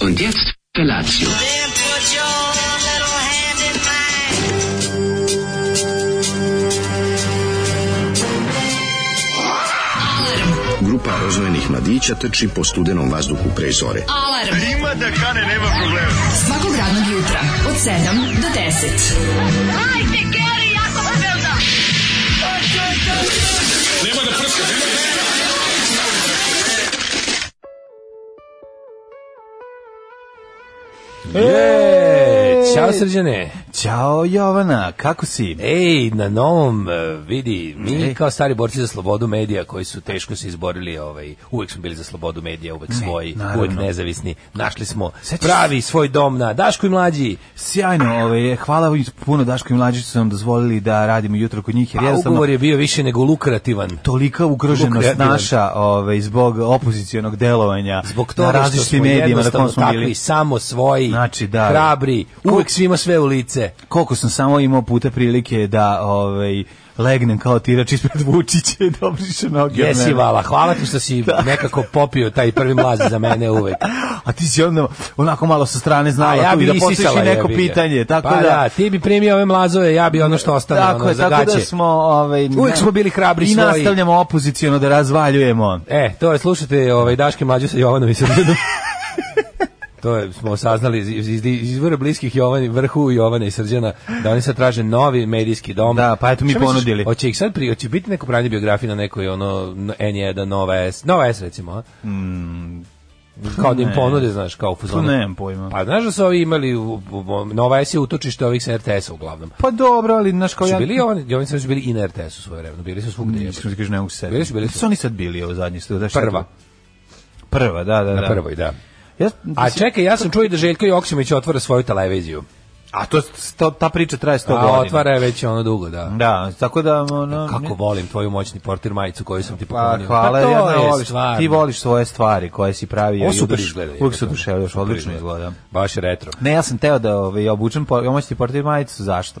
Und jetzt Felatio. Then put your little hand in mine. Grupa rozvojenih mladića trči po studenom vazduhu pre zore. Alarm. Ima da kane, nema problema. Svakog radnog jutra, od 7 do 10. E, Ćao srđane. Ćao Jovana, kako si? Ej, na novom e, vidi, mi Ej. kao stari borci za slobodu medija koji su teško se izborili, ovaj, uvek smo bili za slobodu medija, uvek svoji, naravno. uvek nezavisni. Našli smo Sećaš pravi svoj dom na Daško i mlađi. Sjajno, ovaj, hvala vam puno Daško i Mlađi što su nam dozvolili da radimo jutro kod njih, jer A jednostavno Pa, ugovor je bio više nego lukrativan. tolika ugroženost Lukreativan. naša ovaj, zbog opozicionog delovanja Zbog na toga što različitim smo medijima na jednostavno kom smo takvi, bili. samo svoji, Znači, da. hrabri, uvek svima sve u lice. Koliko sam samo imao puta prilike da ovaj, legnem kao tirač ispred Vučića i dobriše noge. od Jesi mene. vala, hvala ti što si nekako popio taj prvi mlaz za mene uvek. A ti si onda onako malo sa strane A znala ja tu bi i da postojiš isisala, i neko jebi ga. pitanje. Tako pa da, ti bi primio ove mlazove, ja bi ono što ostane, tako ono, je, za tako da gaće. smo... Ovaj, ne- Uvek smo bili hrabri I svoji. nastavljamo opoziciono da razvaljujemo. E, to je, slušajte, ovaj, Daške mlađu sa Jovanom i Srđanom. to je, smo saznali iz, iz, iz izvora bliskih Jovan, vrhu Jovana i Srđana, da oni sad traže novi medijski dom. Da, pa eto mi Šta misliš, ponudili. Hoće ih sad pri, hoće biti neko pravni biografije na nekoj ono N1, Nova S, Nova S recimo, a? kao da im Hmm. ne. ponude, znaš, kao u fuzonu. Pa nemam pojma. Pa znaš da su ovi imali, u, u, u, Nova S je utočište ovih sa RTS-a uglavnom. Pa dobro, ali naš kao Su ja... bili Jovan, Jovan Srđan su bili i na RTS-u svoje vremena, bili su svugde. jebote. Iskreno ti kažem, ne mogu se Bili su, bili Su su. oni sad bili ovo zadnji stu? Da, šta je Prva, to? Prva, da, da, da. na prvoj, da. Ja, A čekaj, ja sam čuo i da Željko Joksimović otvara svoju televiziju. a to, to, ta priča traje 100 A godina. otvara je već ono dugo, da. Da, tako da... Ono, Kako volim tvoju moćni portir majicu koju sam ti Pa, poklonio. hvala, to ja ne je voliš, stvarno. ti voliš svoje stvari koje si pravio. Ovo i super udruš- izgleda. Uvijek jebote. se oduševljaš, Super odlično izgleda. Baš je retro. Ne, ja sam teo da ovaj, obučem, po, omoći portir majicu, zašto?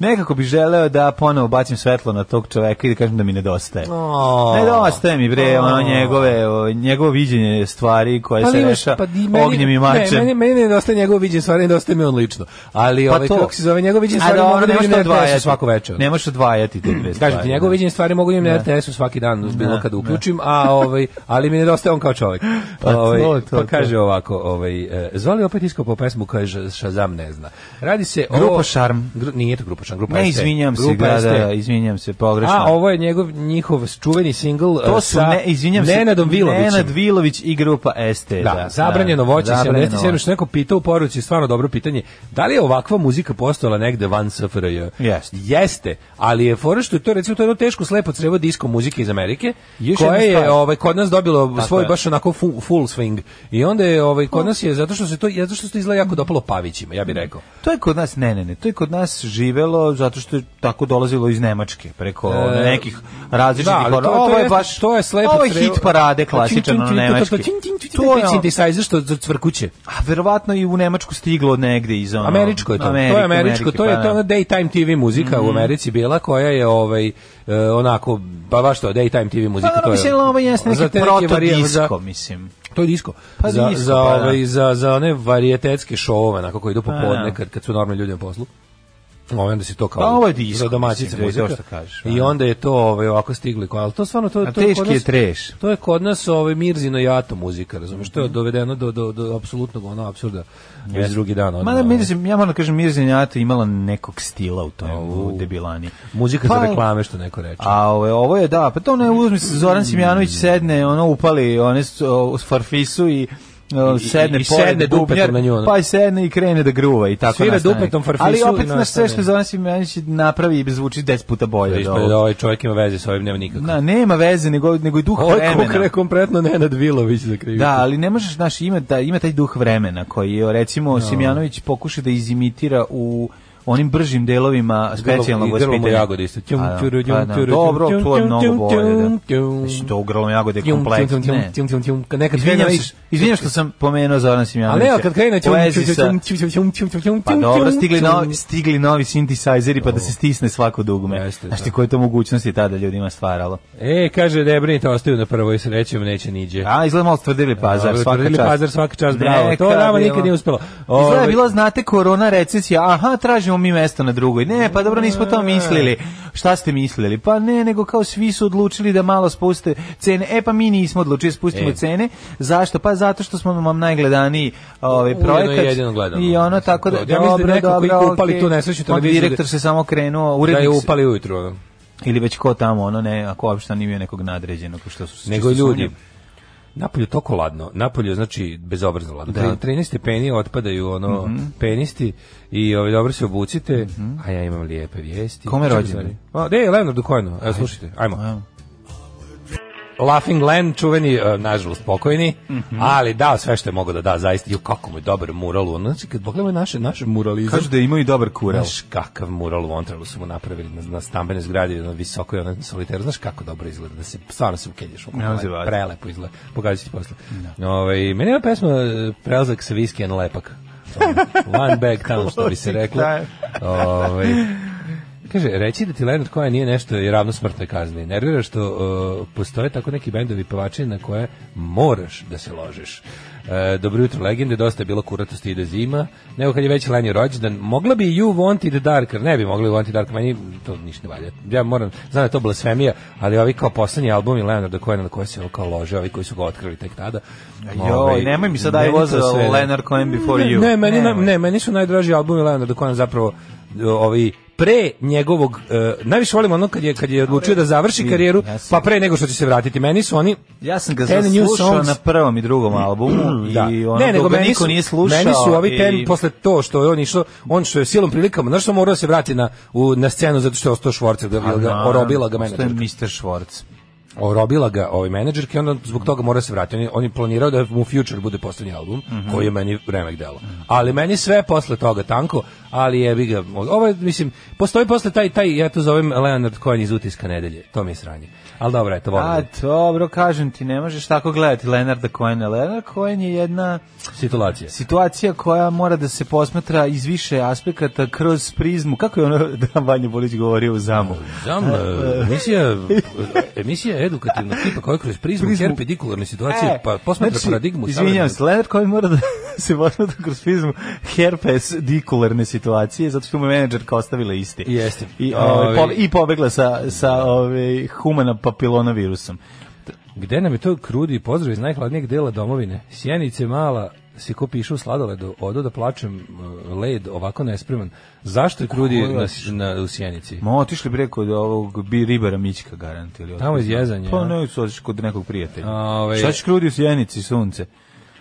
Nekako bi želeo da ponovo bacim svetlo na tog čoveka i da kažem da mi nedostaje. O. Nedostaje mi bre, ono O. njegove, o, njegovo viđenje stvari koje se Pa imaš- reša di- meni- ognjem i Ne, mačem. meni, meni nedostaje njegov viđen stvari, nedostaje mi on lično. Ali Pa ovaj, to. kako se zove, njegov viđen A stvari mogu dobro, da ne možeš vidim to na RTS-u odvajati. svako večer. Ne možeš odvajati te dve stvari. Kažem ti, njegov viđenje stvari mogu da imam na RTS-u svaki dan, uz bilo Da, kada da. uključim, a ovaj, ali mi nedostaje on kao čovjek. Pa to, Ovaj, to, pa to. kaže ovako, ovaj, e, Zoli opet iskopao pesmu koja je Shazam ne zna. Radi se o... Grupa Šarm. Gru- nije to Grupa Šarm, Grupa Ne, ST. izvinjam se, Grupa da, ST. da, izvinjam se, pogrešno. A, ovo je njegov, njihov čuveni singl to e, su, sa ne, izvinjam se, Nenadom Vilovićem. Nenad Vilović i grupa ST. Da, zabranjeno voće E, zabranjeno 77, što neko pitao u poruci, stvarno dobro pitanje, da li je ovakva muzika postojala negde van SFRJ? Jeste. Jeste, ali je fora što je to recimo to je jedno teško slepo crevo disko muzike iz Amerike, Još koje jedna je stvar. ovaj kod nas dobilo Tako svoj je. baš onako full, full swing. I onda je ovaj kod nas je zato što se to zato što se to izgleda jako dopalo Pavićima, ja bih rekao. To je kod nas, ne, ne, ne, to je kod nas živelo zato što je tako dolazilo iz Nemačke, preko E, nekih različitih ali ono, to ovo je jeste- baš, to je slepo Pa, ovo je crevo. hit parade klasičan Tin, tin, ono tin, to- to- Nemačke. to- tin, tin, tin, To je taj ono- synthesizer što za cvrkuće. a verovatno i u Nemačku stiglo negde iz ono... Američko je to. to Amerike, je američko, Amerike, to je ono to pa da. Mhm. ona daytime TV muzika u Americi bila koja je ovaj e, onako pa baš to daytime TV Pa muzika dobro, to je. mislim, ovo jeste za te neki neke varijante- za- protodisko, mislim. To je disko. Pa za, disko, za, pa da. Pa ovaj, za, za one varijetetske šovove, onako koji idu popodne da. kad, kad su normalni ljudi na poslu. Ovaj onda se to kao Pa ovo je disko, za domaćice mislim, to je to muzika. što kažeš, I da. onda je to ovaj ovako stiglo i kao, ali to stvarno to A to je kod teški je nas- treš. To je kod nas ovaj Mirzino jato muzika, razumiješ, Mhm. to je dovedeno do do do apsolutnog ono apsurda. Već drugi dan. Ma odmah, da ono. Mirzin, ja moram da kažem, Mirzin Jata imala nekog stila u toj u debilani. Muzika za Pa- reklame, što neko reče. A ove, ovo je, da, pa to ne uzmi se, Zoran Simjanović Mm. sedne, ono upali, one s, o, s farfisu i o, I- sedne i- i pored sedne dupetom bubnjar, na nju, ono. Pa i sedne i krene da gruva i tako Svira nastane. dupetom farfisu Ali i opet, znaš, sve nastane. što Zoran Simjanović napravi i zvuči deset puta bolje. od Ispred ovog. da ovaj čovjek ima veze sa ovim nema nikakve. Na, nema veze, nego, nego i duh Ovo je vremena. konkre- kompletno Nenad Vilović za krivicu. Da, ali ne možeš, znaš, ima, da, ima taj duh vremena koji, je, recimo, Simjanović pokuša da izimitira u onim bržim delovima specijalnog i grlo mu vaspitanja. jagode isto. Tjum, A da, tjuru, pa tjum, da. tjuru, Dobro, tjum, to je tjum, mnogo tjum, bolje. tjum, Da. tjum. Mislim, to u grlom jagode je Tjum, kompleks. tjum, tjum, ne. tjum, tjum, tjum, kad nekad Izvinjam krene se, izvinjam što sam pomenuo Zoran Ali Simjanovića. evo kad krene U tjum, vezi tjum, sa- tjum, tjum, tjum, tjum, tjum, tjum, tjum, Pa tjum, dobro, tjum, stigli tjum. novi, stigli novi sintesajzeri pa da se stisne svako dugme. Jeste, Znaš ti da. koje to mogućnosti tada ljudima stvaralo. E, kaže Debrinita ostaju na prvoj srećom, neće niđe. A, izgleda malo stvrdili pazar, Dobro, svaka tvrdili čast. Pazar svaka čast, bravo. Neka to nama bilo. nikad nije uspelo. Izgleda Ovaj, je bila, znate, korona recesija, aha, tražimo mi mesto na drugoj. Ne, pa dobro, nismo to mislili. Šta ste mislili? Pa ne, nego kao svi su odlučili da malo spuste cene. E, pa mi nismo odlučili da spustimo E. cene. Zašto? Pa zato što smo vam najgledaniji ovaj, Ujedno i projekat. jedino gledano. I ono, tako da, Ja mislim da dobro, neko koji dobro, je upali okej. tu nesrećnu On televiziju Direktor da- se samo krenuo, da urednik je se- upali ujutru. ono. ili već ko tamo, ono ne, ako uopšte nije bio nekog nadređenog, što su Nego što su ljudi. oni- Napolju toliko ladno. Napolju znači bezobrazno ladno. Da. Mhm. Da. 13 stepeni otpadaju ono penisti i ovaj dobro se obucite, a ja imam lijepe vijesti. Kome Čekaj, rođendan? stvari. Pa, ne, Leonardu Cohenu. Evo slušajte. Ajmo. Laughing Len, čuveni, e, nažalost, pokojni, Mhm. ali dao sve što je mogo da da, zaista, ju, kako mu je dobar mural, ono, znači, kad pogledamo naše, naše muralizam, Kažu da imaju dobar kural. Znaš kakav mural u Ontralu su mu napravili na, na stambene zgrade, na visoko i na soliteru. Znaš kako dobro izgleda, da se stvarno se ukelješ. u Ne može kola. vaditi. Prelepo izgleda. Pokazat ću ti posle. Ovaj, meni je ova pesma e, prelazak sa viski na lepak. Ono, One bag town, što bi se reklo. Closing Ovaj, Kaže, reći da ti Leonard Cohen nije nešto je ravno smrtnoj kazni. Nervira što e, postoje tako neki bendovi pevači na koje moraš da se ložiš. E, dobro jutro, legende, dosta je bilo kuratosti i da zima, nego kad je već Lenny rođendan, mogla bi i You Wanted Darker, ne bi mogli Wanted Darker, meni to ništa ne valja. Ja moram, znam da je to blasfemija, ali ovi kao poslednji albumi Leonarda Cohena na koje se on kao lože, ovi koji su ga otkrili tek tada. Joj, ovaj, nemoj mi sad I meni was to sve- a Leonard Cohen before you. ne, meni, Nemoj. ne, ne, meni su najdraži albumi Leonarda Cohen zapravo e, ovi pre njegovog e, najviše volim ono kad je kad je odlučio da završi karijeru ja sam- pa pre nego što će se vratiti meni su oni Ja sam ga Ten new slušao songs. na prvom i drugom albumu da. i ono ne, nego ga niko nije slušao. Meni su ovi ten i- posle to što je on išao, on što je silom prilikama, znaš što morao da se vrati na u na scenu zato što je ostao Schwarzer, da A, ga na, orobila ga postoje menadžerka. Mr. Schwartz. Orobila ga ovaj menadžerka i onda zbog toga mora se vratiti. On je, on je planirao da mu Future bude poslednji album, Mhm. koji je meni remek delo. Ali meni sve posle toga tanko, ali jebi ga. Ovo je, mislim, postoji posle taj, taj, ja to zovem Leonard Cohen iz utiska nedelje. To mi je sranje. Ali dobro, eto, volim. A, dobro, kažem ti, ne možeš tako gledati Leonarda Cohena. Leonard Cohen je jedna Situacija. situacija koja mora da se posmatra iz više aspekata kroz prizmu. Kako je ono da Vanja Bolić govorio u zamu? Zam, e, emisija, emisija edukativna tipa koja kroz prizmu, Prizmu. perpendikularne situacije, E, pa posmatra znači, paradigmu. Izvinjam savremene- se, Leonard Cohen mora da se posmatra kroz prizmu herpes dikularne situacije, zato što mu je menadžerka ostavila isti. Jeste. I, ovaj, Ovaj. pobe- I pobegla sa, sa ovaj, humana papilona virusom. Gde nam je to krudi pozdrav iz najhladnijeg dela domovine? Sjenice mala se ko piše u sladoledu, odo da plačem e, led ovako nespreman. Zašto je krudi Ko je na, otišao? na, u Sjenici? Ma otišli bi rekao da ovog bi ribara Mićka garant ili Tamo iz Jezanja, Pa a? ne, su otišli kod nekog prijatelja. A, ovaj- Šta ćeš krudi u sjenici sunce?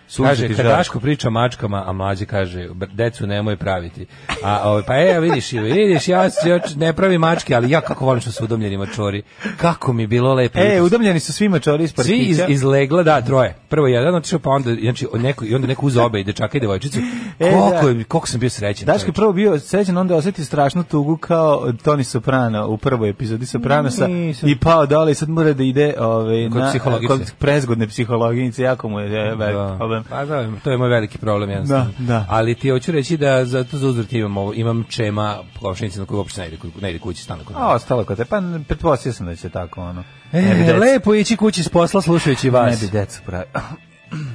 Sunce Kaže, ti kad žari. Daško priča mačkama, a mlađe kaže, "Br- decu nemoj praviti. A, ovaj, pa e, vidiš, vidiš, ja, se još ne pravi mačke, ali ja kako volim što su udomljeni mačori. Kako mi je bilo lepo. E, udomljeni su svi mačori iz Svi parkića. iz, iz legla, da, troje. Prvo jedan otišao, pa onda, znači, neko, i onda neko uz obe i dečaka i devojčicu. E, Koliko, da. je, koliko sam bio srećan. Daško je prvo bio srećan, onda osjeti strašnu tugu kao Tony Soprano u prvoj epizodi Sopranosa Nisam. i pao dole i sad mora da ide ovaj, Kod na, psihologice. kod prezgodne psihologinice, jako mu je e, velik problem. Pa da, to je moj veliki problem jednostavno. Da, da. Ali ti hoću reći da zato za uzvrt imam ovo, imam čema komšinice na koju uopšte ne ide, ku- ne ide kući stalno kod A nas. ostalo kod te, pa pretpostavio sam da će tako ono. Ne bi E, decu- lepo ići kući s posla slušajući vas. Ne bi decu pravi.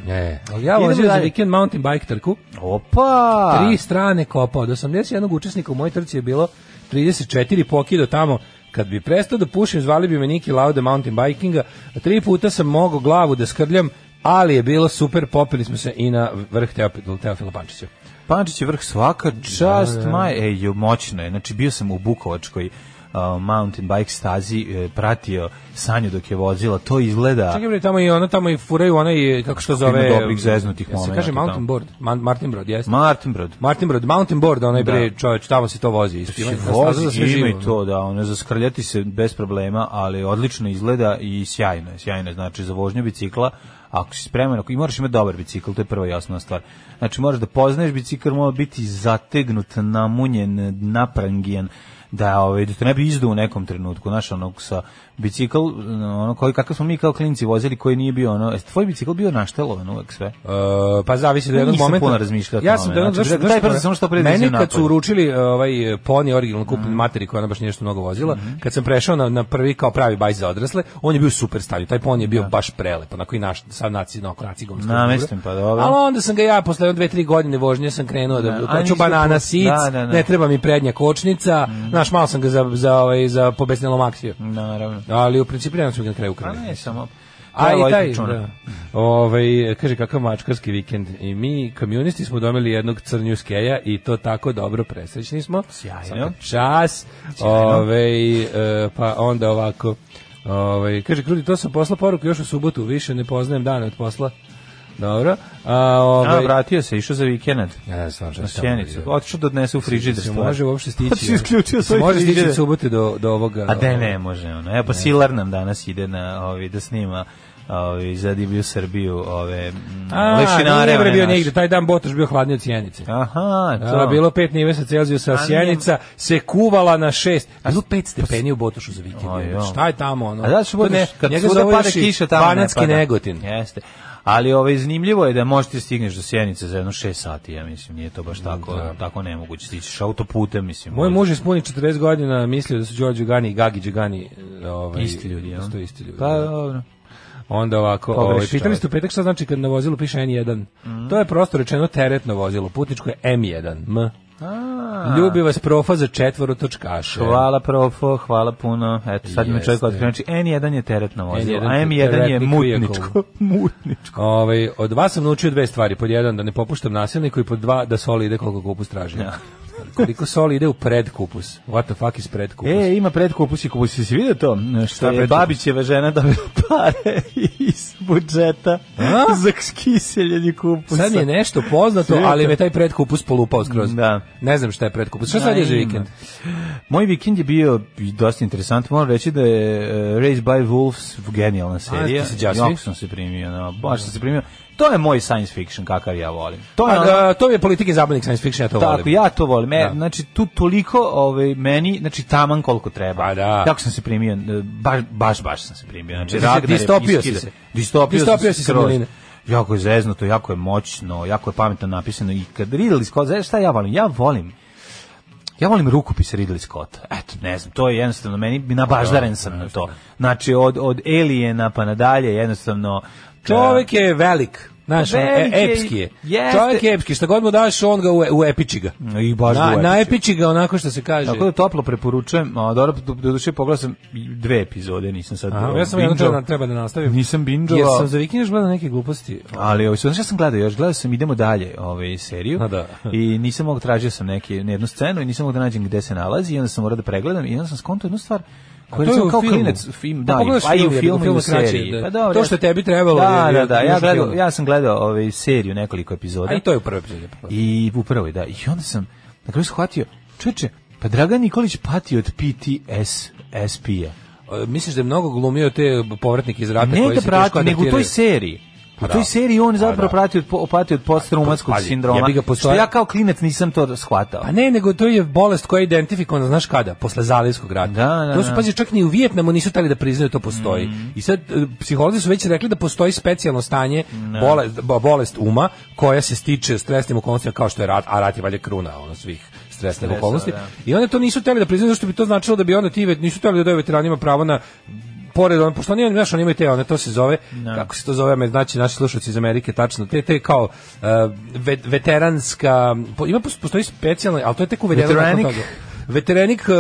E, ali ja Idemo vozio za dalje. vikend mountain bike trku, Opa! tri strane kopao. Od 81 učesnika u mojoj trci je bilo 34 pokido tamo. Kad bi prestao da pušim, zvali bi me Niki Lauda mountain bikinga. Tri puta sam mogao glavu da skrljam, ali je bilo super, popili smo se i na vrh Teop- Teofila Pančića. Pančić je vrh svaka čast, maj, ej, jo, moćno je. Znači, bio sam u Bukovačkoj a, mountain bike stazi, e, pratio Sanju dok je vozila, to izgleda... Čekaj bre, tamo i ono tamo i furaju onaj e, kako što zove Ima dobrih zeznutih jel Se momenata kaže Mountain tamo. Board, Man, Martin Brod, jeste. Martin Brod. Martin Brod, Mountain Board, onaj Da. Znači, bre čovjek, tamo se to vozi. Isto, ima staza za Vozi, sve ima živo. i to, da, ono, zaskrljati se bez problema, ali odlično izgleda i sjajno je, sjajno je, znači, za vožnju bicikla, ako si spreman, ako i moraš imati dobar bicikl, to je prva i osnovna stvar. Znači moraš da poznaješ bicikl, mora biti zategnut, namunjen, naprangijen da ovaj da te ne bi izdao u nekom trenutku naš onog sa bicikl ono koji kakav smo mi kao klinci vozili koji nije bio ono jeste tvoj bicikl bio naštelovan uvek sve Uh, pa zavisi do jednog Nisam momenta. puno razmišljao o Ja tome. sam do jednog Znači, zašto- daj zašto- brzo samo što prije da Meni kad idem su napolje. Mhm. uručili ovaj poni originalno kupljen materi koja ona baš nešto mnogo vozila, kad sam prešao na, na prvi kao pravi bajs za odrasle, on je bio u super stanju. Taj poni je bio baš prelep, onako i naš sa naci na nacigom. Namestim, pa dobro. Ali onda sam ga ja posle jedno 2-3 godine vožnje sam krenuo da Da, a hoću nisi banana dopustio. sic, Da, da, Mhm. da. ne treba mi prednja kočnica. Znaš, malo sam ga za za ovaj za pobesnelo maksiju. Mhm. naravno Ali u principu ja sam ga na kraju a ukrenuo. ne samo A Treba i taj, računa. da. Ovaj, kaže kakav mačkarski vikend. I mi, kamionisti, smo domeli jednog crnjuskeja i to tako dobro presrećni smo. Sjajno. Svaka Čas. Ovaj, e, pa onda ovako. Ovaj, kaže, Krudi, to sam poslao poruku još u subotu, više ne poznajem dane od posla. Dobro. A, A, ovaj, vratio se, išao za vikend. ja ne znam šta Na je tamo sjenicu. bio. Otišao da odnese u frižider. Se stvar. može uopšte stići. Otišao, isključio se svoj Može stići frižider. od subote do, do ovoga. A da ne može ono. Evo pa Silar nam danas ide na ovi da snima ovi za divlju Srbiju, ove mm, A, lešinare. nije bre one bio naše. negde, taj dan Botoš bio hladnije od Sjenice. Aha, to. A, bilo 5 nivesa Celzijusa, nije- sjenica se kuvala na 6. Bilo 5 stepeni u Botošu za vikend. Aj, je. ja. Šta je tamo ono? pa A da što To budeš, ne- kad njega svuda zove pada još i kiša tamo Banatski ne pada. Negotin. Jeste. Ali ovaj zanimljivo je da možeš ti stigneš do Sjenice za jedno 6 sati, ja mislim, nije to baš tako, tako nemoguće stići autoputem, mislim. ovaj, Moj možda. muž je spunih 40 godina mislio da su Đorđe Đugani i Gagi Đugani e, ovaj, Isti ljudi, da jel? su to isti ljudi. Pa da. dobro. Onda ovako, Pogreši ovaj, pitali čovjek. Mm. ste u petak šta znači kad na vozilu piše N1. To je prosto rečeno teretno vozilo, putničko je M1, M. A, Ljubi vas profa za četvoro točkaše. Hvala profo, hvala puno. Eto, sad mi čovjek Jeste. otkrio. Znači, N1 je teretno vozilo, a N1 je M1 je teretni mutničko. mutničko. Ovaj, od vas sam naučio dve stvari. Pod jedan, da ne popuštam nasilniku i pod dva, da soli ide koliko kupus traži. Koliko soli ide u predkupus. What the fuck is predkupus? E, ima predkupus i kupus. Jesi vidio to? Što je predkupus? Babićeva žena dobila pare iz budžeta A? za skiseljenje kupusa. Sad mi je nešto poznato, Sve ali to. me taj predkupus polupao skroz. Da. Ne znam šta je predkupus. Šta sad je za ima. vikend? Moj vikend je bio i dosta interesant. Moram reći da je e, Raised by Wolves genijalna serija. ti si đasi? Jako sam se primio. No, baš sam se primio. To je moj science fiction kakav ja volim. To je Pa, ono- ga- to mi je politike zabavnik science fiction, ja to Tako, volim. ja to volim. E, Da. Znači, tu toliko ovaj, meni, znači, taman koliko treba. Pa da. Tako sam se primio, e, baš, baš, baš sam se primio. Znači, Znači, Ragnar je distopio si iskida. se. Distopio Distopio, distopio si se, sam se skroz. Miline. Jako je zeznuto, jako je moćno, jako je pametno napisano. I kad Ridley Scott, znaš šta ja volim? Ja volim Ja volim rukopis Ridley Scotta. Eto, ne znam, to je jednostavno, meni Pa nabaždaren sam na to. Znači, od, od Aliena pa nadalje, jednostavno... Čovjek je velik. Znaš, ono, e, Velik je i- epski je. jeste. Čovjek je epski. Šta god mu daš, on ga u, u epiči ga. e, I baš Na, ga na uepiči. epiči ga onako što se kaže. Tako da toplo preporučujem, a dobro, do, do duše pogledao sam dve epizode, nisam sad... Aha, o, ja sam jedno bingeovao. treba- treba da nastavim. Nisam Jer bingeovao, sam za vikend još gledao neke gluposti. ali ovaj, znaš šta sam gledao još, gledao sam Idemo dalje ovaj, seriju A da. i nisam mogu, tražio sam neke, jednu scenu i nisam mogu da nađem gde se nalazi i onda sam morao da pregledam i onda sam skontao jednu stvar koja to je je u kao filmu. klinec film, da, Pa i- pogledaš a i u film, jer u filmu i filmu u skraće, seriji. da. Pa dobro, To ja što sam- tebi trebalo Da, je- da, je- da, je ja, u gledao- filmu. ja sam gledao ovaj, seriju nekoliko epizoda. A i to je u pa prvoj epizodi. I u prvoj, da. I onda sam na kraju shvatio, čoveče, pa Dragan Nikolić pati od PTSP-a. E, Misliš da je mnogo glumio te povratnike iz rata P-a. Ne koji da se prati, prati, nego u toj seriji. U Pa da. toj seriji on da. zapravo prati od, po- pati od posttraumatskog Pazi, sindroma. jebi ga, postoje- Što ja kao klinec nisam to shvatao. Pa ne, nego to je bolest koja je identifikovana, znaš kada, posle Zalijskog rata. Da, da, to su, da. pazi, čak ni u Vijetnamu nisu tali da priznaju da to postoji. I sad, e, psiholozi su već rekli da postoji specijalno stanje, bolest, bo- bolest uma, koja se stiče stresnim okolnostima kao što je rat, a rat je valjda kruna ono, svih stresnih okolnosti. da. I onda to nisu teli da priznaju, zašto bi to značilo da bi onda ti, ve- nisu teli da daju veteranima pravo na pored ono, pošto oni, znaš, oni imaju te, one, to se zove, kako se to zove, me znači naši slušalci iz Amerike, tačno, te, te kao e, ve- veteranska, po- ima, pos- postoji specijalna, ali to je tek uvedeno nakon Veteranik? toga. Veterenik, e,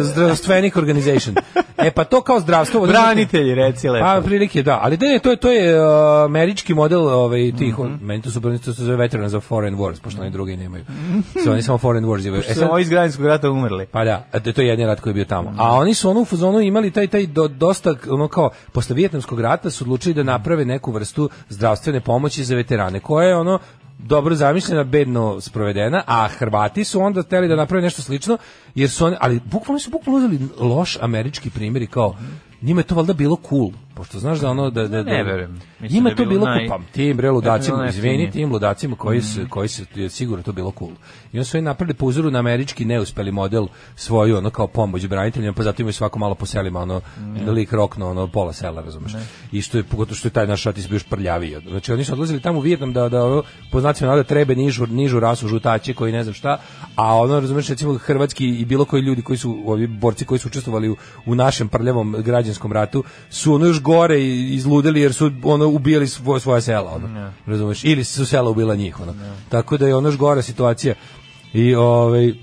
zdravstvenik organization. E pa to kao zdravstvo. Branitelji, reci lepo. Pa prilike da, ali da je to je to je uh, američki model ovaj tih mm meni to su brojni to se zove veterans of foreign wars, pošto oni drugi nemaju. So, oni samo foreign wars imaju. E Što su sad, ovi iz građanskog rata umrli. pa da, a to je to jedini rat koji je bio tamo. A oni su ono u fuzonu imali taj taj do, dosta ono kao posle vijetnamskog rata su odlučili da naprave neku vrstu zdravstvene pomoći za veterane, koja je ono dobro zamišljena, bedno sprovedena, a Hrvati su onda hteli da naprave nešto slično jer su oni, ali bukvalno su bukvalno uzeli loš američki primjer i kao, njima je to valjda bilo cool, pošto znaš da ono da da da Ne verujem. Mislim Njima da je je to bilo bilo naj- cool, pa tim bre bilo ludacima, izvini, najjeftinije. tim ludacima koji se koji se je sigurno to bilo cool. I onda su oni napravili po uzoru na američki neuspeli model svoju ono kao pomoć braniteljima, pa zato imaju svako malo po selima ono lik rokno ono pola sela, razumeš. I što je pogotovo što je taj naš šatis bio još prljaviji. Znači oni su odlazili tamo u Vijetnam da da ono, po znacima navoda trebe nižu nižu rasu žutači koji ne znam šta, a ono razumeš recimo hrvatski i bilo koji ljudi koji su ovi borci koji su učestvovali u, u našem prljavom građanskom ratu su ono još gore i- izludeli jer su ono ubijali svoje, svoje sela ono. Razumeš? Ili su sela ubila njih ono. Tako da je ono još gora situacija. I ovaj e,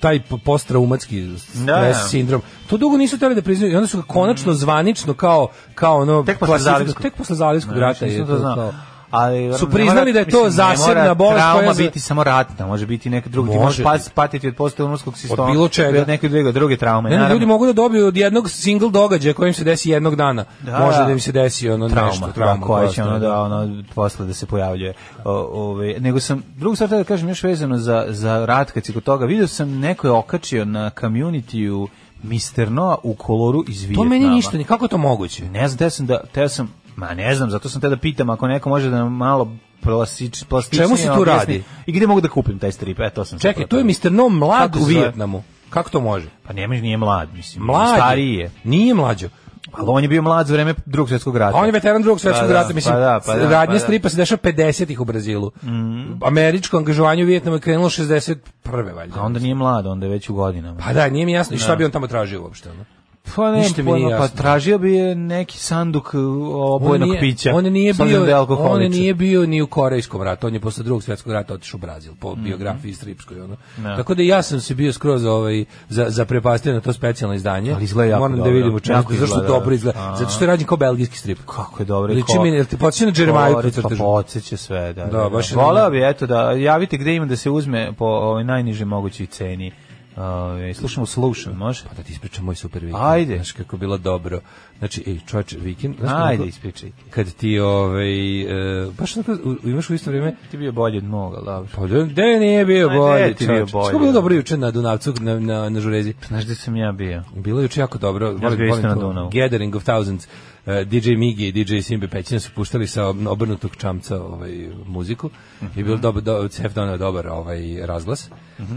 taj po- postraumatski stres Da, da. Mm. sindrom. To dugo nisu hteli da priznaju i onda su ga konačno zvanično kao kao ono Tek posle klasifikovali- Zalivskog. tek posle Zalivskog rata je to kao- Ali, Su ne priznali mora- da je to mislim, ne zasebna mora bolest koja Trauma za- biti samo ratna, može biti neka druga. Ti Može možeš pas, biti. patiti od postojanurskog sistema. bilo čega. Od neke druge, druge traume. Ne, ne, naravno. ljudi mogu da dobiju od jednog single događaja koji im se desi jednog dana. Da, Može da. da im se desi ono trauma, nešto, trauma koja će prosto, ono da. da ono posle da se pojavljuje. O, ovaj nego sam drugu stvar htio da kažem još vezano za za rat kad si kod toga video sam neko je okačio na communityu Mr. Noa u koloru iz To Vijetnama. meni ništa, ni kako je to moguće? Ne znam, teo sam da, teo sam, ma ne znam, zato sam te da pitam, ako neko može da nam malo plastič, plastičnije Čemu se tu objasni. radi? I gde mogu da kupim taj strip? E, to sam sad Čekaj, tu je pratio. Mr. No mlad Kako u se zove? Vijetnamu. Kako to može? Pa nema, nije mlad, mislim. Mlad. je. Stariji je. Nije mlađo. Ali on je bio mlad za vreme drugog svjetskog rata. A on je veteran drugog svjetskog Pa da, rata, mislim, pa da, pa da, radnje pa da. Mm. stripa se dešava 50-ih u Brazilu. Američko angažovanje u Vijetnamu je krenulo 61. valjda. A onda nije mlad, onda je već u godinama. Pa da, nije mi jasno i šta bi on tamo tražio uopšte. Ono? Pa ne, Ništa mi nije pa jasno. tražio bi je neki sanduk uh, obojenog nije, pića. On nije s obzirom bio, da je on alkoholičan. nije bio ni u korejskom ratu, on je posle drugog svjetskog rata otišao u Brazil po Mhm. biografiji stripskoj ono. Tako da ja sam se bio skroz ovaj za za prepastio na to specijalno izdanje. Ali izgleda jako Moram dobro. da vidim u čemu Jako zašto izgleda, dobro da. izgleda. A. Zato što je rađen kao belgijski strip. Kako je dobro. i Liči ko- mi, jel ti podsjeća na Jeremiju Kolorit, po crtežu? Pa podsjeća sve, da. Da, baš je Voleo dobro. bi, eto, da javite gde ima da se uzme po ovaj, najniže mogućoj ceni. Ovaj, slušamo Solution, može? Pa da ti ispričam moj super vikend. Ajde. Znaš kako je bilo dobro. Znači, ej, čovječe, vikend... znaš kako- Ajde, ispričaj. Kad ti, ovaj, e, baš tako, u- imaš u isto vrijeme Ti bio bolji od moga, dobro. Pa da, gde nije bio Ma, gde bolje, ti bio čovječe? bolje, Što je bilo da. dobro juče na Dunavcu, na, na, na Žurezi? Znaš gde sam ja bio? Bilo je juče jako dobro. Ja bio isto na Dunavu. Gathering of Thousands. Eh, DJ Migi i DJ Simbe Pećina su puštali sa obrnutog čamca ovaj, muziku. I Mhm. bilo dobar, do, Cef donio dobar ovaj, razglas.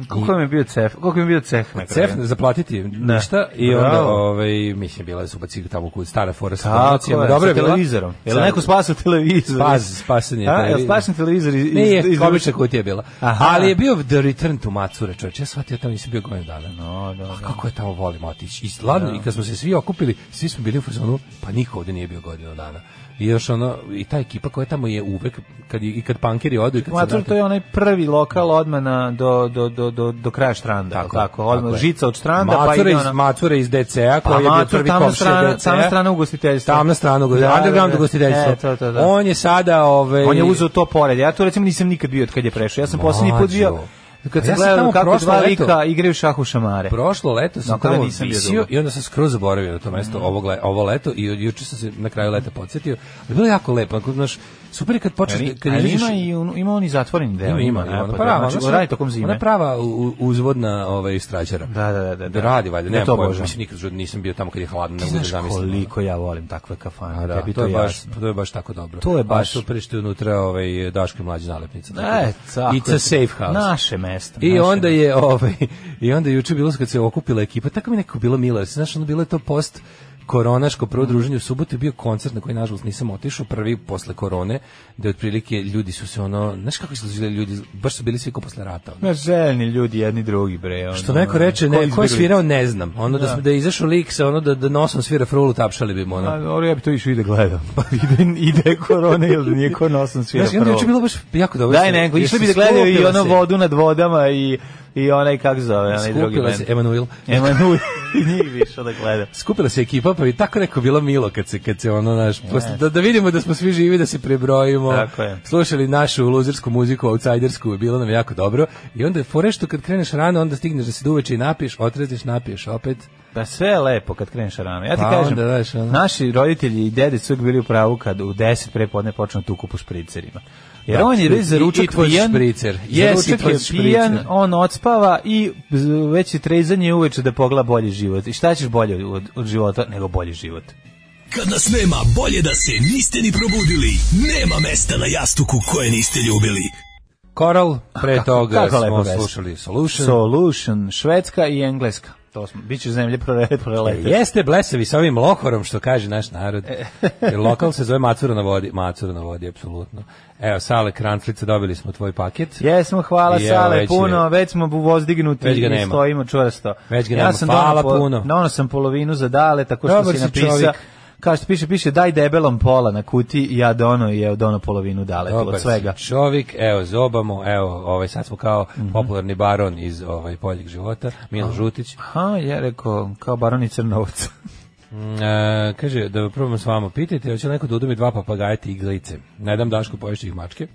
Koliko mi je bio cef? Koliko mi je bio cef na kraju? Pa Cef zaplatiti ništa i Bravo. onda ovaj mislim bila su bacili tamo kod stara fora sa Tako donacijama. je, Dobro sa je bila. televizorom. Je li Sa- neko spasao televizor? Spas- spasen je A, jel televizor. spasen televizor iz, iz, Nije, iz- obična kutija je bila. Aha. Ali je bio The Return to Matsura, čovječe. Ja shvatio tamo nisam bio godinu dana. No, da, A da. kako je tamo volim otići. I ladno, i kad smo se svi okupili, svi smo bili u fazonu, pa niko ovdje nije bio godinu dana. I još ono, i ta ekipa koja tamo je uvek, kad, je- i kad pankeri odu i kad se Matur, to vrate, je onaj prvi lokal odmah na, do, do, do, do, do kraja štranda. Tako, Tako tako je, odmah, tako je. žica od štranda, pa Macura ide iz, ona... Macura iz DCA, Pa koji je bio Matur, prvi tamna komšija strana- DCA. tamna strana ugostiteljstva. Tamna strana Da, da, ugostiteljstva. Underground da. ugostiteljstvo. E, to, to, da. On je sada... Ovaj, On je uzeo to pored. Ja tu recimo nisam nikad bio od kad je prešao. Ja sam posljednji put bio Mlađo. kad Pa sam ja sam gledao tamo kako prošlo dva leto. lika igraju šah u šamare. Prošlo leto sam Tako da tamo nisam bio visio dugo. i onda sam skroz zaboravio na to mesto ovo, gle- ovo leto i od- juče sam se na kraju leta podsjetio. Ali bilo je jako lepo, onako, znaš, super je kad počneš... Ali, kad ali izađeš- ima, i, on- ima on i zatvoren deo. Ima, ima, ono e, ima. Ona pa prava, da, ona znači, sve- radi tokom Ona zime. je prava u- u- uzvodna ovaj, strađara. Da, da, da, da, da. radi, valjda, Ja nemam to pojma, obožavam. mislim, nikad žud- nisam bio tamo kad je hladno, ne Ti mogu da znaš zamislim. koliko ja volim takve kafane. A da, tebi to, je baš, jasno. to je baš tako dobro. To je baš- A super što je unutra ovaj, Daške mlađe nalepnice. tako E, da. tako It's a je. safe house. Naše mesto. I naše onda je ovaj i onda je juče bilo kad se okupila ekipa, tako mi nekako bilo milo, jer se, znaš, ono bilo je to post koronaško prvo druženje u subotu je bio koncert na koji nažalost nisam otišao prvi posle korone da otprilike ljudi su se ono znaš kako su izgledali ljudi baš su bili svi kao posle rata ono. Ma željni ljudi jedni drugi bre. ono, što neko reče ko ne ko je izbjeglica? svirao ne znam ono da smo da je izašao lik sa ono da da nosom svira frulu tapšali bi mu ono A, Pa, dobro, ja bi to išao i da gledam. Pa ide, ide korona ili da nije korona, osam svira Znaš, i onda je prvo. juče bilo baš jako dobro Daj nego, išli bi da gledaju i ono vodu nad vodama i, i onaj, kako zove, onaj drugi skupila se band. Emanuel Emanuel, njih bi išao da gledam. skupila se ekipa pa i tako neko bilo milo kad se kad se ono naš posle, da, da vidimo da smo svi živi da se prebrojimo Tako je. slušali našu luzersku muziku outsidersku bilo nam je jako dobro i onda je fore što kad kreneš rano onda stigneš da se duveče i napiješ otrezniš napiješ opet Da Pa, sve je lepo kad kreneš rano. Ja ti Pa kažem, onda, znaš, ono. naši roditelji i dede su uvijek bili u pravu kad u 10 prepodne počnu tuku po špricerima. Jer Da, on je i- već za i- i ručak tvoj pijan, špricer. I za Yes, ručak i tvoj je pijan, špricer. on odspava i z- već je trezanje uveče da pogla bolji život. I šta ćeš bolje od, od života nego bolji život? Kad nas nema, bolje da se niste ni probudili. Nema mesta na jastuku koje niste ljubili. Coral, pre Kako- toga kako lepo smo pesma. slušali Solution. Solution, švedska i engleska. To smo, bit će zemlje prole- prolete. Jeste blesavi sa ovim lohorom što kaže naš narod. E. Jer lokal se zove Macura na vodi. Macura na vodi, apsolutno. Evo, Sale Kranclica, dobili smo tvoj paket. Jesmo, hvala I evo, Sale već je- puno, već smo bu- vozdignuti Već ga i nema. stojimo čvrsto. Već ga nema, hvala puno. Dono sam polovinu za dale, tako što Dobar si si napisao. čovjek. Kao što piše, piše daj debelom pola na kuti i ja dono i evo dono polovinu dale Dobar od svega. Mhm. si čovjek, evo zobamo, evo, ovaj, sad smo kao popularni baron iz ovaj, poljeg života, Milo Žutić. Ha, ja rekao, kao baroni Crnovac. Mm, e, kaže, da probam s vama, pitajte, hoće li neko da udumi dva papagaja iglice. Ne dam Dašku poješće ih mačke.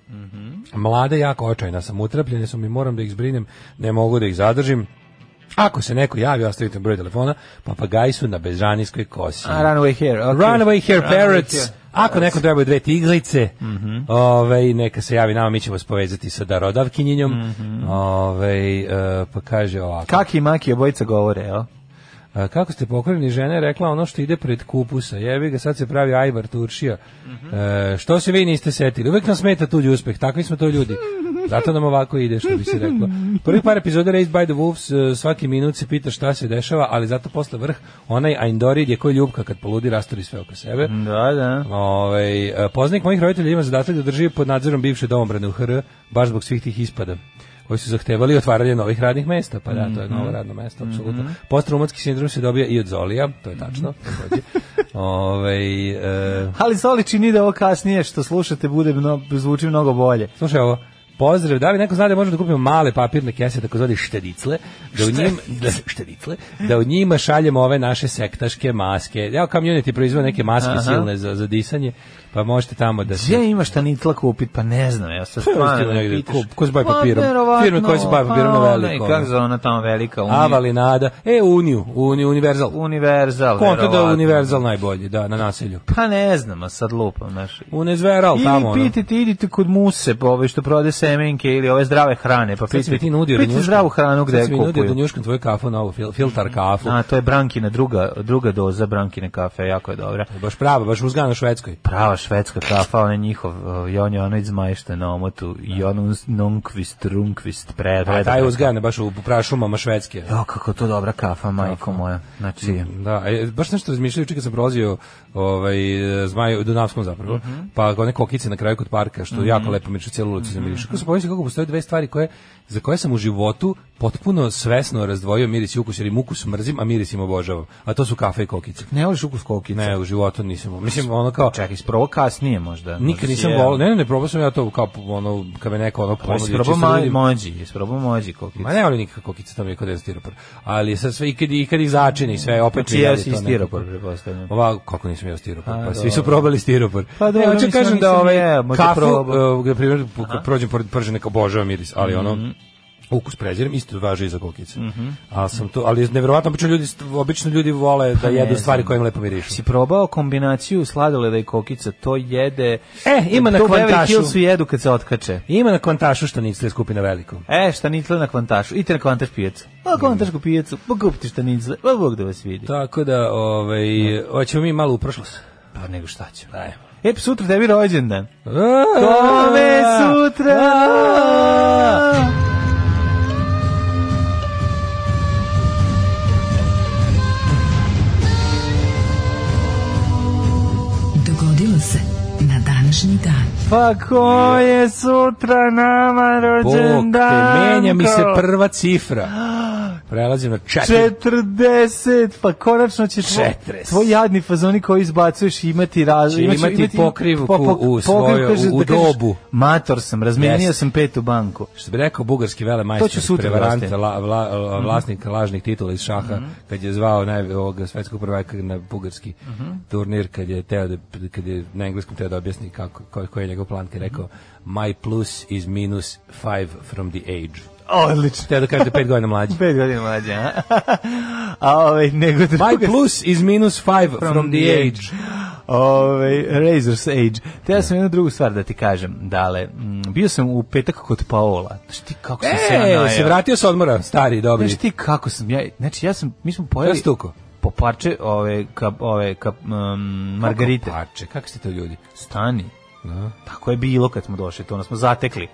Mlade, jako očajna sam, utrapljene su mi, moram da ih zbrinem, ne mogu da ih zadržim. Ako se neko javi, ostavite mi broj telefona, papagaji su na bežanijskoj kosi. A, runaway hair. Okay. Runaway Hair Runaway Parrots. hair. Ako neko trebaju dve tiglice, ovaj, neka se javi nama, mi ćemo se povezati sa darodavkinjinjom. ovaj, e, pa kaže ovako. Kaki i maki obojica govore, jel? A, kako ste pokoreni žena je rekla ono što ide pred kupusa. Jevi ga, sad se pravi Ajvar Turšija. E, što se vi niste setili? Uvek nam smeta tuđi uspeh, takvi smo to ljudi. Zato nam ovako ide, što bi se reklo. Prvi par epizoda Raised by the Wolves, e, svaki minut se pita šta se dešava, ali zato posle vrh, onaj Aindorid je koji ljubka kad poludi rasturi sve oko sebe. Da, da. Ovaj e, poznanik mojih roditelja ima zadatak da drži pod nadzorom bivše domobrane u HR, baš zbog svih tih ispada koji su zahtevali otvaranje novih radnih mesta, pa da, to je novo radno mesto, apsolutno. Postraumatski sindrom se dobija i od Zolija, to je tačno. takođe. Ovaj, e, Ali Soli čini da ovo kasnije što slušate bude mno, zvuči mnogo bolje. slušaj ovo, pozdrav, da li neko zna da možemo da kupimo male papirne kese, takozvani štedicle, da u, njim, da, štedicle, da u njima šaljemo ove naše sektaške maske. Evo, community proizveo neke maske Aha. silne za, za disanje, pa možete tamo da se... Gdje imaš ta nitla kupit? Pa ne znam, ja sam Stvarno stvarno negde, ne pitaš. ko- ko se bavi Pa, papirom? verovatno, Firme koje se bave papirom na pa, veliko, ne, Kako ono. se zove ona tamo velika? Uni, Avalinada, e, Uniju, Uniju, Universal. Univerzal, Konto da je verovatno. Universal najbolji, da, na naselju. Pa ne znam, a sad lupam, znaš. Unezveral, tamo Ili ono. pitajte, idite kod muse, pa ove što prode semenke ili ove zdrave hrane, pa Sad si mi ti pitajte, nudio pitajte Dunjuška. zdravu hranu gde Mm. Sad je si mi nudio da kupuju. njuškam tvoju kafu novu, fil- filtar kafu. A, to je Brankina, druga, druga doza Brankine kafe, jako je dobra. Baš prava, baš uzgana u Švedskoj. Prava švedska kafa, on je njihov, uh, i on je onaj zmajšte na omotu, i ono on Nunkvist, Runkvist, pre, A taj uzgana baš u prašumama Švedske. Jo, kako to dobra kafa, majko moja. Znači, Da, e, baš nešto razmišljaju, čekaj sam prolazio ovaj, e, zmaj u Dunavskom zapravo, Mhm. pa one kokice na kraju kod parka, što jako lepo mirišu, cijelu ulicu se mirišu. Kako sam pomislio kako postoje dve stvari koje, za koje sam u životu potpuno svesno razdvojio miris i ukus, jer im ukus mrzim, a miris im obožavam. A to su kafe i kokice. ne voliš ukus kokice? Ne, u životu nisam. Mislim, ono kao, Čekaj, ispravo kasnije možda. nikad nisam volao, ne, ne, ne, probao sam ja to kao, ono, kad me neko ono ponudi, Isprobao čisto da ma, vidim- mođi, isprobao mođi kokice. Ma ne volim nikakve kokice, to mi je kod jedan stiropor. Ali sad sve, i kad, i kad ih začini, sve, opet Znači, mi ja radi to si nekako. stiropor, prepostavljam. Ova kako nisam jeo stiropor, A, pa svi dobro. su probali stiropor. Pa dobro, Ne, hoću mislim, kažem ja da nisam ovaj jeo, možda kafu, probao. e, na primjer, po- kad prođem pored pržene kao obožavam miris, ali ono ukus prezirem, isto važi i za kokice. Ali sam to, ali neverovatno obično ljudi st- obično ljudi vole da jedu ne stvari znam. koje im lepo mirišu. Si probao kombinaciju sladoleda i kokica, to jede... E, ima na to u Beverly kvantašu. Hillsu jedu kad se otkače. Ima na kvantašu što nicle skupina veliko. E, štanicle na kvantašu, idite na kvantaš pijacu. A kvantašku pijacu, pa kupite štanicle, pa Bog da vas vidi. Tako da, ovaj, hoćemo mi malo u prošlost. Pa nego šta ćemo. Ajmo. E, pa sutra tebi rođendan. Tome Tome sutra! da! Dogodilo se na današnji dan. Pa ko je sutra nama Bog te, rođendan? menja mi se prva cifra. Prelazim na četiri. 40, pa konačno će tvoj, 40. tvoj jadni fazoni koji izbacuješ imati razlog. Će imati pokrivku u svojoj- u dobu. Mator sam, razmijenio Jeste. sam petu banku. Što bi rekao bugarski vele To ću majstor, sutra prevarant, da Mhm. la, vla, vlasnik lažnih titula iz šaha, kad je zvao naj, ovog svetskog prvaka na bugarski Mhm. turnir, kad je, teo da, kad je na engleskom teo da objasni Mhm. kako, koji, koji je njegov plan, kad je rekao My plus is minus five from the age. Odlično. Teo da kažete pet godina mlađi. Pet godina mlađe, a? a ovaj, nego druga... My plus is minus five from, the age. Ove, Ovaj, Razor's Age. Te ja sam jednu drugu stvar da ti kažem. Dale, mm, bio sam u petak kod Paola. Znaš ti kako sam se ja E, najao. se vratio s odmora, stari, dobri. Znaš ti kako sam ja... Znači, ja sam... Mi smo pojeli... Ja stuko. Po parče ove, ka, ove, ka, um, margarite. Kako pače, kako ste to ljudi? Stani. Tako je bilo kad smo došli, to onda smo zatekli.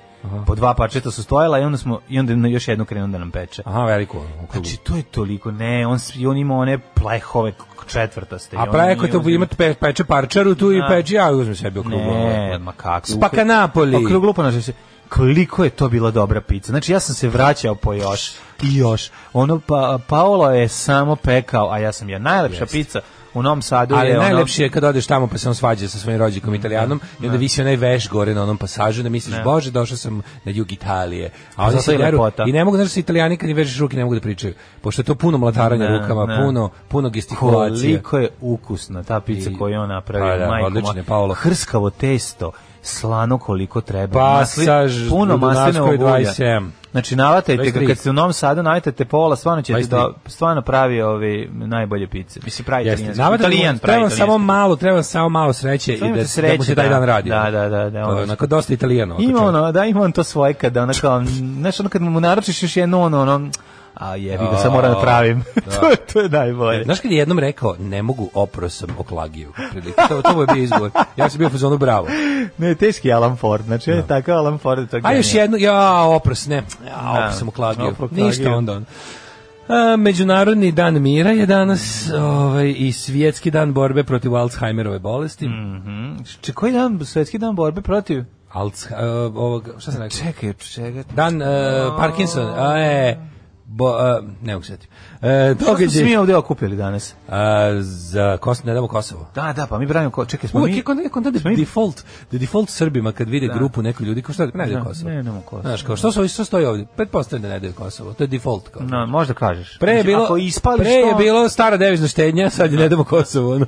Po dva parčeta su stojala i onda smo i onda na još jednu krenuo da nam peče. Aha, veliko. u krugu. Znači, to je toliko, ne, on, s- i on ima one plehove k- četvrtaste. i A on- preko i to on- ima pe, peče parčaru tu i Da. peče, ja uzmem sebi ono, okruglo. Ne, ma kako. Spaka Pa Napoli. Okruglo ponašaj se. Koliko je to bila dobra pizza. Znači, ja sam se vraćao po još i još. Ono, pa, Paolo je samo pekao, a ja sam ja. Najlepša pizza u Novom Sadu Ali je ono- Mm, najlepše je kad odeš tamo pa se on svađa sa svojim rođakom italijanom i onda visi onaj veš gore na onom pasažu da misliš, bože, došao sam na jug Italije. A oni Pa zato se je deru lepota. i ne mogu, znaš, da se italijani kad im vežeš ruke ne mogu da pričaju, pošto je to puno mlataranja Ne, rukama, ne. puno, puno gestikulacije. koliko je ukusna ta pizza I- koju je on napravio, Pa da, majko odlično moja. je, Paolo. Pa, Hrskavo testo, slano koliko treba. Pasaž Masli- puno maslinovog Dunavskoj ulja. 27. Znači, navatajte ga, 23. kad ste u Novom Sadu, navatajte Paola, stvarno ćete 23. da, stvarno pravi ove najbolje pice. Mislim, pravi Jeste. italijanski. Navadno, Italijan pravi treba vam samo italijanski. malo, treba vam samo malo sreće Samo i da, imate se da mu sreće, se taj da. dan radi. Da, da, da, da, To je ono- onako dosta italijano. Ima ako ono, da, ima on to svoje kada, ono kao, znaš, ono kad mu naručiš još jedno, ono, ono, a jebi ga, sad moram da pravim. to, je, to je najbolje. Znaš kad je jednom rekao, ne mogu oprosom oklagiju. otprilike. To, to mu je bio izgovor. Ja sam bio u fazonu bravo. Ne, teški Alan Ford, znači, on je takav Alan Ford. je to A još genijalno. jednu, ja, opros, ne. Ja, Da, opros sam oklagio. oklagio. Ništa onda. on. A, Međunarodni dan mira je danas ovaj, i svjetski dan borbe protiv Alzheimerove bolesti. Mm. Če, Znači, koji dan, svetski dan borbe protiv? Alz, e, ovog, šta sam rekao? Čekaj, čekaj. Dan e, Parkinson, a e, bo, e, ne mogu se sjetiti. E, Što smo događaj- mi ovde okupili danas? A, za Kos, ne damo Kosovo. Da, da, pa mi branimo, ko, čekaj, smo Uvijek mi... je kod nekog da default, da default Srbima kad vide grupu nekoj ljudi, kao šta, ne daju Da, Kosovo. ne damo Kosovo. Znaš, kao što su ovi, što stoji ovdje? Pretpostavljam da ne daju Kosovo, to je default. Kao. No, možda kažeš. Pre je Znači, bilo, Ako ispališ pre je to- bilo stara devizna štednja, sad je ne damo Kosovo. Ono.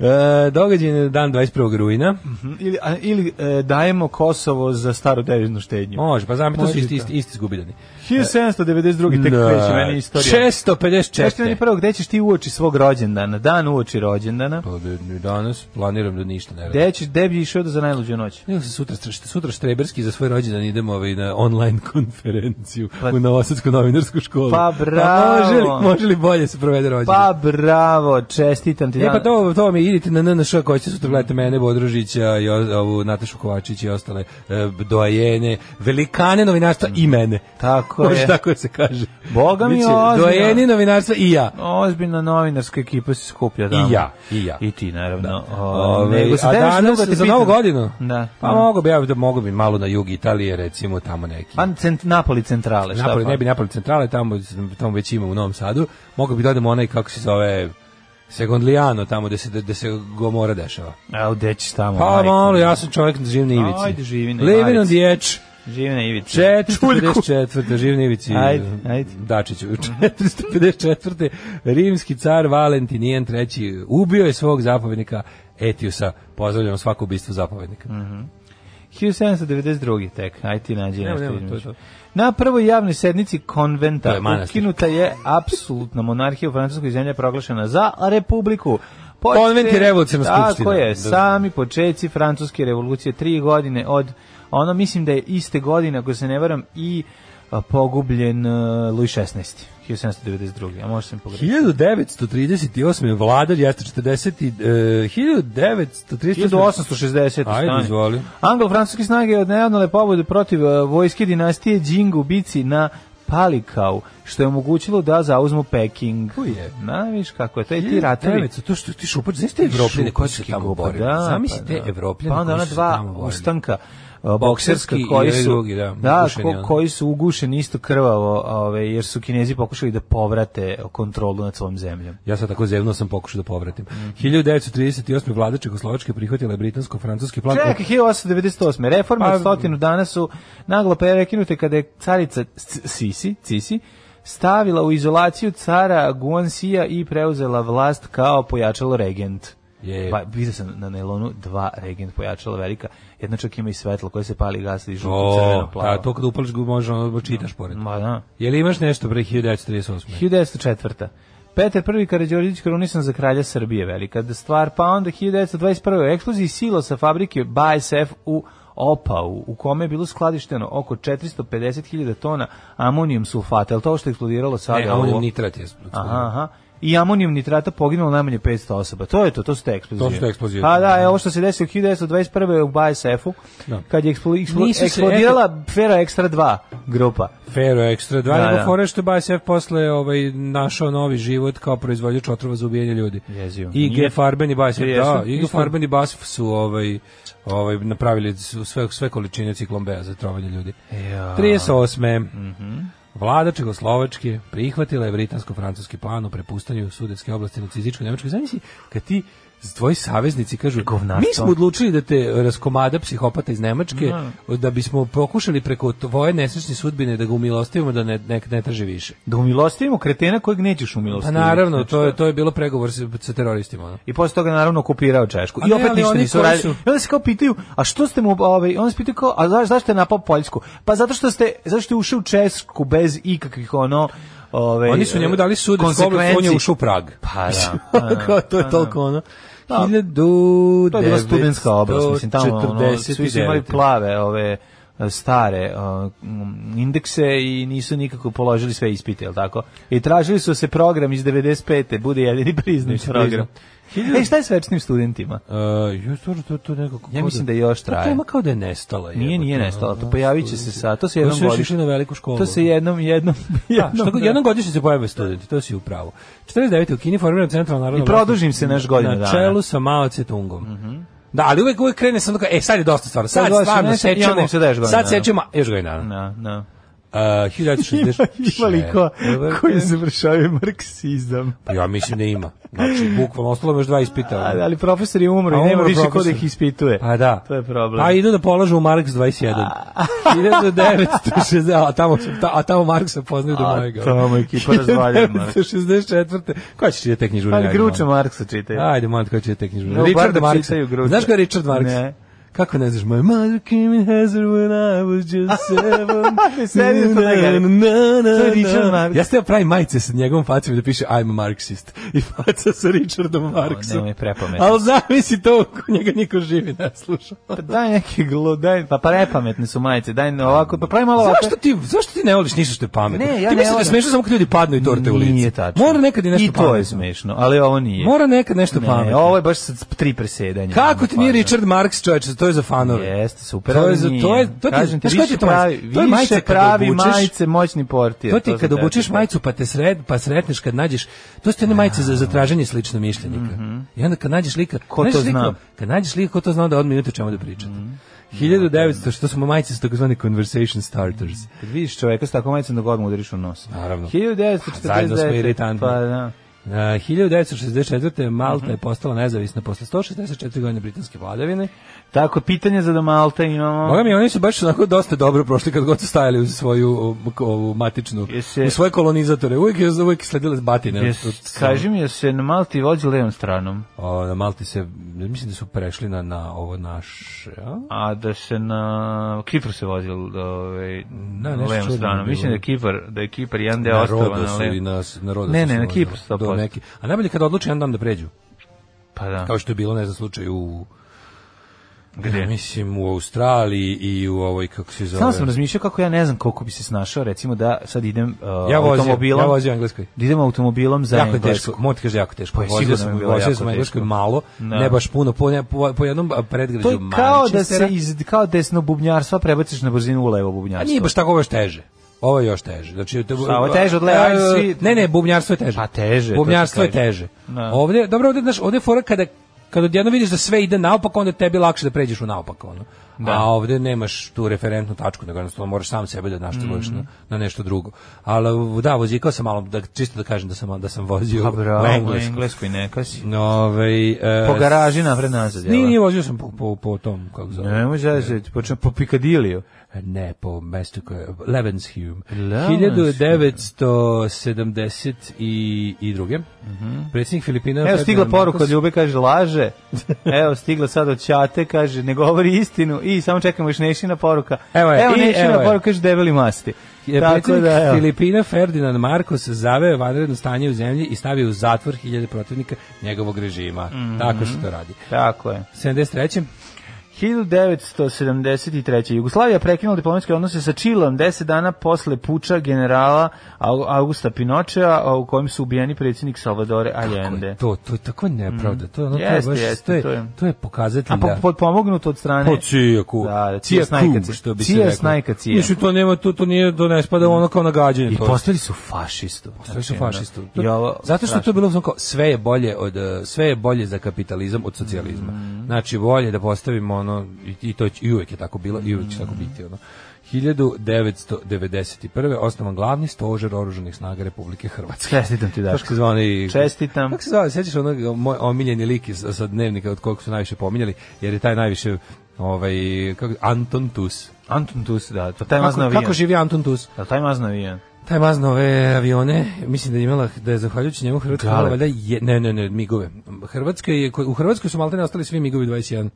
E, događaj je dan 21. rujna. Mhm, Ili, a, ili e, dajemo Kosovo za staru deviznu štednju. Može, pa znam, to su Može isti, to. isti, isti zgubidani. e. 1792. tek kreće meni istorija. 654. Znaš ti meni prvo, gde ćeš ti uoči svog rođendana? Dan uoči rođendana. Pa, da, ni danas planiram da ništa ne radim. Gde ćeš, gde bi išao da za najluđu noć? Nego Pa se sutra, stre- sutra Štreberski za svoj rođendan idemo ovaj na online konferenciju Pa- u Novosadsku novinarsku školu. Pa bravo! može, li, može li bolje se provede rođendan? Pa bravo, čestitam ti. E pa dan. to, to mi idite na NNŠ koji će sutra gledati mene, Bodružića, i o- ovu Natašu Kovačić i ostale e, dojene, velikane novinarstva i mene. Tako Može je. tako da se kaže. Boga mi Biće ozbiljno. Dojeni novinarstva i ja. Ozbiljna novinarska ekipa se skuplja tamo. I ja, i ja. I ti, naravno. ovaj, Da. Ove, a danas za novu godinu? Da. Mm. Pa mogu bi, ja da mogu bi malo na jug Italije, recimo tamo neki. Pa cent, Napoli centrale. šta Napoli, pa? ne bi Napoli centrale, tamo, tamo već ima u Novom Sadu. Mogu bi da odemo onaj, kako se zove, Segondlijano, tamo gde se, gde se Gomora dešava. A gde ćeš tamo? Pa majko? malo, ja sam čovjek na živni ivici. Ajde, živi na Living on ivici. the edge. Živi na Ivici. 454. živni ivici. Ajde, ajde. Dačiću. 454. Rimski car Valentinijan III. Ubio je svog zapovjednika Etiusa. Pozdravljamo svako ubistvo zapovjednika. Mm. 1792. tek. Aj ti nađi Nema, nešto. nema, između. to je to. Na prvoj javnoj sednici konventa To je manastir. ukinuta je apsolutna monarhija u Francuskoj zemlji je proglašena za republiku. Počete- Konvent je revolucionarna Tako skupština. je, Da. sami počeci francuske revolucije, tri godine od, ono mislim da je iste godine, ako se ne varam, i a, pogubljen uh, Louis XVI. 1792. A možda sam pogrešio. 1938. vladar jeste 40 eh, 1938. 1860. Ajde, stani. izvoli. Anglo-francuske snage odnevnale pobude protiv e, vojske dinastije Jing u bici na Palikau, što je omogućilo da zauzmu Peking. je. Na, vidiš kako je, E, to je ti ratovi. 1900, to što E, ti šupač, znaš te Evropljene koji su se Šupački tamo gopa, borili? da, Zamislite pa da. Evropljene Pa onda koji ona su se dva tamo borili. ustanka e, bokserska i koji ovi su drugi, da, ugušeni, ko- ono. koji su ugušeni isto krvavo, ovaj jer su Kinezi pokušali da povrate kontrolu nad svojom zemljom. Ja sad tako zevno sam pokušao da povratim. Mhm. 1938. vlada Čekoslovačke prihvatila je britansko-francuski plan. Čekaj, 1898. Reforme Pa- od stotinu dana su naglo prekinute kada je carica C- Sisi, Cisi stavila u izolaciju cara Guansija i preuzela vlast kao pojačalo regent. Je. Pa vidio sam na Nelonu dva regent pojačala velika, jedna čak ima i svetlo koje se pali i gasi žuto, crveno, O, plavo. ta, to kad upališ ga može, ono čitaš pored. Ma da. Je li imaš nešto pre 1938? 1904. Petar I. Karadžorđević korunisan za kralja Srbije, velika da stvar, pa onda 1921. u eksploziji silo sa fabrike BASF u Opau, u kome je bilo skladišteno oko 450.000 tona amonijum sulfata, je li to ovo što je eksplodiralo sada? Ne, amonijum Ovo? nitrat E, je. eksplodirao. Aha, aha. I amonijum nitrata poginulo najmanje 500 osoba. To je to, to su te eksplozije. To su te eksplozije. Pa da, evo što se desilo 1921. u BASF-u, Da. kad je eksplo, eksplo, Nisu se, eksplodirala Fera Extra 2 grupa. Fero Extra 2, Da, da, nego da. fore što je BASF posle ovaj, našao novi život kao proizvođač otrova za ubijanje ljudi. Jezivo. IG Nije- Farben i BASF, da, Jesu, IG isto. Farben i BASF su ovaj, ovaj, napravili su sve, sve količine ciklombeja za trovanje ljudi. Ja. 38. Mm Vlada Čegoslovačke prihvatila je britansko-francuski plan o prepustanju sudetske oblasti nacističkoj Nemačkoj. Zamisli, kad ti s- tvoji saveznici kažu, Govnarstvo. mi smo odlučili da te raskomada psihopata iz Nemačke, da bismo pokušali preko tvoje nesrećne sudbine da ga umilostivimo da ne, ne, ne traži više. Da umilostivimo kretena kojeg nećeš Pa umilostiviti. naravno, to je, to je bilo pregovor sa, sa teroristima. ono. I posle toga naravno okupirao Češku. A I ne, opet ali ništa oni nisu koji radili. su- I onda se kao pitaju, a što ste mu, ovaj, on se pitaju kao, a zaš, zašto je napao Poljsku? Pa zato što ste, zašto ste ušli u Česku bez ikakvih ono, ovaj, Oni su njemu dali sud, on je konsekvenci. ušao u Prag. Pa da. da, da. Kao, to je toliko ono. Da. Hiljadu To je bila studentska oblast, mislim, tamo ono, 1949. svi su imali plave ove e, stare e, m, indekse i nisu nikako položili sve ispite, jel tako? I tražili su da se program iz 95. bude jedini priznat Mislim, program. E, šta je s večnim studentima? Uh, jo, stvarno, to, to nekako... Ja mislim da još Ta traje. tema kao da je nestala. Nije, jebote, nije ono, nestala, to da, pojavit će studenti. se sad, to se Oni jednom su još godišnje- išli na veliku školu. To se jednom, jednom, Da, što, jednom, god- jednom godišnje se pojave studenti, to si u pravu. 49. u Kini formiran centralna narodna I produžim se naš godinu Na dana. Mhm. čelu sa Mao Tse-tungom. Da, ali uvek, uvek krene sam tako, e, sad je dosta stvarno, sad, Sad dosta, stvarno ne, sad- i onda sečemo, im se daješ godinu sad dana. sečemo, još godinu dana. Da, da. Uh, 1960. Ima liko koji završavaju marksizam. Ja mislim da ima. Znači, bukvalno, ostalo mi još dva ispita. Ali, ali profesor je umro A i nema umro više ko da profesor. ih ispituje. Pa da. To je problem. Pa idu da polažu u Marks 21. 1960, a tamo, su- ta, a tamo Marksa poznaju do A mojega. tamo ekipa razvaljena. 1964. Koja će čitati knjižu? Ali Gruča Marksa čitaj. Ajde, molim, te, koja će čitati knjižu? No, bar da Richard Marks. čitaju Gruča. Znaš ko je Richard Marks? Ne. Kako ne znaš? My mother came in hazard when I was just seven. Serio to Na, ne na, na, To je Richard na. Marks. Ja ste pravim majice sa njegovom facom i da piše I'm a Marxist. I faca sa Richardom Marksom. nemoj prepametno. Ali zamisli to, ko njega niko živi ne sluša. Pa daj neki glu, daj, pa prepametne su majice, daj na ovako, pa pravi malo ovako. Zašto ti, zašto ti ne voliš ništa što je pametno? Ne, ja ti ne misliš da volim. je smešno samo kad ljudi padnu i torte u lice. Nije tačno. Mora nekad i nešto I to pametno. je smešno, ali ovo nije. Mora nekad nešto ne, pametno. ovo je baš sa tri presedanja. Kako ti nije Pa, da. Richard Marks, čoveče, to je za fanove. Jeste, super. To je ali za- nije. to je- to ti- Kažem znaš koja ti više je to majica? pravi, To je više majica kada pravi obučeš- majice, moćni portir. To ti kad za tebe. obučeš majicu pa te sred, pa sretneš kad nađeš, to su te one majice za zatraženje slično mišljenika. I onda kad nađeš lika, Mhm. Ko znaš to lika- zna? Mhm. Kad nađeš lika ko to zna da odmah imate o čemu da pričate. 1900, što smo majice su takozvani conversation starters. Kad vidiš čoveka s takvom majicom da god mu udariš u nos. Naravno. 1949. Zajedno smo iritantni. Pa da. Uh, 1964. Malta Mhm. je postala nezavisna posle 164 godine britanske vladavine. Tako, pitanje za da Malta imamo. Boga mi, oni su baš onako dosta dobro prošli kad god su stajali uz svoju o, ovu matičnu, Jesi- u svoje kolonizatore. Uvijek je uvijek sledile s batine. Jes- Od- od- Kaži mi, jel se na Malti vođi levom stranom, O, na Ovaj, Malti se, mislim da su prešli na, na ovo naše, a? a da se na Kipru se vozi ovaj, na nešto levom čudno stranom. bilo. Mislim da je Kipar, da je Kipar jedan deo na ostava na Rodosu i levom. na, na Rodosu. Ne, ne, su na oni, Kipru do 100%. neki- A najbolje kad odluče jedan dan da pređu. Pa da. Kao što je bilo, ne znam, slučaj u... Gde? Ja mislim u Australiji i u ovoj, kako se zove... Samo sam razmišljao kako ja ne znam koliko bi se snašao, recimo da sad idem uh, ja vozim, automobilom. ja vozim u Engleskoj. Da idem automobilom za jako je Englesku. teško, moj ti kaže jako teško. Pa je vozio sigurno bi sam, bilo vozio jako sam u Engleskoj teško. malo, Da. ne baš puno, po, ne, po, po jednom a, predgrađu To je kao da Manchestera. se iz kao desno bubnjarstva prebaciš na brzinu u levo A bubnjarstvo. nije baš tako, ovo je još teže. Ovo je još teže. Znači, te, Šta, ovo je teže od leva, ali svi- Ne, ne, bubnjarstvo je teže. Pa teže, to ti Bubnjarstvo je kažem. teže. Da. Ovdje, dobro, ovdje, znaš, ovdje je fora kada, kada odjedno vidiš da sve ide naopako, onda je tebi lakše da pređeš u naopako. Ono. da. a ovde nemaš tu referentnu tačku, nego jednostavno moraš sam sebe da Mhm. našteluješ mm -hmm. na, na nešto drugo. Ali da, vozikao sam malo, da, čisto da kažem da sam, da sam vozio Pa bravo, u u Englesku. englesku i neka si. Ovaj, e, Po garaži napred nazad, jel? Nije, nije vozio sam po, po, po tom, kako zove. Nemoj zezati, počnem po Pikadiliju. Ne, po mestu koje je Levenshulme. Levenshulme. 1972. I, i druge. Predsjednik Filipina... Evo Ferdinand stigla poruka od Marcos- Ljube, kaže laže. Evo stigla sad od Ćate, kaže ne govori istinu. I samo čekamo još Nešina poruka. Evo je, i Nešina evo je. poruka kaže debeli masti. Je Tako predsjednik da, evo. Filipina Ferdinand Marcos zaveo je vanredno stanje u zemlji i stavio u zatvor hiljade protivnika njegovog režima. Tako se to radi. Tako je. 73. 1973. Jugoslavija prekinula diplomatske odnose sa Čilom 10 dana posle puča generala Au- Augusta Pinochea a u kojem su ubijeni predsjednik Salvadore Allende. To, to je tako nepravda. To je ono, Jeste, to je baš, jeste, to je, to je. to je pokazatelj A po, da- Pa po, pomognut od strane... Po cijaku. Da, da, cijak najkacije. što bi se Cijak reklo. najkacije. Mislim, to nema, to, to nije, to ne spada ono kao nagađanje. I to. postali su fašistu. Sve su Znači, fašistu. ono, i ovo- Zato što je to strašno. bilo samo kao sve je bolje od eh, sve je bolje za kapitalizam od socijalizma. Mhm. Znači bolje da postavimo ono i, i to će- i uvek je tako bilo i uvek će tako Mhm. biti ono. 1991. osnovan glavni stožer oružanih snaga Republike Hrvatske. Čestitam ti, Daško. Kako se zvao onaj- Čestitam. Kako se zvao, sećaš onog moj omiljeni lik iz sa dnevnika od kog su najviše pominjali, jer je taj najviše ovaj kako, Anton Tus. Anton Tus, da, to taj mazno Kako, avijan. kako živi Anton Tus? Da, taj mazno avijan. Taj mazno ove avione, mislim da je imala, da je zahvaljujući njemu Hrvatska imala Galeb. valjda je, ne, ne, ne, migove. Hrvatska je, u Hrvatskoj su maltene ostali svi migovi 21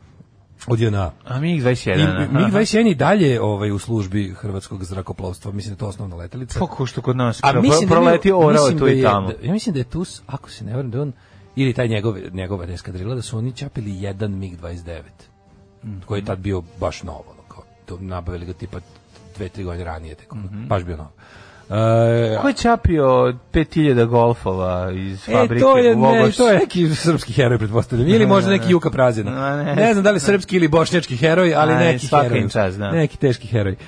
od JNA. A MiG-21. I, aha. MiG-21 i dalje ovaj, u službi hrvatskog zrakoplovstva, mislim da je to osnovna letelica. Kako što kod nas? A mislim da je bio- proletio orao mislim tu da i je- tamo. da- ja mislim da je tu, ako se ne varam, da je on, ili taj njegov, njegova eskadrila, da su oni čapili jedan MiG-29, Mhm. koji je tad bio baš nov, ono, kao, to nabavili ga tipa dve, tri godine ranije, tako, Mhm. baš bio nov. E, Ko je čapio 5000 golfova iz E, fabrike to je, u ne, Vogošcu? to je neki srpski heroj, pretpostavljam. Ili možda neki Juka Prazina. A, Ne, ne. znam da li srpski ili bošnjački heroj, ali A, neki svaka heroj. im čast, da. Neki teški heroj. Uh,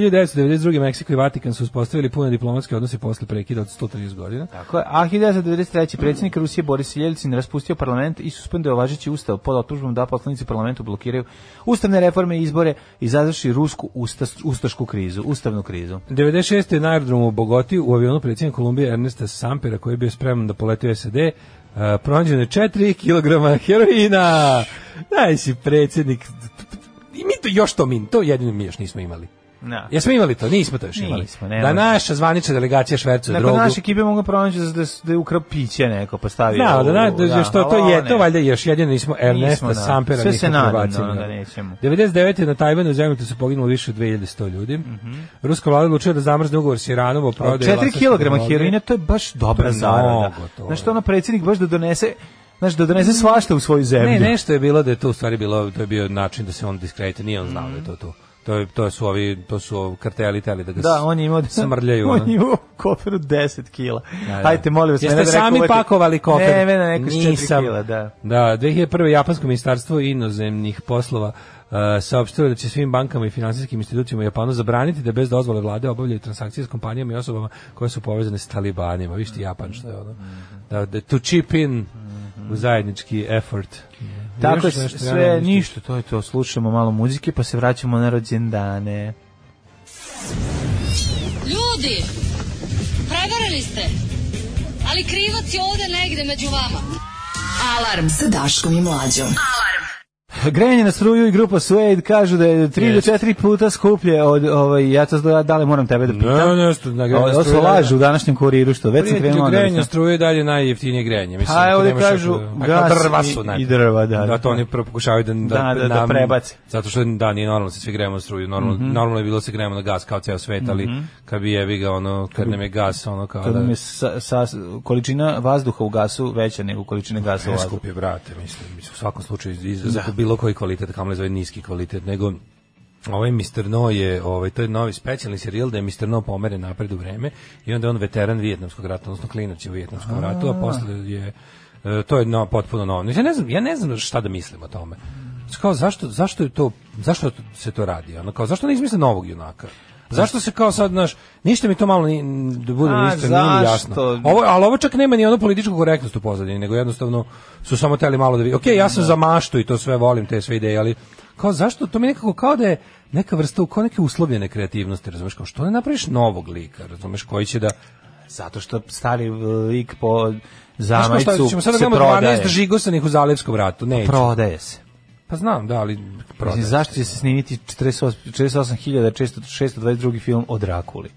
1992. Meksiko i Vatikan su uspostavili pune diplomatske odnose posle prekida od 130 godina. Tako je. A 1993. predsjednik Rusije Boris Jeljcin raspustio parlament i suspendeo važeći ustav pod otužbom da poslanici u parlamentu blokiraju ustavne reforme i izbore i zazvrši rusku ustas, ustašku krizu, ustavnu krizu. 96. na aerodromu u Bogoti u avionu predsjednika Kolumbije Ernesta Sampera koji je bio spreman da poleti u SAD uh, pronađeno je 4 kg heroina. Daj si predsjednik. I mi to još to mi, to jedino mi još nismo imali. Na. Jesmo imali to? Nismo to još Nismo, imali. ne da može. naša zvanična delegacija švercuje Nakon drogu. naše ekipe mogu pronaći da, da, da je ukrao piće neko, pa stavio. Da, u- da, da, da, što ali to ovo je, ne. to valjda još jedino nismo Ernesta Nismo, da. Sampera Sve nikad se nadam, prebacili, ono, da nećemo. 99. na Tajvanu zemljotu se poginulo više od 2100 ljudi. Mhm. Ruska vlada odlučila da zamrzne ugovor s Iranom o prodaju 4 laserske kg tehnologije. heroina, to je baš To dobra je zarada. mnogo, to Znaš je. što ono predsjednik baš da donese, znaš da donese svašta u svoju zemlju. Ne, nešto je bilo da je to u stvari bilo, to je bio način da se on diskredite, nije on znao da je to to. To, je, to su ovi, to su karteli teli da ga Mhm. Da, on je imao smrljaju. ono. On je imao u koferu 10 kg. Da, da. Hajte, molim vas, Jeste mene da sami rekuvate- pakovali kofer? Ne, mene neko s 4 Nisam. kila, da. Da, 2001. Japansko ministarstvo inozemnih poslova uh, saopštilo je da će svim bankama i finansijskim institucijama u Japanu zabraniti da bez dozvole vlade obavljaju transakcije s kompanijama i osobama koje su povezane s talibanima. Viš ti Japan što je ono. Da, da to chip in u zajednički effort. Tako je, Još nešto, ja sve, nemam ništa. ništa, to je to. Slušamo malo muzike, pa se vraćamo na rođendane. Ljudi, prevarili ste. Ali krivac je ovde negde među vama. Alarm sa Daškom i Mlađom. Grejanje na struju i grupa Suede kažu da je 3 do 4 puta skuplje od, ovaj, ja to zda, da li moram tebe da Ne, pitam? nešto, na grejanje Ovo- Ovo se struje, lažu da. u današnjem kuriru, što već sam Prijatelju, krenuo. grejanje odavno. struje je dalje najjeftinije grejanje. Mislim, A, ako ovdje nemaš još- kažu a gas drva i- su, ne. i drva, da. Da, to oni pro- pokušavaju da, Da, da, da nam- prebace. Mhm. Zato što, da, nije normalno da se svi grejemo na struju. Normalno, normalno je bilo da se grejemo na gas kao ceo svet, ali kad bi jevi ga, ono, kad nam je gas, ono, kao Kad da... nam je sa, sa, količina vazduha u gasu veća nego količina gasa u vazduhu. Skup je, brate, mislim, mislim, u svakom slučaju iz, iz, za bilo koji kvalitet, kamo li zove ovaj niski kvalitet, nego ovaj Mr. No je, ovaj, to je novi specijalni serijal da je Mr. No pomeren napred u vreme i onda je on veteran vijetnamskog rata, odnosno klinac je u vijetnamskom ratu, a posle je, e, to je no, potpuno novo. Ja ne znam, ja ne znam šta da mislim o tome. Kao, zašto, zašto, je to, zašto se to radi? Ono, kao, zašto ne izmisle novog junaka? Zašto se kao sad, znaš, ništa mi to malo ni, da budem A, iskren, nije mi jasno. zašto? Ovo, ali ovo čak nema ni ono političku korektnost u pozadini, nego jednostavno su samo teli malo da vidi. Ok, ja sam za maštu i to sve volim, te sve ideje, ali kao zašto, to mi nekako kao da je neka vrsta, kao neke uslovljene kreativnosti, razumeš, kao što ne napraviš novog lika, razumeš, koji će da, Zato što stari uh, lik po Znaš kao šta, zamajcu ćemo se sad da gledamo 12 prodaje. žigosanih u Zalevskom ratu, neće. Prodaje se. Pa znam, da, ali prodaje. Mislim, zašto će se snimiti 48 48.622 film o Drakuli?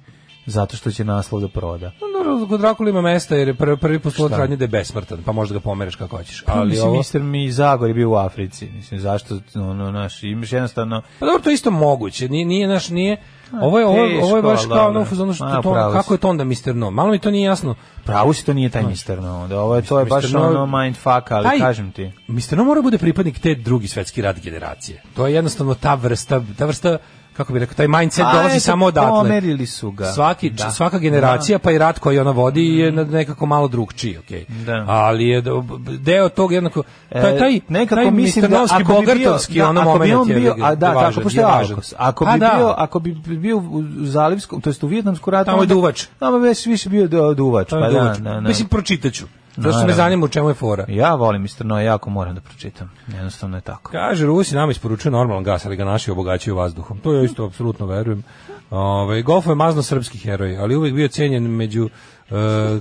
Zato što će naslov da proda. Dobro, kod Drakula ima mesta jer je prvi, prvi postulat Šta? Pa radnje da je besmrtan, pa možda ga pomereš kako hoćeš. Pa, Ali mislim, ovo... Mister Mi Zagor je bio u Africi. Mislim, zašto, ono, naš, imaš jednostavno... Pa dobro, to je isto moguće. Nije, nije naš, nije... Ovo je, ovo, je- ovo je teško, baš ali kao dobro. ono, u fazonu što A, to, pravo si. kako je to onda Mr. No? Malo mi to nije jasno. Pravo si, to nije taj Mister No. onda. ovo je, to je Mister baš No- ono mindfuck, ali Taj- kažem ti. Mr. No mora bude pripadnik te drugi svetski rad generacije. To je jednostavno ta vrsta, ta vrsta kako bih rekao, taj mindset A, dolazi eto, samo odatle. pomerili su ga. Svaki, Da. Mhm. Svaka generacija, pa i rat koji ona vodi je na- nekako malo drugčiji, okej. Da. Ali je do- deo tog jednako... Taj, E, taj, nekako taj mislim da misternovski, ako bi bio- bogartovski da, ono ako bi moment on je bio, a da, važan, tako pošto je važan. Alkos. Ako Pa bi da. bio, ako bi bio u u zalivskom, to jest u vijetnamskom ratu, Tamo je onda- duvač. Tamo je već više bio du- duvač, To je pa da, duvač. da, da. Mislim, pročitaću. Zašto me Naravno. zanima u čemu je fora. Ja volim Mr. No, jako moram da pročitam. Jednostavno je tako. Kaže, Rusi nam isporučuju normalan gas, ali ga naši obogaćuju vazduhom. To ja isto apsolutno verujem. Ove, Golfo je mazno srpski heroj, ali uvijek bio cijenjen među e,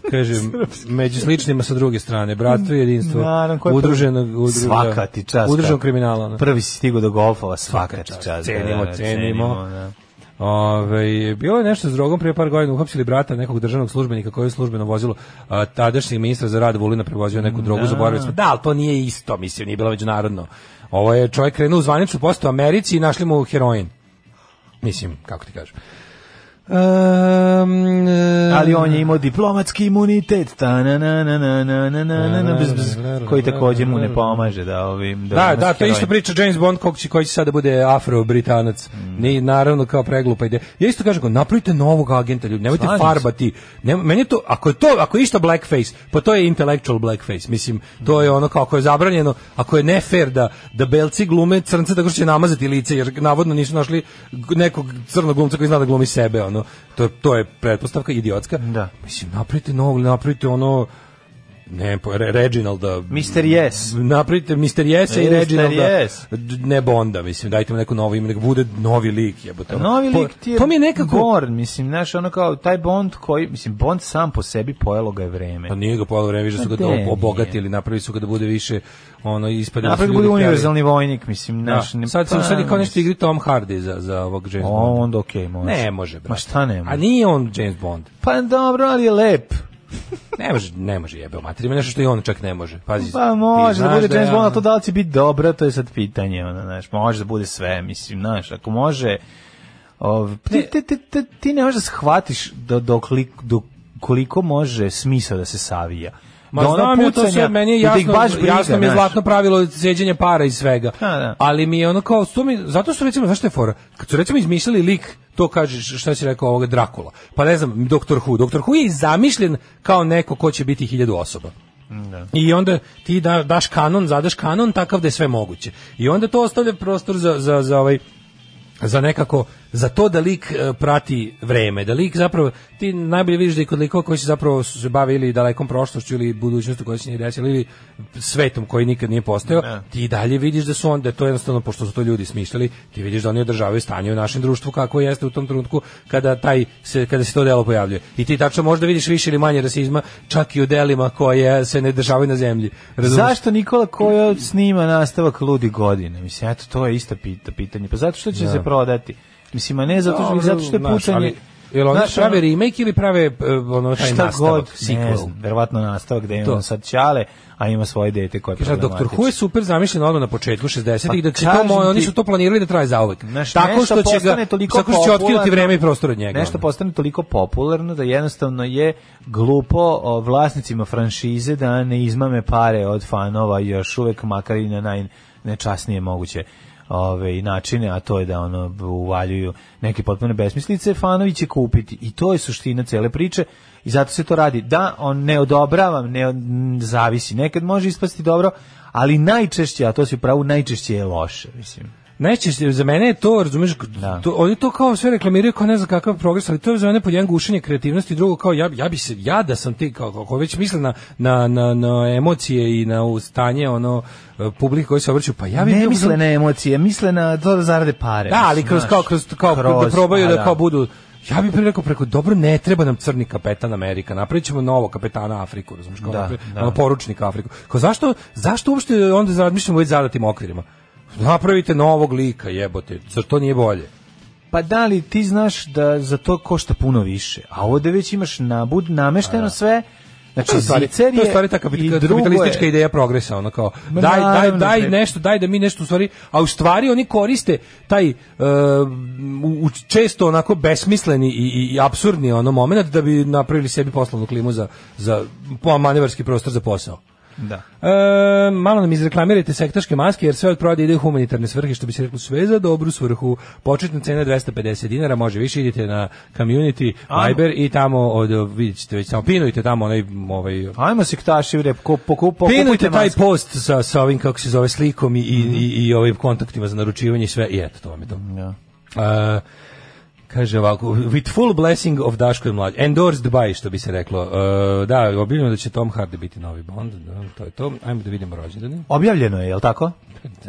kažem, među sličnima sa druge strane, bratstvo i jedinstvo Naravno, ko je prvi? udruženog, udruženog, Svaka ti čast. udruženog kad- kriminala. ono. Prvi si stigo do golfova, svaka ti čast. čast. Cenimo, da, cenimo. da. Ove, bilo je nešto s drogom prije par godina uhapsili brata nekog državnog službenika koji je službeno vozilo a, tadašnjeg ministra za rad Vulina prevozio neku drogu, zaboravili smo. Da, ali to nije isto, mislim, nije bilo međunarodno. Ovo je čovjek krenuo u zvaničnu postu u Americi i našli mu heroin. Mislim, kako ti kažem. Ehm, e, Ali on je imao diplomatski imunitet, ta na na na na na na na na na bz, bz, koji također mu ne pomaže da ovim... Da, da, nas to je isto heroin- priča James Bond kog će, koji će sada bude afro-britanac. Mm. Ni, naravno kao preglupa ideja. Ja isto kažem, kao, napravite novog agenta, ljudi, nemojte Slažem se. farbati. Ne, meni je to, ako je to, ako je išta blackface, pa to je intellectual blackface. Mislim, to je ono kao ako je zabranjeno, ako je ne fair da, da belci glume crnce tako što će namazati lice, jer navodno nisu našli g- nekog crnog glumca koji zna da glumi sebe, ono. To, to je pretpostavka idiotska. Da. Mislim, napravite novog, napravite ono, ne, po- Re- Reginalda, Mr. Yes. napravite Mr. Jese i Mr. Reginalda, Yes. d- ne Bonda, mislim, dajte mu neko novo ime, nek bude novi lik, jebote. Novi Po- lik ti je To mi je nekako... Born, mislim, znaš, ono kao taj Bond koji, mislim, Bond sam po sebi pojelo ga je vreme. Pa nije ga pojelo vreme, više su ga Pa to de, obogatili, nije. napravili su ga da bude više, ono, ispade... Napravio bude univerzalni vojnik, mislim, Da. znaš. ne- Sad, se- pa, sad je kao nešto mislim, igri Tom Hardy za, za ovog James O, Bonda. onda okej, može. Ne može, brate. Ma šta ne može? A nije on James Bond. Pa dobro, ali je lep. Ne može, ne može jebeo mater. Ima nešto što i on čak ne može. Pazi. Pa ti može da znaš bude je James Bond, ono- a to da li će biti dobro, to je sad pitanje, ono, znaš, može da bude sve, mislim, znaš, ako može, ov, ti, ti, ti, ti, ti ne možeš da shvatiš do, dok lik, do koliko može smisao da se savija. Ma Do ono znam ja to pucanja, sve, meni je da ih jasno, baš briga, jasno mi je znaš. zlatno pravilo sjeđenje para i svega. Da, da. Ali mi je ono kao, to mi, zato su recimo, znaš što je fora? Kad su recimo izmišljali lik, to kažeš, šta si rekao ovoga Drakula. Pa ne znam, Doktor Who. Doktor Who je i zamišljen kao neko ko će biti hiljadu osoba. I onda ti da, daš kanon, zadaš kanon takav da je sve moguće. I onda to ostavlja prostor za, za, za ovaj za nekako za to da lik e, prati vreme, da lik zapravo ti najbolje vidiš da i kod likova koji se zapravo su se bave ili dalekom prošlošću ili budućnošću koja se nije desila ili svetom koji nikad nije postojao, ti i dalje vidiš da su onda to jednostavno pošto su to ljudi smišljali, ti vidiš da oni održavaju stanje u našem društvu kako jeste u tom trenutku kada taj se kada se to delo pojavljuje. I ti tačno možda vidiš više ili manje rasizma čak i u delima koje se ne dešavaju na zemlji. Razumeš? Zašto Nikola Kojo snima nastavak Ludi godine? Mislim, eto, to je isto pita, pitanje. Pa zato što će se prodati? Mislim, a ne zato što, Dobro, zato što je znaš, pucanje... ali- Jel oni Znaš, prave ono- remake ili prave e, ono taj šta nastavak, god, ne sequel? znam, verovatno nastavak gde ima To. on sad ćale, a ima svoje dete koje je Kaže, doktor Who je super zamišljen odmah na početku 60-ih, da će to Pa kažem mo- ti- oni su to planirali da traje zauvek. Znaš, tako nešto što će ga, postane toliko tako što će otkinuti popularno- vreme i prostor od njega. Nešto ono. postane toliko popularno da jednostavno je glupo o, vlasnicima franšize da ne izmame pare od fanova još uvek makar i na najnečasnije moguće ove i načine, a to je da ono uvaljuju neke potpune besmislice, fanovi će kupiti i to je suština cele priče i zato se to radi. Da, on ne odobravam, ne od- m, zavisi, nekad može ispasti dobro, ali najčešće, a to si u pravu, najčešće je loše, mislim. najčešće za mene je to, razumeš, da. to, oni to kao sve reklamiraju kao ne znam kakav progres, ali to je za mene pod jedan gušenje kreativnosti, drugo kao ja, ja bi se, ja da sam ti, kao, ako već mislim na, na, na, na emocije i na stanje ono, publike koji se obraćaju, pa ja bi ne bio- misle na emocije, misle na to da zarade pare. Da, ali mislim, kroz znaš. pa kao kroz kao da probaju a, da kao budu Ja bih pre rekao preko dobro ne treba nam crni kapetan Amerika, napravićemo novo kapetana Afriku, razumeš kao Da, napre- da. ono, poručnika Afriku. Kao zašto zašto uopšte onda razmišljamo o već zadatim okvirima? Napravite novog lika, jebote. Zar to nije bolje? Pa da li ti znaš da za to košta puno više, a ovde već imaš nabud, namešteno sve, znači To je u stvari, to zicer je u stvari ta i kapit- drugo je- kapitalistička ideja progresa, ono kao, Ma daj, daj, naravno, daj bre. nešto, daj da mi nešto u stvari, a u stvari oni koriste taj uh, u- u- često onako besmisleni i, i, i absurdni ono moment da bi napravili sebi poslovnu klimu za, za po- manevarski prostor za posao. Da. E, malo nam izreklamirajte sektaške maske jer sve od prodaje ide u humanitarne svrhe što bi se reklo sve za dobru svrhu početna cena je 250 dinara može više idite na community Ajmo. Viber i tamo od, vidjet ćete već samo pinujte tamo onaj ovaj, Ajmo se ktaši, bre, ko, poku, Pinujte pokupite taj maske. post sa, sa ovim, kako se zove, slikom i, i, i, i ovim kontaktima za naručivanje i sve, i eto, to vam je to. Ja. Uh, kaže ovako, with full blessing of Daško i Mlađe, endorsed by, što bi se reklo. Uh, da, objavljeno da će Tom Hardy biti novi Bond, da, to je to. Ajmo da vidimo rođendane. Objavljeno je, jel tako?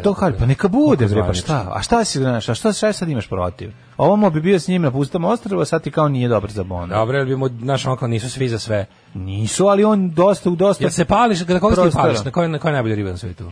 To hard, pa neka bude, Neka bre, pa zvanično. šta? A šta si, znaš, a šta, šta sad imaš protiv? Ovo bi bio s njim na pustom ostrvu, a sad ti kao nije dobar za Bonda. Dobro, jel bi mu, znaš, ono kao nisu svi za sve. Nisu, ali on dosta u dosta... Jel se pališ, na koga se ti Prostora. pališ, na koja, na koja je najbolja riba na svetu?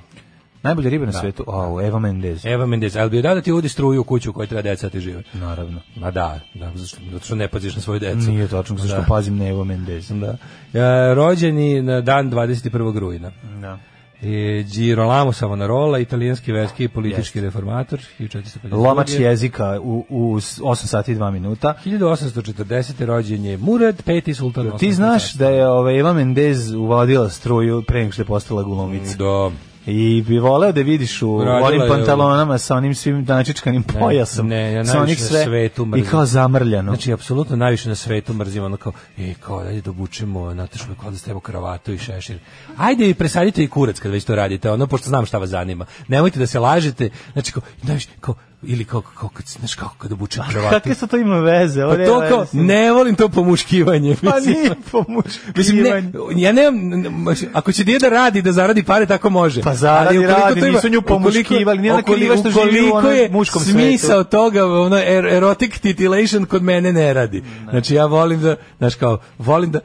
Najbolje ribe na svetu. O, Eva Mendez. Eva Mendez, jel bi da da ti uvodi struju u kuću u kojoj treba deca da ti žive? Naravno. Ma da, da, zašto, zato što ne paziš na svoju decu. Nije tačno, zašto Da. pazim na Evo Mendez. Da. E, rođeni na dan 21. rujna. Da. E, Girolamo Savonarola, italijanski verski i politički reformator, 1452. Lomač jezika u, u s- 8 sati i 2 minuta. 1840. rođen je Murad, peti sultan. Ti Osmanskog znaš carstva. da je ovaj, Eva Mendez uvodila struju pre nego što je postala gulumica. Da. I bi voleo da vidiš u Radila onim je u- pantalonama sa onim svim načičkanim pojasom. ne, ja sa najviše onih na sve- svetu I mrzim. kao zamrljano. Znači, apsolutno najviše na svetu mrzim ono kao, e, kao, ajde da obučemo, nateš me kao da ste evo kravatu i šešir. Ajde i presadite i kurac kad već to radite, ono, pošto znam šta vas zanima. Nemojte da se lažete, znači, kao, najviše, kao, ili kao, kao, kad, znaš, kao kad obučem kravatu. Kakve su to ima veze? Pa Ovdje to je- kao, ne volim to pomuškivanje. Pa mislim. nije Mislim, ne, pomuškivanje. ja nemam, n- n- ako će djeda radi da zaradi pare, tako može. Pa zaradi, Ali ukoliko radi, to ima- nisu nju pomuškivali, nije ona ukoliko- kriva što živi u ukoliko onom je muškom smisao toga, ono, er, erotic titillation kod mene ne radi. Znači, ja volim da, znaš kao, volim da,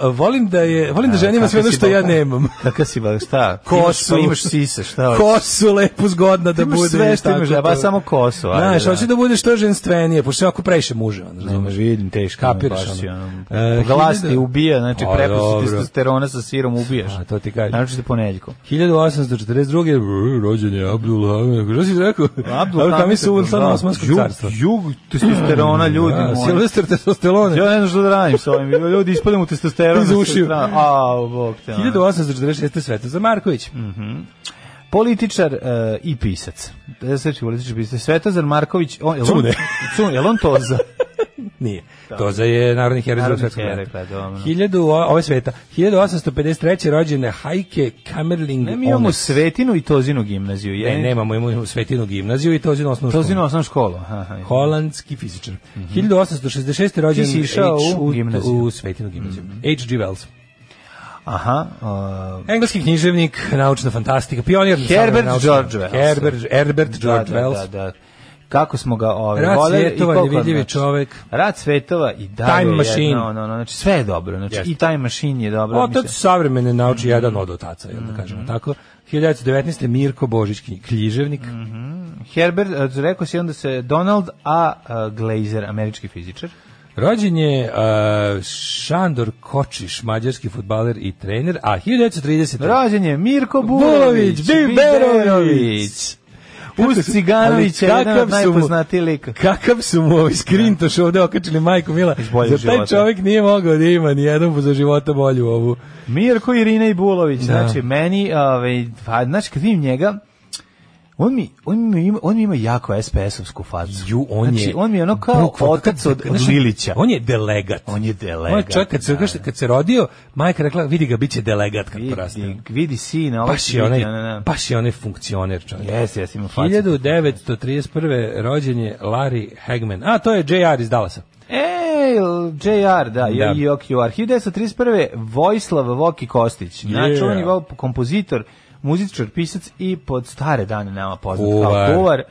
a, volim da je, volim da ženima sve ono što ja nemam. Kakav si, ba- šta? Imaš, Kosu. pa imaš sise, šta hoćeš? Kosu lepu zgodna da imaš bude. sve što tako imaš, a to. ba samo kosu, ajde, Znaš, da. hoće da bude što ženstvenije, pošto je ovako previše muže, ono, Ne, ma razumeš. vidim, teško. Kapiraš, Kapiraš. ono. E, E, Glas ti hiljada- ubija, znači A, dobro. prepusti testosterona sa sirom ubijaš. A, to ti kažem. Znači te ponedjeljkom. 1842. brr, rođen je Abdul Hamid. Kako si rekao? Abdul Hamid su u da. stanu Osmanskog Jug- carstva. Jug, testosterona, ljudi Mm, Da, moji. Silvester Tesostelone. Ja ne znam što da radim s ovim. Ljudi, ispadem u testosteron. Iz ušiju. A, bog te. ono. 1846. Svetozar Marković. Mm. Političar e, i pisac. Da se reći političar i pisac. Svetozar Marković. On, jel on- Cune. Cune, jel on to za? Nije. Toza je narodni heroj Drugog Narodni svetskog heroj, rata. pa dobro. 1000 o- Ovo je sveta. 1853. rođene Hajke Kamerling Ne, mi imamo Ones. Svetinu i Tozinu gimnaziju. E, Ne, Je, nemamo, imamo Svetinu gimnaziju i Tozinu osnovnu školu. Tozinu osnovnu školu. Aha, aha. Holandski fizičar. 1866. rođen Mhm. Ti si išao H- u gimnaziju. Mhm. u Svetinu gimnaziju. H.G. Wells. Aha. e, Engleski književnik, naučna fantastika, pionir Herbert naučne- George Wells. Herbert, Herbert George da, Wells. Da, da, da. Kako smo ga ovaj, Rad voleli i svjetova, koliko nevidljivi znači. čovek. Rad svetova i dalje. Time je Machine. jedno, no, no, znači sve je dobro. Znači, Jeste. I Time Machine je dobro. Otac mislim. savremene Mhm. nauči jedan od otaca, jel da kažemo tako. 1919. Mirko Božić, knji- književnik. Mhm. Herbert, e, rekao si onda se Donald A. e, Glazer, američki fizičar. Rođen je uh, Šandor Kočiš, mađarski futbaler i trener, a 1930. Rođen je Mirko Bulović, Bulović, Biberović. Biberović. Uz Ciganović je Ali jedan od kakav su mu- najpoznatiji lika. Kakav su mu ovi skrintoš ovde okačili majku Mila. boljeg Za taj života. čovjek nije mogao da ima ni jednom za života bolju ovu. Mirko Irina i Bulović, znači meni, ovaj, pa, znači kad vidim njega, on mi, on mi, ima, on mi ima jako SPS-ovsku facu. Ju, on znači, je... on mi je ono kao bukvalno, otac od, od znaš, Lilića. On je delegat. On je delegat, On je čovjek, kad se, da. kad se rodio, majka rekla, vidi ga, bit će delegat kad poraste. vidi, vidi sina, ovaj Baš je onaj, pa- na, na. baš je onaj funkcioner čovjek. Jes, jes, ima facu. 1931. rođen je Larry Hagman. A, to je J.R. iz Dallasa. Ej, JR, da, Da. je i OQR. 1931. Vojislav Voki Kostić, Znači, Yeah. načuvani vol- kompozitor, muzičar, pisac i pod stare dane nama poznat Kuvar. kao kuvar.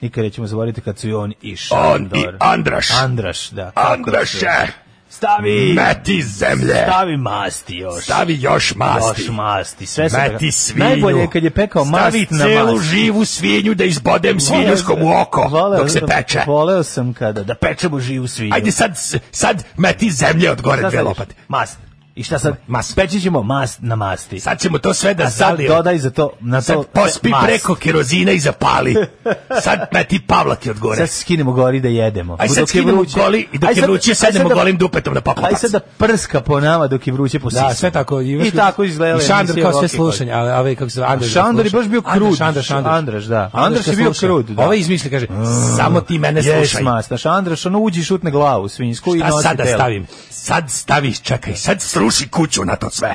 Nikad nećemo zaboraviti kad su i on i Šandor. i Andraš. Andraš, da. kako Andraše, se- Stavi, meti zemlje, stavi masti još. stavi još masti. Još masti. Sve sam Meti preka- svinju. Najbolje je kad je pekao Stavi mast na celu masti. živu svinju da izbodem svinjuskom u oko dok se peče. Voleo sam kada, da pečemo živu svinju. Ajde sad, sad meti zemlje od gore Šta dve sad? lopate. Mast. I šta sad? Pa Mast. Peći ćemo mast na masti. Sad ćemo to sve da A sad zalijem. dodaj za to na to Sad pospi mast. preko kerozina i zapali. Sad meti pavlake od gore. Sad skinemo gori da jedemo. Aj sad Dok je skinemo vruće. goli i dok Aj je sad- vruće aj sad sednemo da- golim dupetom na papu. Aj sad da prska po nama dok je vruće po Da, sisama. sve tako. I tako izgleda. I Šandor emisija kao sve Rocky slušanje, ali ali kako se Andraš. Šandor je baš bio krut. Šandor, Šandor. Andraš, da. Andraš je bio krut, da. Mm. Ovaj izmisli kaže, samo ti mene Boy. Jes slušaj. mast. Znaš, Andraš, ono uđi i šutne glavu svinjsku i A nosi sad da telo. stavim. Sad stavi, čekaj, sad sruši kuću na to sve.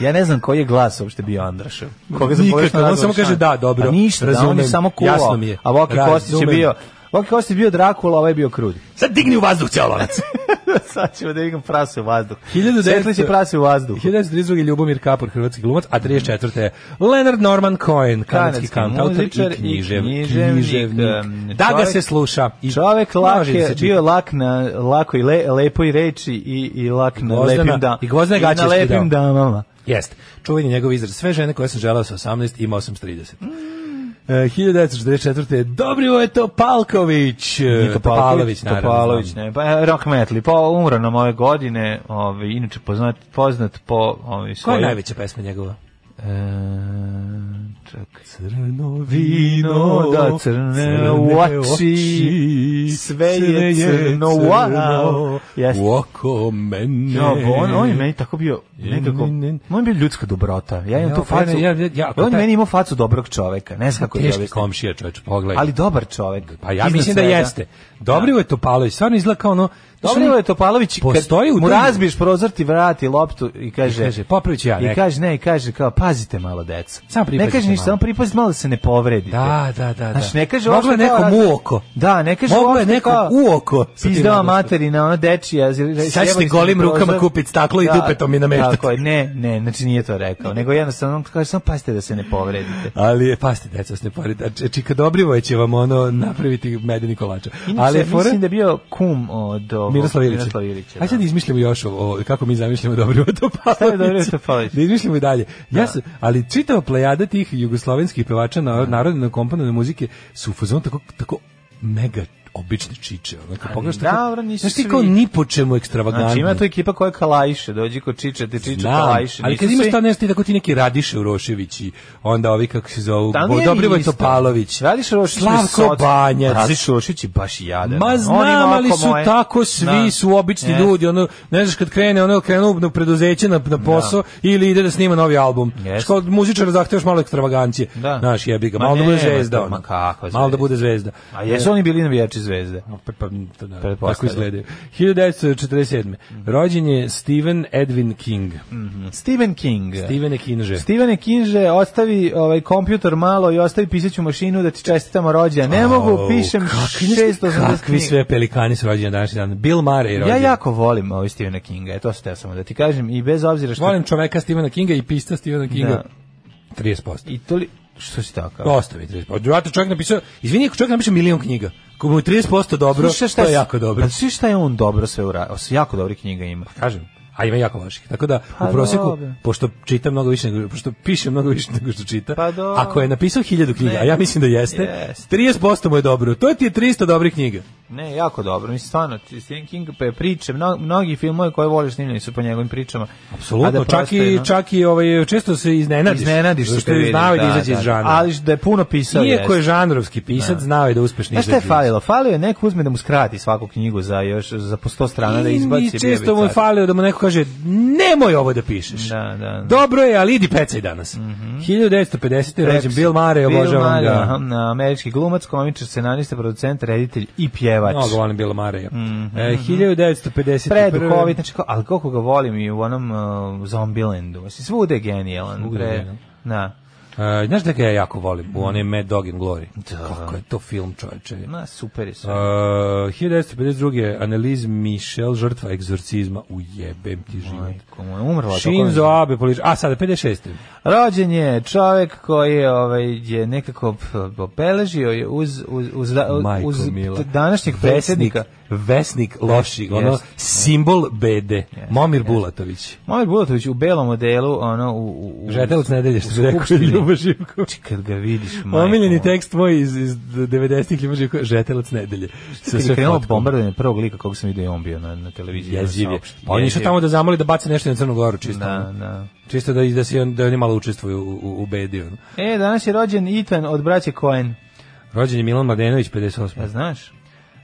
Ja ne znam koji je glas uopšte bio Andrašev. Koga sam Nikakav, pogrešno on nazvao samo kaže Šan- da, dobro, A ništa, da, on je razumem, samo kuvao. jasno mi je. A Voki Kostić je Razumem. bio... Voki Kostić je bio Drakula, a ovaj je bio Krud. Sad digni u vazduh cijel lonac. Sad ćemo da vidim prase u vazduh. 1900 Svetli će prase u vazduhu. 1932. Ljubomir Kapor, hrvatski glumac, a 34. je Leonard Norman Cohen, kanadski kantautor i muzičar i književ, književnik, književnik. em, Da ga čovek- se sluša. I Čovek lak može da je, se čita. bio je lak na lako i le, lepoj reči i, i lak na Gvozdena- lepim damama. i gvozdene gaće na je skidao. lepim damama. Jeste. Čuven je njegov izraz. Sve žene koje sam želao sa 18, imao sam s 30. E, 1944. Dobrivo je to Palković. E, Topalović, naravno. Topalović, znam. ne. Pa, e, rock metal. Pa umro nam ove godine, ovaj inače poznat, poznat po ovaj Koja je svojim... najveća pesma njegova? E, čekaj. Crno vino, da, crne oči, sve je crno, wow. Jeste. u oko mene. Ja, on, on je meni tako bio nekako, Ne, ne, ne. on je bio ljudska dobrota. Ja imam Ja, tu pa ne, facu. ja, ja, ja, ako on je taj- meni imao facu dobrog čoveka. Ne znam kako je Teški objasniti. komšija, čoveč, pogledaj. Ali dobar čovek. pa ja iznad mislim da svega. jeste. Dobrivo je Topalović, stvarno izgleda kao ono... Dobro je Topalović, Postoji u kad mu tom- razbiješ prozor ti vrati loptu i kaže, I kaže, "Popravit ću ja I nekad." kaže, ne, i kaže kao, pazite malo, deca. Samo pripazite Ne kaže ništa, malo. samo pripazite malo da se ne povredite. Da, da, da. da. Znaš, ne kaže Moglo je uopšte kao nekom raz- u oko. Da, ne kaže Moglo je uopšte nekom kao- u oko. sa tim Pizdava odnosom. materina, ona dečija. zjebali Sad ćeš ti ste golim prozor. rukama kupit staklo i dupetom i nametat. Tako je, ne, ne, znači nije to rekao. Nego jednostavno on kaže, samo pazite da se ne povredite. Ali je, pasti, deca, ne poredi. Čika Dobrivoje će vam ono napraviti medeni kolača. Inače, Ali je fora... mislim da je bio kum od ovog Miroslav Ilić. Miroslava Ilića, Ajde sad da. izmišljamo još o, o- kako mi zamišljamo Dobrivo Šta je Dobrivoje Topalović. Topalović? Da izmišljamo i dalje. Ja sam, ali čitava plejada tih jugoslovenskih pevača na, narodne komponovne muzike su u fazonu tako, tako mega obične čiče. Ono, kad pogledaš tako, Dobro, nisu znaš ti svi. kao ni po čemu ekstravagantni. Znači ima tu ekipa koja kalajiše, dođi kod Čiče, te Čiče Da, kalajiše. ali nisu kad imaš svi- ta nešto i tako ti neki Radiše Urošević i onda ovi kako se zovu, Da, Bo, nije Dobrivoj isto. Topalović, Radiš Rošić, Slavko Banjac, Radiš Rošić je baš jadan. Ma On znam, ima ali oko su moje. tako svi Da. su obični Ne. ljudi, ono, ne znaš kad krene, ono krenu na preduzeće na, na posao ili ide da snima novi album. Jeste. Što od muzičara zahtevaš malo ekstravagancije. Da. Znaš, jebi ga, Ma malo da bude nema zvezda. to, ono. ma kakva Malo da zvezda. bude zvezda. E, A jesu oni bili navijači zvezde? Pa, pa, to da, tako Pretpostavljam. Mhm. izgledaju. 1947. Rođen je Stephen Edwin King. Mhm. Stephen King. Stephene Kinže. Stevene Kinže, ostavi ovaj kompjutor malo i ostavi pisaću mašinu da ti čestitamo rođendan. Ne mogu, Au, pišem kakvi- 680 Kakvi knjiga. sve pelikani su rođeni na današnji dan. Bill Murray je Ja rođen. jako volim ovaj Stephena Kinga, e, to sam teo samo da ti kažem i bez obzira što... Volim čoveka Stephena Kinga i pista Stephena Kinga. Pa, 30%. I toli... Što si tako? Dosta mi 30%. Odvratno čovjek napisao, izvini, ako čovjek napiše milion knjiga, ako mu je 30% dobro, Slušaj, to je s- jako dobro. Pa svi šta je on dobro sve uradio? Jako dobri knjiga ima. Kažem, a ima jako loših. Tako da, Pa u proseku, dobro. pošto čita mnogo više, nego, pošto piše mnogo više nego što čita, Pa dobro. ako je napisao hiljadu knjiga, a ja mislim da jeste, Jeste. 30% mu je dobro. To ti je 300 dobrih knjiga. Ne, jako dobro. Mislim, stvarno, Stephen King pa je priče, mno, mnogi filmove koje voliš snimljeni su po njegovim pričama. A Apsolutno, da čak prosto je, i no, čak i ovaj često se iznenadiš. iznenadiš se što kad je vidiš, znao i da da, izađe iz da, žanra. Ali da je puno pisao. Iako je jeste. žanrovski pisac, znao je da uspešno Znaš izađe. šta je iz- falilo? Falio je neko uzme da mu skrati svaku knjigu za još za po 100 strana da I- izbaci. bio I bi često mu je car. falio da mu neko kaže, nemoj ovo da pišeš. Da, da, da. Dobro je, ali idi pecaj danas. 1950. je rođen Mhm. Pepsi. Bill Murray, Bill obožavam Murray, ga. aha, na američki glumac, komičar, scenarista, producent, reditelj i pjevač. Mnogo volim Bill Murray. e, 1951. Mhm. Preduhovit, znači, kao- ali koliko ga volim i u onom uh, Zombielandu. Mislim, svude je genijalan. Svuda je bre. genijalan. Da. E, znaš da ga ja jako volim? U onem Mad Dog and Glory. Da. Kako je to film, čoveče. Ma, super je Uh, sve. 1952. je Annelies Michel, žrtva egzorcizma. Ujebem ti život. Majko moja, umrla. tako Shinzo je. Abe, politič... A, sada, 56. Rođen je čovjek koji je, ovaj, je nekako p- obeležio je uz, uz, uz, da- Majko uz mila. d- današnjeg predsjednika. Vesnik, vesnik loših, ono, jest. simbol bede. Momir Bulatović. Momir Bulatović u belom modelu, ono, u... u, u Žetelac nedelje, što u bi rekao skupštini. Ljubo Živković. Znači, kad ga vidiš, majko. Omiljeni moja. tekst moj iz, iz 90-ih Ljubo Živković, Žetelac nedelje. Sa Kad je sve krenulo fotkom. bombardanje prvog lika kog sam vidio je on bio na, na televiziji. Jeziv je. Saopšten, Pa on je išao jeziv. tamo da zamoli da baci nešto na Crnu Goru, čisto. Da, ono. da. Čisto da, da, se, on- da oni malo učestvuju u, u, u bedi. ono. E, danas je rođen Ethan od braće Cohen. Rođen je Milan Mladenović, 58. Ja znaš?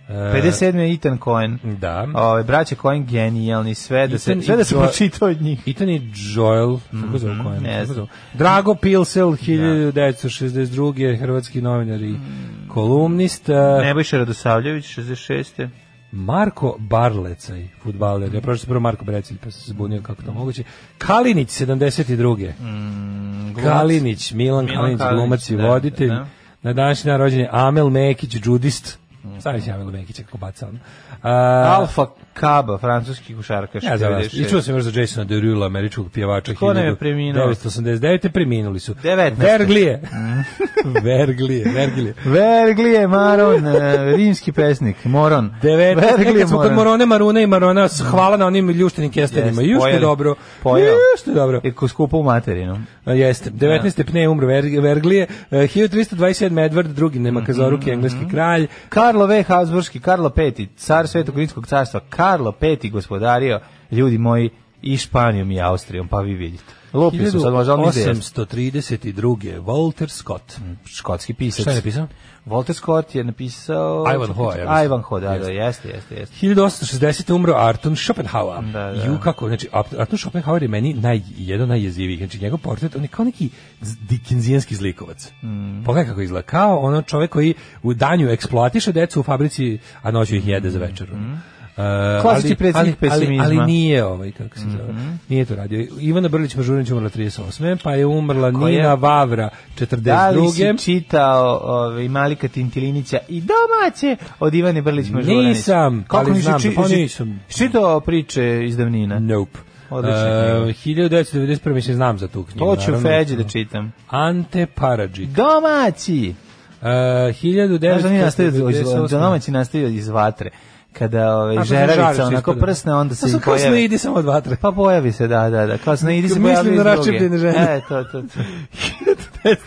E, 57. je Ethan Cohen. Da. Ove, braće Cohen genijalni, sve da se, Mhm. Ethan sve da i se Joel- pročita od njih. Ethan i Joel, kako zove Cohen, Mhm, ne kako znam. zove? Drago Pilsel, 1962. Hrvatski novinar i Mm. kolumnista. Nebojša Radosavljević, 66. Marko Barlecaj, futbaler. Ja prošao sam prvo Marko Brecilj, pa sam se zbunio kako to moguće. Kalinić, 72. Mm, Glumac. Kalinić, Milan, Milan Kalinić, Kalinić, glumac i da, voditelj. da, da. Na današnji dan rođen je Amel Mekić, džudist. Stavi se Amel Mekić ako baca ono. A, Alfa Kaba, francuski košarkaš. Ne znam, i 96. čuo sam još za Jasona Derula, američkog pjevača. Ko nam je preminuo? 1989. preminuli su. 19.. Verglije. Mm. Verglije, Verglije. Verglije Maron, e, rimski pesnik, Moron. 19. Verglije Nekad smo kod Moron. Morone, Marune i Marona, s- hvala na onim ljuštenim kestenima. Jes, Još je pojeli. dobro. Pojeo. Još je dobro. E, ko skupa u materinu. A, Jeste. 19. pne umro Ver- Verglije. E, 1327. Edward II. Mhm, Nemakazoruki, engleski kralj. Karlo V. Habsburgski, Karlo V. car Svetog Rimskog carstva, Karlo V. gospodario, ljudi moji, i Španijom i Austrijom, pa vi vidite. Lupi su sad možda ali nije desno. 1832. Walter Scott. Mhm, Škotski pisac. Šta je napisao? Walter Scott je napisao... Ivanhoe, ja mislim. Ivanhoe, da, da, jeste, jeste, jeste. 1860. umro Arton Schopenhauer. Da, Da, da. da. Ju kako, znači Ap- Arton Schopenhauer je meni naj, jedan najjeziviji. Znači njegov portret, on je kao neki z- dikenzijanski zlikovac. Mm. Pogledaj kako izgleda. Kao ono čovjek koji u danju eksploatiše decu u fabrici, a noću ih jede za večeru. Uh, Mhm. Klasični predsjednik pesimizma. Mhm. Ali, ali nije ovaj, kako se zove, nije to radio. Ivana Brlić Mažurinić umrla 38. Pa je umrla Koja? Nina Vavra 42. Da li si čitao ovaj, Malika Tintilinića i domaće od Ivane Brlić Mažuranić? Nisam, ali nisi znam da- či- pa si- nisam. Čitao priče iz davnina? Nope. Odlična knjiga. Uh, 1991. mislim znam za tu knjigu. To ću naravno. Feđi da čitam. Ante Paradžić. Domaći! Uh, 1998. Znaš da mi nastavio, za domaći nastavio iz vatre. Kada A, ovaj, pa se žeravica žariš onako ispod. prsne, onda se Pa su i kao pojavi. snidi samo od vatre. Pa pojavi se, da, da, da. Kao snidi se Mislim pojavi iz na druge. raščepljene žene. E, to, to, to.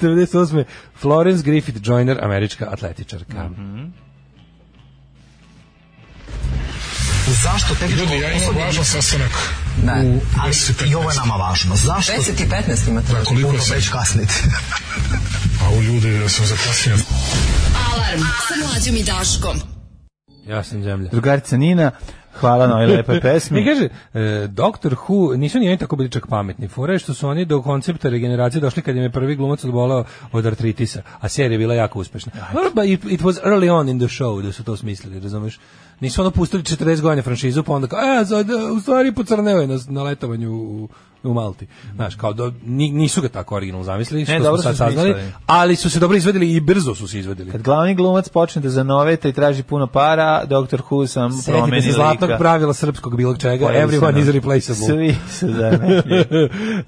1998. Florence Griffith Joyner, američka atletičarka. Zašto tek Ljudi, ja imam važan sastanak. Ne, ali 10 i i ovo je nama važno. Zašto? 10 i 15 imate. Da, koliko je sad? već kasnite. A Pa u ljudi, ja sam zakasnio. Alarm sa mlađom i Daškom. Ja sam zemlja. Drugarica Nina, hvala na ovoj lepoj Mi pesmi. kaže, e, Doktor Who, nisu ni oni tako bili čak pametni. Fora je što su oni do koncepta regeneracije došli kad im je prvi glumac odbolao od artritisa, a serija je bila jako uspešna. Dobro, But it, it was early on in the show da su to smislili, razumeš? Nisu ono pustili 40 godina franšizu, pa onda kao, e, za- da, u stvari pocrneo je na, na letovanju u, u Malti. Znaš, kao, do, ni- nisu ga tako originalno zamislili, što dobro smo sad su saznali, smislili. ali su se dobro izvedili i brzo su se izvedili. Kad glavni glumac počne da zanoveta i traži puno para, Dr. Who sam Sjetite promeni se lika. zlatnog pravila srpskog bilo čega, Pojavi se, everyone da. is replaceable. Svi se zamenjuju.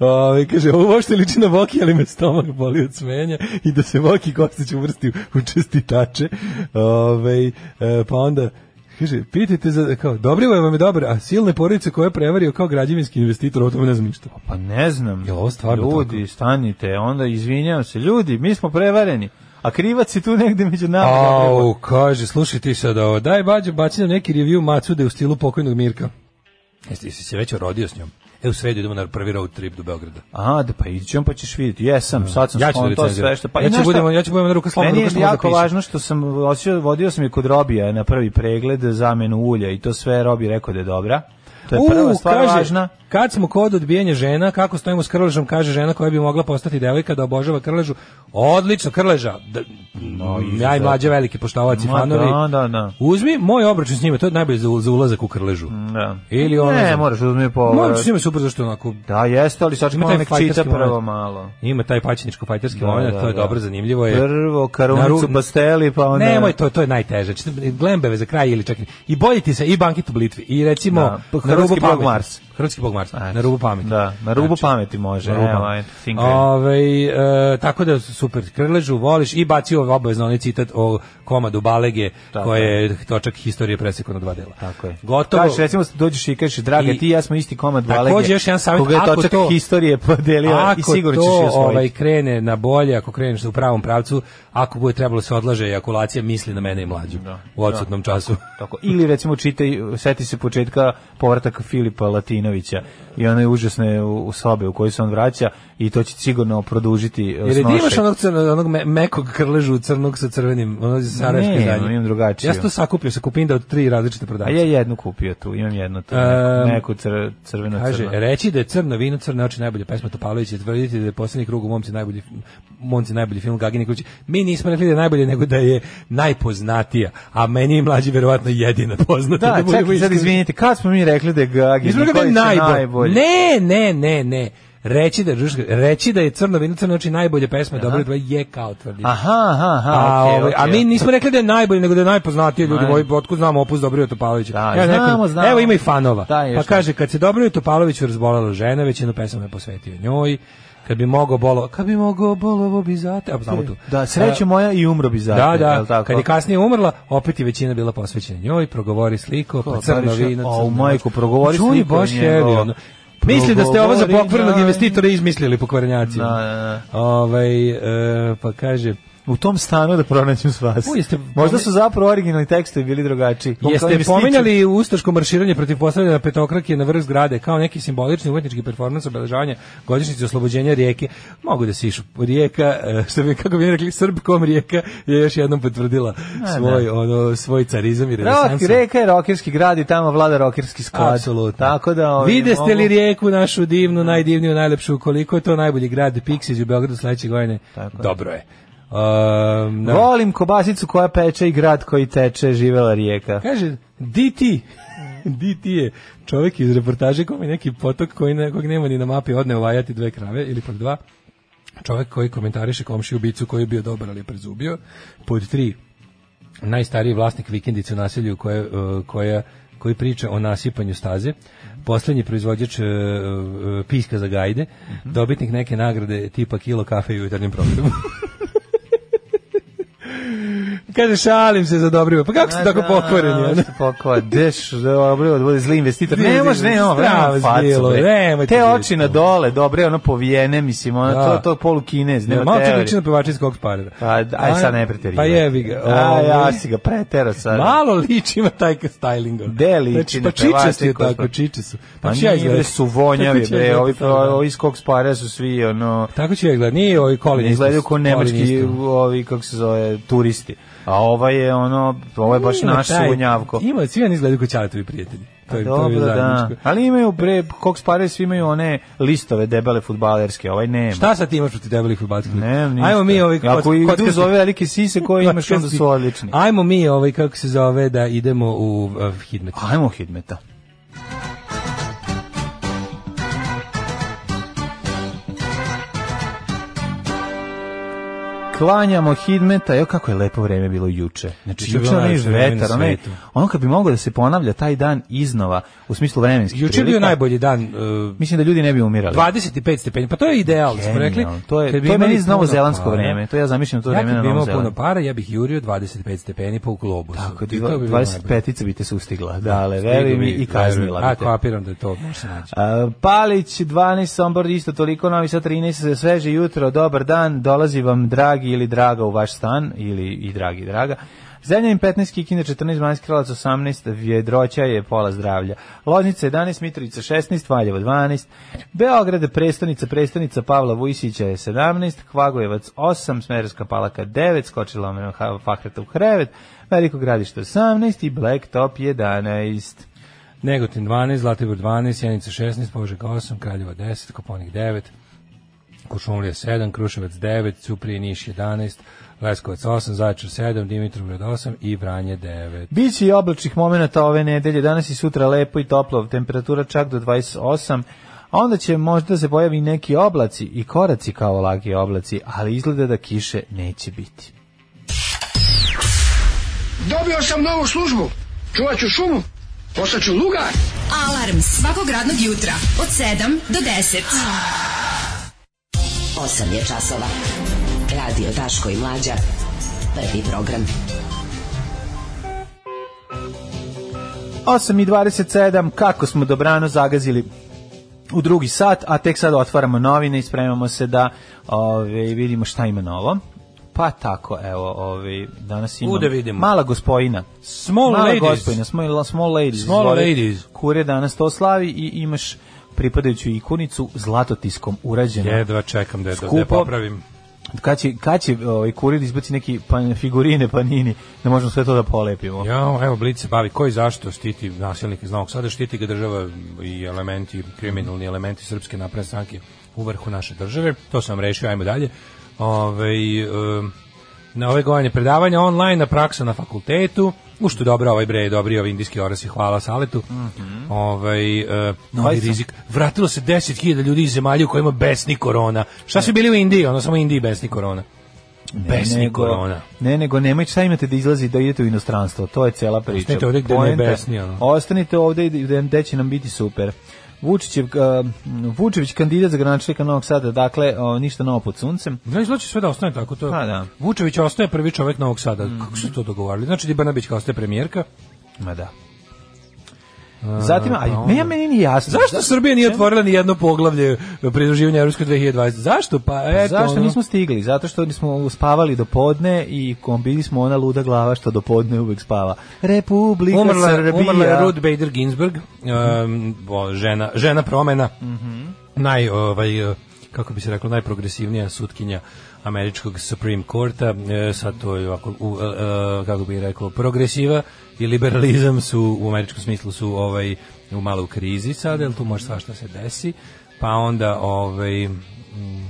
Ove, Ovaj, kaže, ovo uopšte liči na Voki, ali me stomak boli od smenja i da se Voki Kostić uvrsti u čestitače. Ove, e, pa onda, kaže, pitajte za, kao, dobri vam je dobro, a silne porodice koje je prevario kao građevinski investitor, o tome ne znam ništa. Pa ne znam. Jel ovo stvarno Ljudi, stanite, onda izvinjam se. Ljudi, mi smo prevareni. a krivac je tu negde među nama. Au, kaže, slušaj ti sad ovo. Daj, bađo, baci nam neki review macude u stilu pokojnog Mirka. Jesi, jesi se već rodio s njom? E, u sredu idemo na prvi road trip do Beograda. A, da pa ići ćemo pa ćeš vidjeti. Jesam, sad sam Ja ću sklon, da to recenziram. sve što... Pa, Ja i ću znaš šta, budem- ja ću budem na rukoslobno, Meni je rukoslobno da jako pišem. važno što sam, osio, vodio sam je kod Robija na prvi pregled zamenu ulja i to sve Robi rekao da je dobra. To je prva U, stvar važna. Kad smo kod odbijanja žena, kako stojimo s krležom, kaže žena koja bi mogla postati devojka da obožava krležu. Odlično, krleža. Da, ja i mlađe veliki poštovac i Ma, fanovi. da, da, da. Uzmi moj obračun s njima, to je najbolje za, za ulazak u krležu. Da. Ili ono Ne, za- moraš uzmi po... Moj obračun s njima je super, zašto je onako... Da, jeste, ali sad Ima ćemo taj nek čita fajterski prvo moment. malo. Ima taj pačiničko-fajterski Da, moment, da, to je da. dobro, zanimljivo je. Prvo Na karunicu ru- pasteli, pa onda... Nemoj to, to je najteže. Čitam, Glembeve za kraj ili čekaj. I bolji ti se i Bankit u Blitvi i recimo Da, pa na rubu Hrvatski Bog pameti. Mars. Hrvatski Bog Mars, Ajde. na rubu pameti. Znači, Da, na rubu pameti može, na rubu evo, pameti. ajde, think Ovaj, e, tako da super krležu voliš i bacio obavezno onaj citat o komadu Balege Tako koje je točak historije presekao na dva dela. Tako je. Gotovo. Kažeš, recimo, dođeš i kažeš, draga, I- ti i ja smo isti komad Takođe, balege. još jedan savjet, Koga je ako točak to- historije podelio i ako sigurno ćeš to je osvojiti. ovaj krene na bolje, ako kreneš u pravom pravcu, ako bude trebalo se odlaže ejakulacija, misli na mene i mlađu u odsutnom času. Tako. Ili recimo čitaj, seti se početka povratak Filipa Latinovića i one užasne u, u sobe u kojoj se on vraća i to će sigurno produžiti e, Jer je ono- imaš snošaj. onog, crno, onog me, mekog krležu crnog sa crvenim, ono iz Sarajevske Nemam, zadnje. imam drugačiju. Ja sam to sakupio sa kupinda od tri različite A prodavce. ja jednu kupio tu, imam jednu tu, Em, neku, neku cr, crveno Kaže, e, crno. reći da je crno vino, crne oči najbolje pesma Topalović i tvrditi da je poslednji krug u momci najbolji, momci najbolji film Gagi Nikolić. Mi nismo rekli da je najbolje, nego da je najpoznatija, a meni je mlađi verovatno jedina poznata. Da, budemo čekaj, sad iskreni. izvinite, kad smo mi rekli da je Gagi Mi smo rekli da je Nikolić najbolje. najbolji? Ne, ne, ne, ne. Reći da, reći da je crno vino, crne oči najbolje pesma, dobro, dva je kao tvrdi. Aha, aha, aha, A, okej, ovaj, a okej, mi nismo rekli da je najbolji, nego da je najpoznatiji ljudi, Ajde. moji otkud znamo opus Dobrija Topalovića. Da, Kaže, znamo, neko, znamo. Evo ima i fanova. Da, još pa nešto. kaže, kad se Dobriju Topaloviću razbolela žena, većinu pesama je posvetio njoj, kad bi mogao bolo, kad bi mogao bolovo bi zate, a znamo tu. Da, sreću moja i umro bi zato. E, Da, jel da, tako? kad je kasnije umrla, opet je većina bila posvećena njoj, progovori sliko, pa Ko, crno Bariša? vino, Au, crno majko, progovori Čuni sliko Boš njegova. jevi, ono. Misli da ste ovo za Progovori, pokvarnog da. investitora izmislili pokvarnjaci. Da, da, Ovaj, e, pa kaže, U tom stanu da pronaćem s vas. U, jeste- Možda su zapravo originalni tekstovi bili drugačiji. Jeste pominjali ustaško marširanje protiv postavljena petokrake na vrh zgrade kao neki simbolični umetnički performans obeležavanja godišnjice oslobođenja rijeke? Mogu da se išu. Rijeka, eh, što bi, kako bi rekli, srbkom rijeka je još jednom potvrdila svoj, ono, svoj carizam i Rok, renesansu. reka je rokerski grad i tamo vlada rokerski sklad. Apsolutno. Tako da... ovaj, Vide ste li mogu- rijeku našu divnu, najdivniju, najlepšu, koliko je to najbolji grad Pixies u Beogradu sledeće godine? Tako je. Dobro je. Um, da. Volim kobasicu koja peče i grad koji teče, živela rijeka. Kaže, DT, DT je čovjek iz reportaže kom je neki potok koji ne, kog nema ni na mapi odneo vajati dve krave ili pak dva. Čovjek koji komentariše komšiju bicu koji je bio dobar ali je prezubio. Pod tri, najstariji vlasnik vikendice u naselju koje, e, koja, koji priča o nasipanju staze, posljednji proizvođač e, e, piska za gajde, dobitnik neke nagrade tipa kilo kafe i jutarnjem programu. Kaže, šalim se za dobro. ime. Pa kako ste tako pokvoreni? ono? Pokvar, deš, dobro, da bude zli investitor. Ne može, ne, ono, Strava vremena facu, zbilo, bre. nemojte Te vidjeti oči na dole, dobre, ono povijene, mislim, ono, Da. to, to polu kinez, Ne, nema malo znači, čak teorije. liči na pevača iz Cox Parera. Pa, aj sad ne preterivaj. Pa jebi ga. A, Ovaj, ja si ga pretero sad. Malo liči ima taj styling. ono. Gde Znači, liči Pa na čičasti je pevača iz Cox tako, Parera? čiče su. Pa ću ja nije, bre, izgledati- su vonjavi, Tako ću ja bre, ovi, izgledati sad, da. ovi iz kog spara su svi, ono, Tako ću ja izgledati, nije ovi kolin. izgledaju kao nemački, ovi, kako se zove, turisti. A ova je, ono, ovo je baš naš sunjavko. Ima, svi oni izgledaju kao Ćaletovi prijatelji. To je, to je Dobro, da. zajedničko. Ali imaju, bre, kog spara svi imaju one listove debele futbalerske, ovaj nema. Šta sad ti imaš protiv debelih futbalskih? Ne, ništa. Ajmo mi ovaj Ako kocka- idu kockasti- za ove velike sise koje imaš, onda kockasti. su odlični. Ajmo mi ovaj kako se zove da idemo u uh, Hidmet. Pa Ajmo hidmeta. Klanjamo hidmeta, evo kako je lepo vreme bilo juče. Znači Juče je juče bilo onaj najlepše vreme na vetar, onaj, svetu. ono kad bi moglo da se ponavlja taj dan iznova, u smislu vremenskih Juče je bio prilika, najbolji dan uh, Mislim da ljudi ne bi umirali. 25 stepeni, pa to je ideal, smo rekli. Genijalno. To je, Kad bi to je imali meni puno novozelandsko para, vreme. To ja zamišljam Ja to vreme kad na bi imao Novom puno Zelandu. para, ja bih jurio 25 stepeni po globusu. Tako, I to bi bilo najbolje. 25-ica bi te sustigla, da, ale veri mi i kaznila bi A, te. kapiram da je to može se naći. A, Palić 12, Sombor isto toliko, Novi Sad 13, sveže jutro, dobar dan, dolazi vam dragi dragi ili draga u vaš stan, ili i dragi i draga. Zemljanin 15, Kikinda 14, Banjski kralac 18, Vjedroća je pola zdravlja. Loznica 11, Mitrovica 16, Valjevo 12, Beograd prestonica, prestonica Pavla Vujsića je 17, Kvagojevac 8, Smerovska palaka 9, skočila omena Fahreta u krevet, Veliko gradište 18 i Blacktop 11. Negotin 12, Zlatibor 12, Sjenica 16, Požega 8, Kraljevo 10, Koponik 9, Kušumlija 7, Kruševac 9, Cuprije Niš 11, Leskovac 8, Zaječar 7, Dimitrovgrad 8 i Vranje 9. Biće i oblačnih momenata ove nedelje, danas i sutra lepo i toplo, temperatura čak do 28, a onda će možda se pojavi i neki oblaci i koraci kao lagi oblaci, ali izgleda da kiše neće biti. Dobio sam novu službu. Čuvat ću šumu. Postaću lugar. Alarm svakog radnog jutra od 7 do 10. 8 je časova. Radio Daško i Mlađa. Prvi program. 8.27, kako smo dobrano zagazili u drugi sat, a tek sad otvaramo novine i spremamo se da ove, vidimo šta ima novo. Pa tako, evo, ove, danas imam... U, da vidimo. Mala gospojina. Small Mala ladies. gospojina, small, small ladies. Small izvoli. ladies. Kure danas to slavi i imaš pripadajuću ikonicu zlatotiskom urađenu. Jedva čekam da je da Skupo. je popravim. Kad će, kad će ovaj, kurir izbaci neki pan, figurine panini da možemo sve to da polepimo? Ja, evo Blic se bavi koji zašto štiti nasilnik iz Novog Sada, štiti ga država i elementi, kriminalni elementi srpske napredne stranke u vrhu naše države. To sam vam rešio, ajmo dalje. Ove, na ove govanje predavanja online, na praksa na fakultetu, u što je dobra ovaj bre, dobri ovi indijski orasi, hvala Saletu. Mm novi Ovaj sam- rizik. Vratilo se 10.000 ljudi iz zemalja u kojima besni korona. Šta su bili u Indiji? Ono samo u Indiji besni korona. Besni korona. Ne, nego nemoj šta imate da izlazi da idete u inostranstvo. To je cela priča. Ostanite ovde gde ne Poenta- besni, ono. Ostanite ovde i gde, gde će nam biti super. Vučićev, uh, Vučević kandidat za gradonačelnika Novog Sada, dakle, o, ništa novo pod suncem. Da izlači sve da ostane tako to. Pa da. Vučević ostaje prvi čovjek Novog Sada. Kako su to dogovarali? Znači Dibanabić kao ostaje premijerka. Ma da. Zatim, a, pa meni- meni nije jasno. Zašto Srbija nije otvorila ni jedno poglavlje pridruživanja Evropskoj 2020? Zašto? Pa eto. Zašto ono. nismo stigli? Zato što smo spavali do podne i kombili smo ona luda glava što do podne uvek spava. Republika umrla, Srbija. umrla je Ruth Bader Ginsburg, um, bo- žena, žena promena, naj, ovaj, eh, kako bi se reklo, najprogresivnija sutkinja američkog Supreme Courta, Eh, sad to je ovako, u, eh, eh, kako bi rekao, progresiva i liberalizam su, u američkom smislu su ovaj, u malo u krizi sad, jer tu može svašta se desi, pa onda ovaj, mm,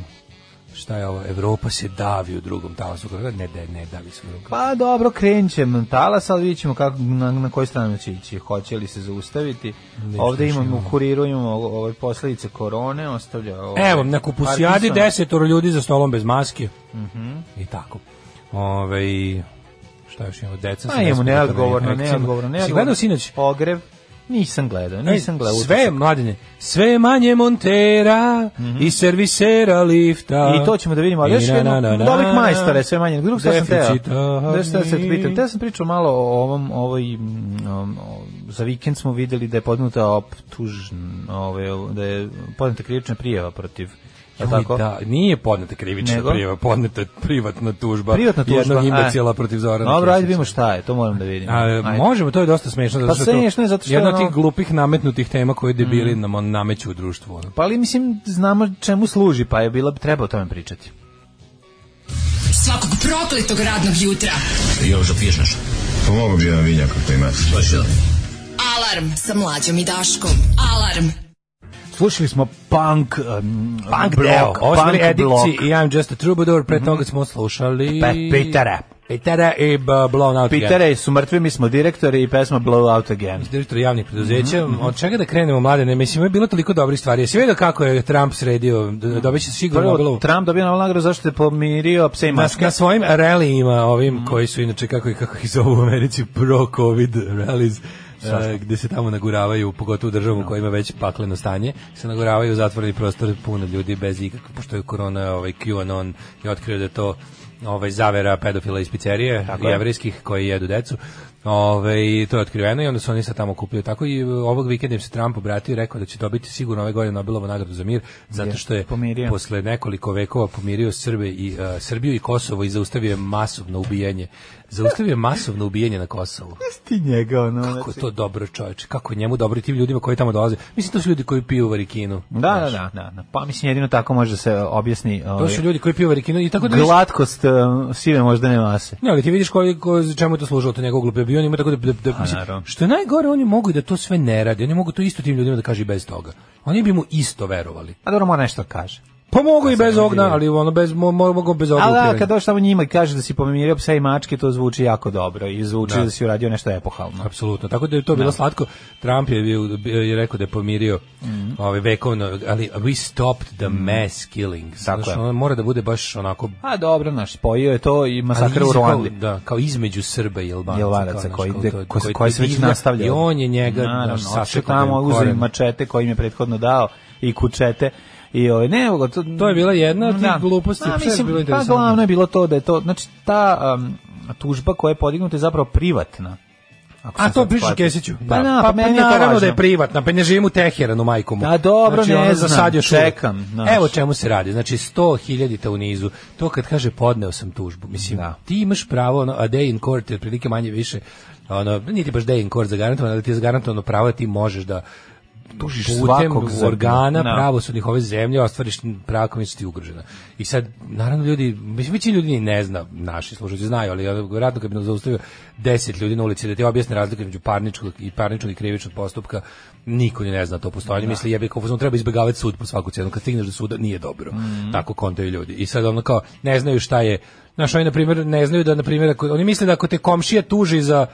šta je ovo, Evropa se davi u drugom talasu, ne, ne, ne davi se u drugom Pa dobro, krenćem talas, ali vidjet ćemo kako, na, na koju stranu će ići, hoće li se zaustaviti. Ovde imamo, u kuriru imamo ovaj, posledice korone, ostavlja... Ovaj, Evo, na kupusijadi Parkinsona. desetoro ljudi za stolom bez maske. Mhm. I tako. Ove, šta još imamo, deca Pa imamo neodgovorno, neodgovorno, ne Si neodgovorno. gledao sinoć? Ogrev? Nisam gledao, Ej, nisam gledao. sve je mladine, sve je manje montera i servisera lifta. Mhm. I to ćemo da vidimo, ali još jedno, dobrih majstora je sve manje. Drug što sam teo, da što se pitam, teo sam pričao malo o ovom, ovoj, mm, um, o- za vikend smo videli da je podnuta optužn, ovaj, da je podnuta krivična prijava protiv, je li tako? Da, nije podneta krivična Nego? prijava, podneta je privatna tužba. Privatna tužba. Jednog e. imbecila protiv Zorana. Dobro, ajde Kesića. vidimo šta je, to moram da vidim. A, Ajde. možemo, to je dosta smešno. zato Pa što sve to smešno je zato što je Jedna od ono- Mm. tih glupih nametnutih tema koje debili nam on nameću u društvu. ono. Pa ali mislim znamo čemu služi, pa je bila treba o tome pričati. Svakog prokletog radnog jutra. Još da piješ nešto? Pa Pomogu bi jedan vinjak ako imate. Pa što? Alarm sa Mlađom i Daškom. Alarm. Slušali smo punk um, Punk blok, deo. Ovo su bili punk blok. Mhm. Pa, Edikci i I'm just a troubadour. Pre toga smo slušali... Pe- Pitera. Pitera i b- Blown Out Again. Pitere su mrtvi, mi smo direktori i pesma Blow Out Again. direktor javnih preduzeća, Mhm, od čega da krenemo mlade, ne mislim, je bilo toliko dobrih stvari. Jesi vidio kako je Trump sredio, D- dobit će sigurno Mhm. Prvo, Nobelovu. Trump dobio novu nagradu zašto je pomirio pse i Na, maske. na svojim relijima, ovim koji su inače, kako, ih- kako ih zovu u Americi, pro-covid rallies, e, gde se tamo naguravaju, pogotovo u državu koja ima već pakleno stanje, se naguravaju u zatvoreni prostor puno ljudi bez ikakve, pošto je korona, ovaj, QAnon je otkrio da je to ovaj, zavera pedofila iz pizzerije, jevrijskih koji jedu decu, Ove, to je otkriveno i onda su oni sad tamo kupili. Tako i e, ovog vikenda im se Trump obratio i rekao da će dobiti sigurno ove godine Nobelovu nagradu za mir, zato što je pomirio. posle nekoliko vekova pomirio Srbe i, e, Srbiju i Kosovo i zaustavio je masovno ubijanje. Zaustavio je masovno ubijanje na Kosovu. Ti njega, ono, Kako znači- je to dobro, čoveče? Kako je njemu dobro i tim ljudima koji tamo dolaze? Mislim, to su ljudi koji piju varikinu. Da, da, da, da, da. Pa mislim jedino tako može da se objasni To ovaj, su ljudi koji piju varikinu i tako da... vidiš- glatkost e, sive moždane mase. Ne, ali ti vidiš koliko za čemu je to služilo to njegovo glupe bio, on ima tako da, da, da A, mislim, Pa, naravno. što je najgore, oni mogu i da to sve ne radi, oni mogu to isto tim ljudima da kaže i bez toga. Oni bi mu isto verovali. A dobro, mora nešto da kaže. Pa mogu i bez ne ognja, vidi. ali ono bez mo, mo- mogu bez ognja. A da, utiranja. kad dođe tamo njima i kaže da si pomirio psa i mačke, to zvuči jako dobro i zvuči da, si uradio nešto epohalno. Apsolutno. Tako da je to bilo slatko. Trump je, bio, bio- je rekao da je pomirio Mhm. ovaj vekovno, ali we stopped the mass killing. Tako Znaš, je. ono mora da bude baš onako A Pa dobro, naš, spojio je to i Ali masakra iza u kao- Ruandi. Da, kao između Srba i Albanaca. Jelvanaca Pa, znači, kao, znaš, koji kao ide- to je- ko- koji- koji se već divlja nastavlja. I on je njega Naravno, naš, otišao sasekao tamo, njem uzeli koren. mačete koji im je prethodno dao i kučete. I ovaj ne, nego to, To je bila jedna od tih gluposti, A, sve je bilo mislim, pa interesantno. glavno je bilo to da je to, znači ta um, tužba koja je podignuta je zapravo privatna. Ako A sam to sad piše shvatio. Kesiću. Pa, na, pa, meni je to naravno da važno. je privatna, pa ne živim u Teheranu, Znači, majkom. Da, dobro, ne ono, znam, čekam, znaš. Evo čemu se radi. Znači, sto hiljadita u nizu. To kad kaže podneo sam tužbu. Mislim, Da. ti imaš pravo, ono, a day in court je prilike manje više, ono, niti baš day in court zagarantovano, ali ti je zagarantovano pravo, da ti možeš da Tužiš putem svakog za- organa Da. pravosudnih ove zemlje ostvariš prava koja su ti ugrožena. I sad, naravno, ljudi, mislim, većina ljudi ni ne zna, naši slušalci znaju, ali ja, vjerojatno kad bi nas zaustavio deset ljudi na ulici da ti objasne razlike između parničkog i parničnog i krivičnog postupka, niko ni ne zna to postojanje. Misli, jebe, kao fazon, treba izbegavati sud po svaku cenu. Kad stigneš do suda, nije dobro. Tako kontaju ljudi. I sad ono kao, ne znaju šta je, znaš, oni, na primjer, ne znaju da, na primjer, ako, oni misle da ako te komšija tuži za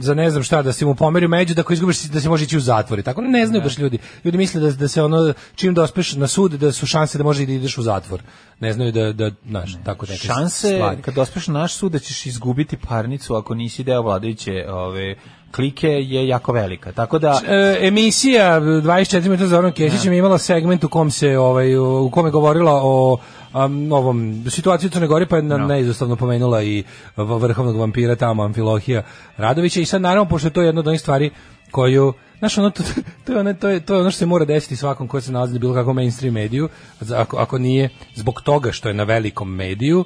za ne znam šta da se mu pomerio među da ako izgubiš da se može ići u zatvor i tako ne znaju baš ljudi ljudi misle da da se ono čim dospeš na sud da su šanse da može i da ideš u zatvor ne znaju da da znaš tako neke šanse stvari. kad dospeš na naš sud da ćeš izgubiti parnicu ako nisi deo vladajuće ove klike je jako velika. Tako da E, emisija 24 minuta za Zoran Kesićem je imala segment u kom se ovaj u kome je govorila o um, ovom situaciji u Crnoj Gori pa je na, neizostavno pomenula i v- vrhovnog vampira tamo Amfilohija Radovića i sad naravno pošto je to jedna od onih stvari koju Znaš, ono, to, to, je ono, to, je, to je ono što se mora desiti svakom ko se nalazi na bilo kakvom mainstream mediju, za- ako, ako nije zbog toga što je na velikom mediju,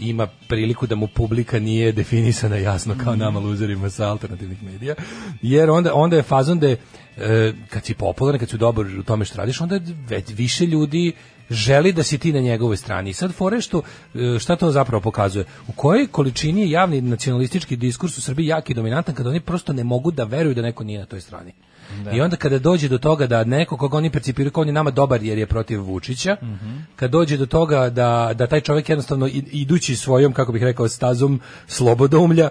ima priliku da mu publika nije definisana jasno kao nama luzerima sa alternativnih medija, jer onda, onda je fazon da je, e, kad si popularan, kad si dobar u tome što radiš, onda već više ljudi želi da si ti na njegovoj strani. I sad fore što, e, šta to zapravo pokazuje? U kojoj količini je javni nacionalistički diskurs u Srbiji jak i dominantan kada oni prosto ne mogu da veruju da neko nije na toj strani. I onda kada dođe do toga da neko koga oni percipiraju kao on je nama dobar jer je protiv Vučića, kad dođe do toga da, da taj čovjek jednostavno i- idući svojom, kako bih rekao, stazom slobodoumlja,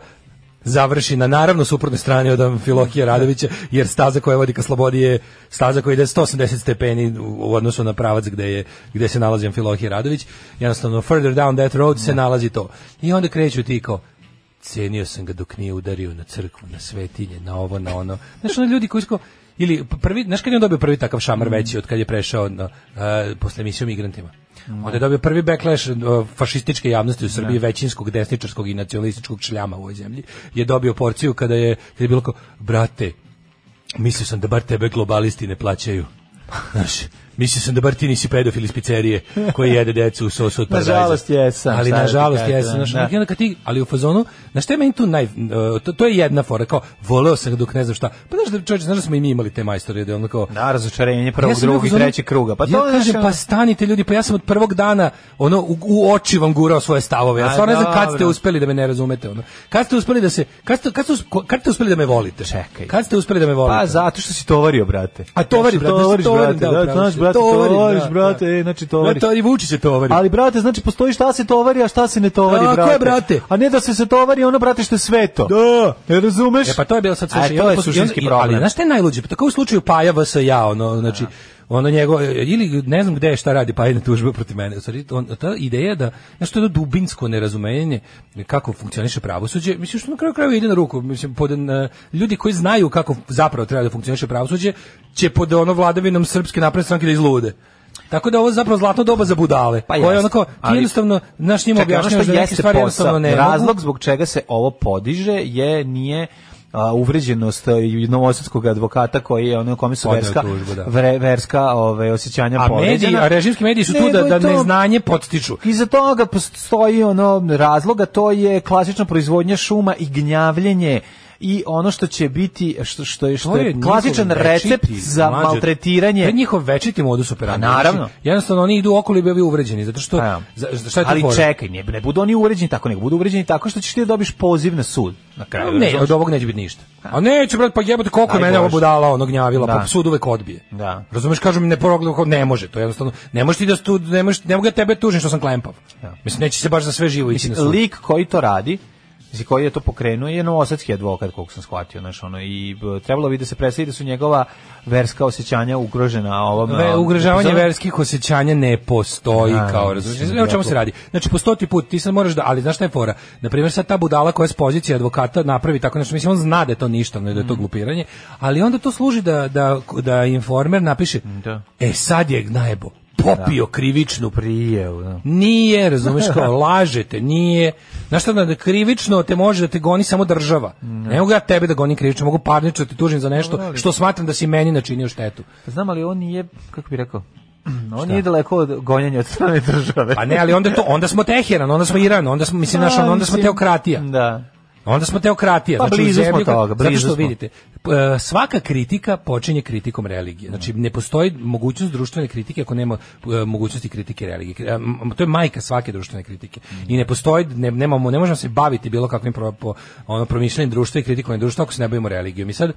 završi na naravno suprotnoj strani od Amfilohija Radovića, jer staza koja vodi ka slobodi je staza koja ide 180 stepeni u- u odnosu na pravac gde, je, gde se nalazi Amfilohije Radović. Jednostavno, further down that road se nalazi to. I onda kreću ti kao, cenio sam ga dok nije udario na crkvu, na svetinje, na ovo, na ono. Znaš, ono ljudi koji su kao- ili p- prvi, znaš kad je on dobio prvi takav šamar Mm. veći od kad je prešao na, e, posle emisije o migrantima? Mm. Onda je dobio prvi backlash e, fašističke javnosti u Srbiji, većinskog, desničarskog i nacionalističkog šljama u ovoj zemlji. Je dobio porciju kada je, kada je bilo kao, brate, mislio sam da bar tebe globalisti ne plaćaju. Znaš, mislio sam da bar ti nisi pedofil iz pizzerije koji jede decu u sosu od paradajza. Nažalost jesam, Ali šta da ti nažalost kažem, jesam. Znaš, ono, da. i onda kad ti, ali u fazonu, znaš šta je meni tu naj, e, to, to je jedna fora, kao, voleo sam ga dok ne znam šta. Pa znaš da čovječe, znaš da smo i mi imali te majstore, da je ono kao, da razočarenje prvog, sam bio drugog u i fazonu, trećeg kruga. Pa to ja je, kažem, znaš, pa stanite ljudi, pa ja sam od prvog dana ono u, u oči vam gurao svoje stavove. Ja A, stvarno ne znam kad dobro. ste uspeli da me ne razumete ono. Kad ste uspeli da se kad ste kad ste, us- kad ste uspeli da me volite? Čekaj. Kad ste uspeli da me volite? Pa zato što si tovario, brate. A tovari, Znači, brate, tovariš, tovarim, brate. da, Da, upravo znaš, si, brate, tovarim, tovariš, da, brate, da. e, znači tovariš. i Vučić se tovari. Ali brate, znači postoji šta se tovari, a šta se ne tovari, Tako je, brate. brate. A ne da se se tovari ono, brate, što je sveto. Da. Ne razumeš? E pa to je bilo sad A slušaj. i to onda je posle- suštinski i onda- i- Ali problem. znaš šta je najluđe? Pa tako u slučaju Paja vs ja, ono znači ono njegov ili ne znam gde je šta radi Pajina tužba protiv mene. U stvari, on, ta ideja da nešto je to dubinsko nerazumenje kako funkcioniše pravosuđe, mislim što na kraju krajeva ide na ruku, mislim pod e, ljudi koji znaju kako zapravo treba da funkcioniše pravosuđe će pod ono vladavinom srpske napredne stranke da izlude. Tako da ovo je zapravo zlatno doba za budale. Pa koje jeste, onako, ti ali- jednostavno, znaš njima Čekaj, ono objašnjavaš da što neke jeste stvari posao, jednostavno ne mogu. razlog zbog čega se ovo podiže je nije a, uvređenost a, i novosadskog advokata koji je ono kome su Podneo verska, tužbu, da. vre- verska ove, osjećanja A mediji, povređena. a režimski mediji su tu Nego da, je da to- neznanje podstiču. Iza toga postoji ono razloga, to je klasična proizvodnja šuma i gnjavljenje i ono što će biti što što je što To je njihov klasičan večiti, recept za mlađe, maltretiranje. To je njihov večiti modus operandi. Pa naravno. Znači, jednostavno oni idu okolo i bi uvređeni, zato što... Pa ja. za, za- šta je tu ali fora? čekaj, ne, ne budu oni uređeni tako, nego budu uređeni tako što ćeš ti da dobiš poziv na sud. Na kraju, Ne, razumeš? od ovog neće biti ništa. A neće, brate, pa jebote, koliko je Aj, mene ova Bože. budala ono gnjavila, Da. pa sud uvek odbije. Da. Razumeš, kažem, ne progledam, ne može, to jednostavno, ne možeš ti da stud, ne možeš, ne mogu ja tebe tužim što sam klempav. Mislim, neće se baš za sve živo ići na sud. lik koji to radi mislim, koji je to pokrenuo je novosadski advokat koliko sam shvatio znaš, ono, i b, trebalo bi da se predstavi da su njegova verska osjećanja ugrožena ovom um, Ve, ovom ugrožavanje epizodom. verskih osjećanja ne postoji Da, kao da, razumiješ. mislim, Ne o čemu se jako. radi. Znači po stoti put ti sad moraš da, ali znaš šta je fora? Na primjer sad ta budala koja je s pozicije advokata napravi tako nešto, mislim on zna da je to ništavno i da je Mm. to glupiranje, ali onda to služi da da da informer napiše Da. E sad je gnajbo popio krivičnu pri prijev da. Nije, razumeš, kao lažete, nije. Znaš šta, da krivično te može da te goni samo država. Ne mogu ja tebe da gonim krivično, mogu parnično da te tužim za nešto Mm, Dobro, ali- što smatram da si meni načinio štetu. Pa znam ali on nije kako bi rekao on nije daleko od gonjenja od strane države Pa ne, ali onda je to onda smo Teheran, onda smo Iran, onda smo mislim naš, onda smo Pa, Mislim, teokratija. da Onda smo teokratija. Pa znači, u blizu smo zemlji koja- toga, zato blizu što smo. vidite, p- e, svaka kritika počinje kritikom religije. Znači, ne postoji mogućnost društvene kritike ako nema e, mogućnosti kritike religije. Kri- e, m- To je majka svake društvene kritike. I ne postoji, ne, nemamo, ne možemo se baviti bilo kakvim pro, po, ono, promišljanjem društva i kritikovanjem društva ako se ne bavimo religijom. I sad,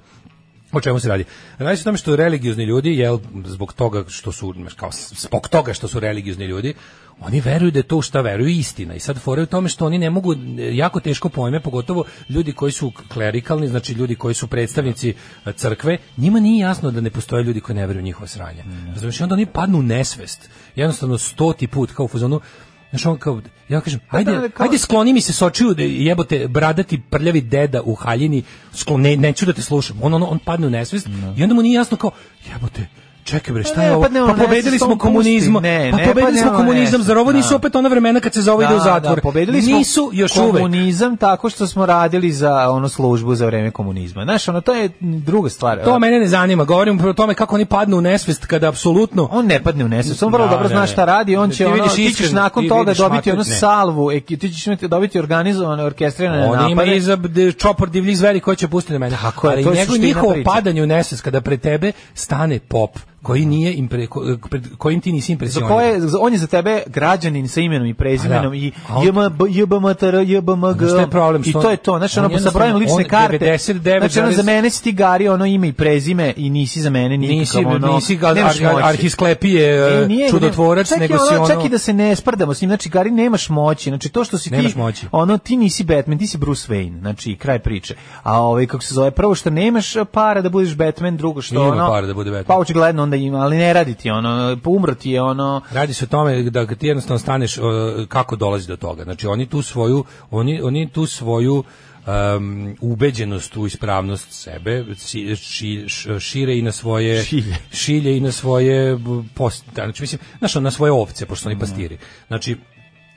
O čemu se radi? Radi se o tome što religiozni ljudi, jel, zbog toga što su, znaš, kao, zbog toga što su religiozni ljudi, oni veruju da je to u šta veruju istina. I sad fore u tome što oni ne mogu, e, jako teško pojme, pogotovo ljudi koji su klerikalni, znači ljudi koji su predstavnici e, crkve, njima nije jasno da ne postoje ljudi koji ne veruju u njihovo sranje. Razumiješ? I onda oni padnu u nesvest. Jednostavno stoti put, kao u fazonu, Znaš, on kao, ja kažem, ajde, Pa da, ali kao- ajde skloni mi se s očiju, da jebote, bradati prljavi deda u haljini, sklon, ne, neću da te slušam. On, on, on padne u nesvest i onda mu nije jasno kao, jebote, čekaj bre, šta Pa ne, je ovo? padne on Pa u nesvest, pobedili on smo pusti. komunizmu. Ne, Pa ne, pobedili padne smo on u komunizam, nesvest, zar ovo da. nisu opet ona vremena kad se za ovo ide u zatvor? pobedili smo Nisu još uvek. komunizam tako što smo radili za ono službu za vreme komunizma. Znaš, ono, to je druga stvar. To mene ne zanima, govorim o tome kako oni padnu u nesvest kada apsolutno on ne padne u nesvest, on vrlo Da, dobro ne, zna ne. šta radi, on Ti će ono, vidiš ti ćeš iskreno, nakon ti toga vidiš dobiti makar- ono ne. salvu, ek- ti ćeš imati- dobiti organizovane orkestrirane On ima napade. iza d- čopor divljih zveri koji će pustiti na mene. Tako je, Ali to je njegov suština njihovo priče. padanje u nesvest kada pre tebe stane pop koji nije impre, ko- pred kojim ti nisi Za impresioniran. koje, za- on je za tebe građanin sa imenom i A prezimenom da. i A on- JMB, JBMTR, JBMG. Znaš šta je problem? I Što to on- je to. Znači, on ono, sa jednostavno- brojem lične on karte. 99 znači, ono, za zarez- mene si ti gari ono ime i prezime i nisi za mene nikakav, nisi, ono, nisi ga, nemaš ar, moći. arhisklepije E, nije, čudotvorac, čak i nego si ono... Čak i da se ne sprdamo s njim, znači Gari nemaš moći, znači to što si Nemaš ti, moći. ono ti nisi Batman, ti si Bruce Wayne, znači kraj priče. A ovaj, kako se zove, prvo što nemaš para da budeš Batman, drugo što Ima ono... para da bude Batman. Pa očigledno onda ima, ali ne radi ti ono, umro ti je ono... Radi se o tome da ti jednostavno staneš e, kako dolazi do toga. Znači oni tu svoju oni oni tu svoju um, ubeđenost u ispravnost sebe si- ši- š- šire i na svoje Šilje. šilje i na svoje b- post, da, znači mislim znaš, na svoje ovce pošto su oni pastiri. Znači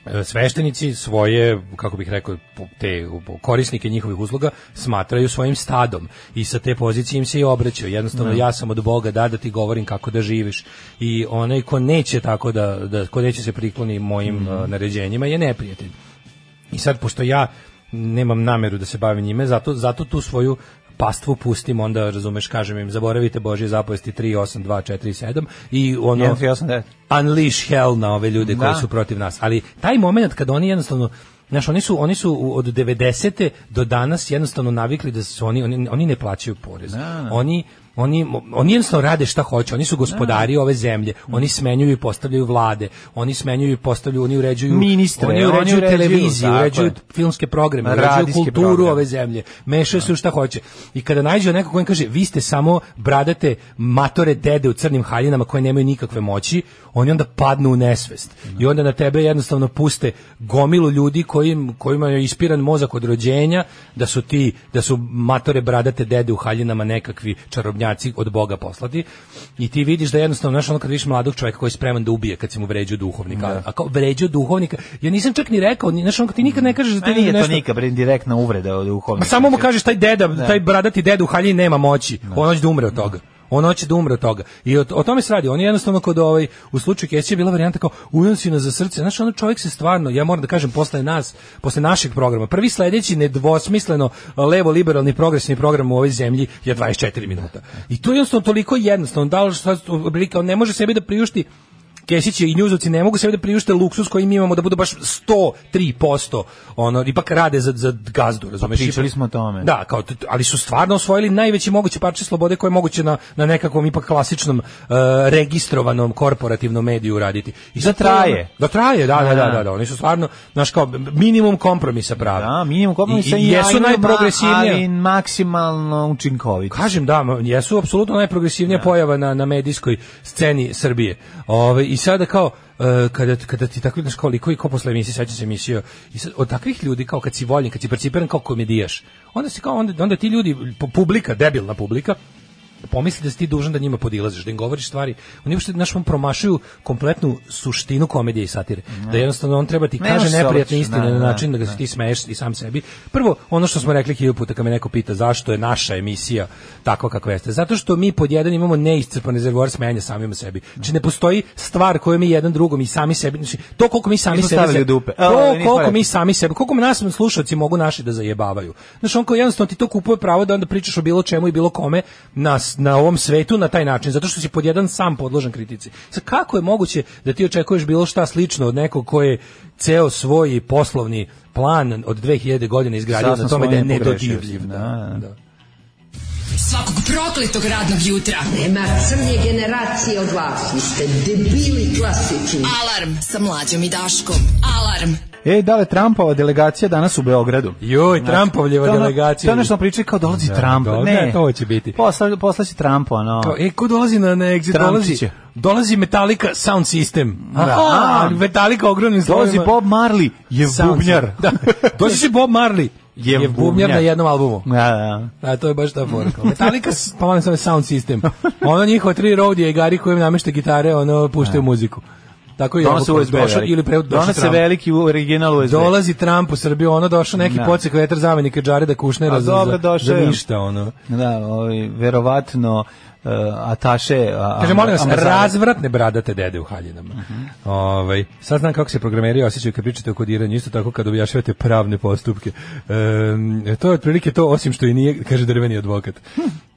e, sveštenici svoje, kako bih rekao, po- te u- korisnike njihovih usluga smatraju svojim stadom i sa te pozicije im se i obraćaju. Jednostavno, ja sam od Boga, da, da ti govorim kako da živiš. I onaj ko neće tako da, da ko neće se prikloni mojim e, naređenjima je neprijatelj. I sad, pošto ja nemam nameru da se bavim njime, zato, zato tu svoju pastvu pustim, onda, razumeš, kažem im, zaboravite Božje zapovesti 3, 8, 2, 4 i 7 i ono... 1, 3, 8, 9. unleash hell na ove ljude koji Da. su protiv nas. Ali taj moment kad oni jednostavno Znaš, oni su, oni su u- od 90. do danas jednostavno navikli da su oni, oni, oni ne plaćaju porez. Oni, oni, oni jednostavno rade šta hoće, oni su gospodari ove zemlje, oni smenjuju i postavljaju vlade, oni smenjuju i postavljaju, oni uređuju, Ministre, oni uređuju, oni uređuju, televiziju, tako uređuju je. filmske programe, uređuju Radijski kulturu program. ove zemlje, mešaju se u šta hoće. I kada nađe neko koji im kaže vi ste samo bradate matore dede u crnim haljinama koje nemaju nikakve moći, oni onda padnu u nesvest. I onda na tebe jednostavno puste gomilu ljudi kojim, kojima je ispiran mozak od rođenja da su ti, da su matore bradate dede u haljinama nekakvi čarobnjaci naprednjaci od Boga poslati i ti vidiš da jednostavno, znaš, ono kad vidiš mladog čovjeka koji je spreman da ubije kad se mu vređu duhovnika, a kao vređu duhovnika, ja nisam čak ni rekao, ni- znaš, ono kad ti nikad ne kažeš da Ma ti Pa nije to nešto... nikad, bre, direktna uvreda od duhovnika. Ma samo mu kažeš taj deda, taj bradati deda u haljini nema moći. On hoće da umre od toga. On hoće da umre od toga. I o, o tome se radi. On je jednostavno kod ovaj, u slučaju Kesića je bila varijanta kao ujon si nas za srce. Znaš, ono čovjek se stvarno, ja moram da kažem, posle nas, posle našeg programa, prvi sledeći nedvosmisleno levo-liberalni progresni program u ovoj zemlji je 24 minuta. I to je jednostavno toliko jednostavno. Da li sad, oblika, on ne može sebi da priušti Kesić i njuzovci ne mogu sebi da priušte luksus koji mi imamo da budu baš 103% ono, ipak rade za, za gazdu, razumeš? pričali smo o tome. Da, kao, t- ali su stvarno osvojili najveći mogući parče slobode koje je moguće na, na nekakvom ipak klasičnom e, registrovanom korporativnom mediju raditi. I sad to je ono- traje. Da traje, da, da, Da. da, da, da. Oni su stvarno, znaš, kao minimum kompromisa pravi. Da, minimum kompromisa I, i jesu ajnima, najprogresivnija. Ali maksimalno učinkoviti. Kažem da, ma- jesu apsolutno najprogresivnija pojava na, na medijskoj sceni Srbije. Ove, I sada kao, e, kada, kada ti tako ideš kao likovi, ko posle emisije, sećam se emisije, i sad, od takvih ljudi, kao kad si voljen, kad si percipiran kao komedijaš, onda, se kao, onda, onda ti ljudi, pu- publika, debilna publika, pomisli da si ti dužan da njima podilaziš, da im govoriš stvari. Oni uopšte, znaš, vam promašuju kompletnu suštinu komedije i satire. Da jednostavno on treba ti Ne kaže može se neprijatne otići, istine da, na da, način da ga da. se ti smeješ i sam sebi. Prvo, ono što smo rekli hiljadu puta kad me neko pita zašto je naša emisija takva kakva jeste. Zato što mi pod jedan imamo neiscrpan rezervoar smejanja samima sebi. Znači ne postoji stvar koju mi jedan drugom i sami sebi, znači to koliko mi sami Nismo sebi stavili u dupe. A, ovo to nismo koliko rekli. mi sami sebi, koliko me nas slušalci mogu naši da zajebavaju. Znači on kao jednostavno ti to kupuje pravo da onda pričaš o bilo čemu i bilo kome na, s- na ovom svetu na taj način, zato što si pod jedan sam podložen kritici. Sad kako je moguće da ti očekuješ bilo šta slično od nekog ko je ceo svoj poslovni plan od 2000 godina izgradio Sasvim na tome da je svojim pogrešio nedodirljiv. si, Da, da, da. Svakog prokletog radnog jutra. Nema crnje generacije od vas. Vi ste debili klasični. Alarm sa mlađom i Daškom. Alarm. E, da li Trumpova delegacija danas u Beogradu? Joj, Znači, Trumpovljeva to je ono- delegacija. To je ono što nam pričaju kao dolazi Da, Trump. da, ne, ne, to će biti. Posla, posla će Trump, ono. Kao, e, ko dolazi na, na exit? Dolazi, Trampčiće. dolazi Metallica Sound System. Da. Aha, ali Metallica ogromnim dolazi slovima. Bob Marley, je Sound bubnjar. system. Da. Doći će Bob Marley. Je, Je bubnjar bubnjar. na jednom albumu. Da, da. A to je baš ta fora. kao. Metallica, s- pa molim sam sound system. Ono njihova tri rodije i gari koji im namešta gitare, ono puštaju muziku. Tako i Donose ovo, USB. došao- veliki. ili pre, došao Donose Trump. veliki original USB. Dolazi Trump u Srbiju, ono došao neki Da. podsek vetar zamenika Jareda Kušnera A za, dobro, za, došao za je. ništa, ono. Da, ovaj, verovatno uh, ataše... a- Kaže, molim vas, Amazona. razvratne bradate dede u haljinama. Ovaj, sad znam kako se programeri osjećaju kad pričate o kodiranju, isto tako kad objašnjavate pravne postupke. Ehm, to je otprilike to, osim što i nije, kaže drveni advokat.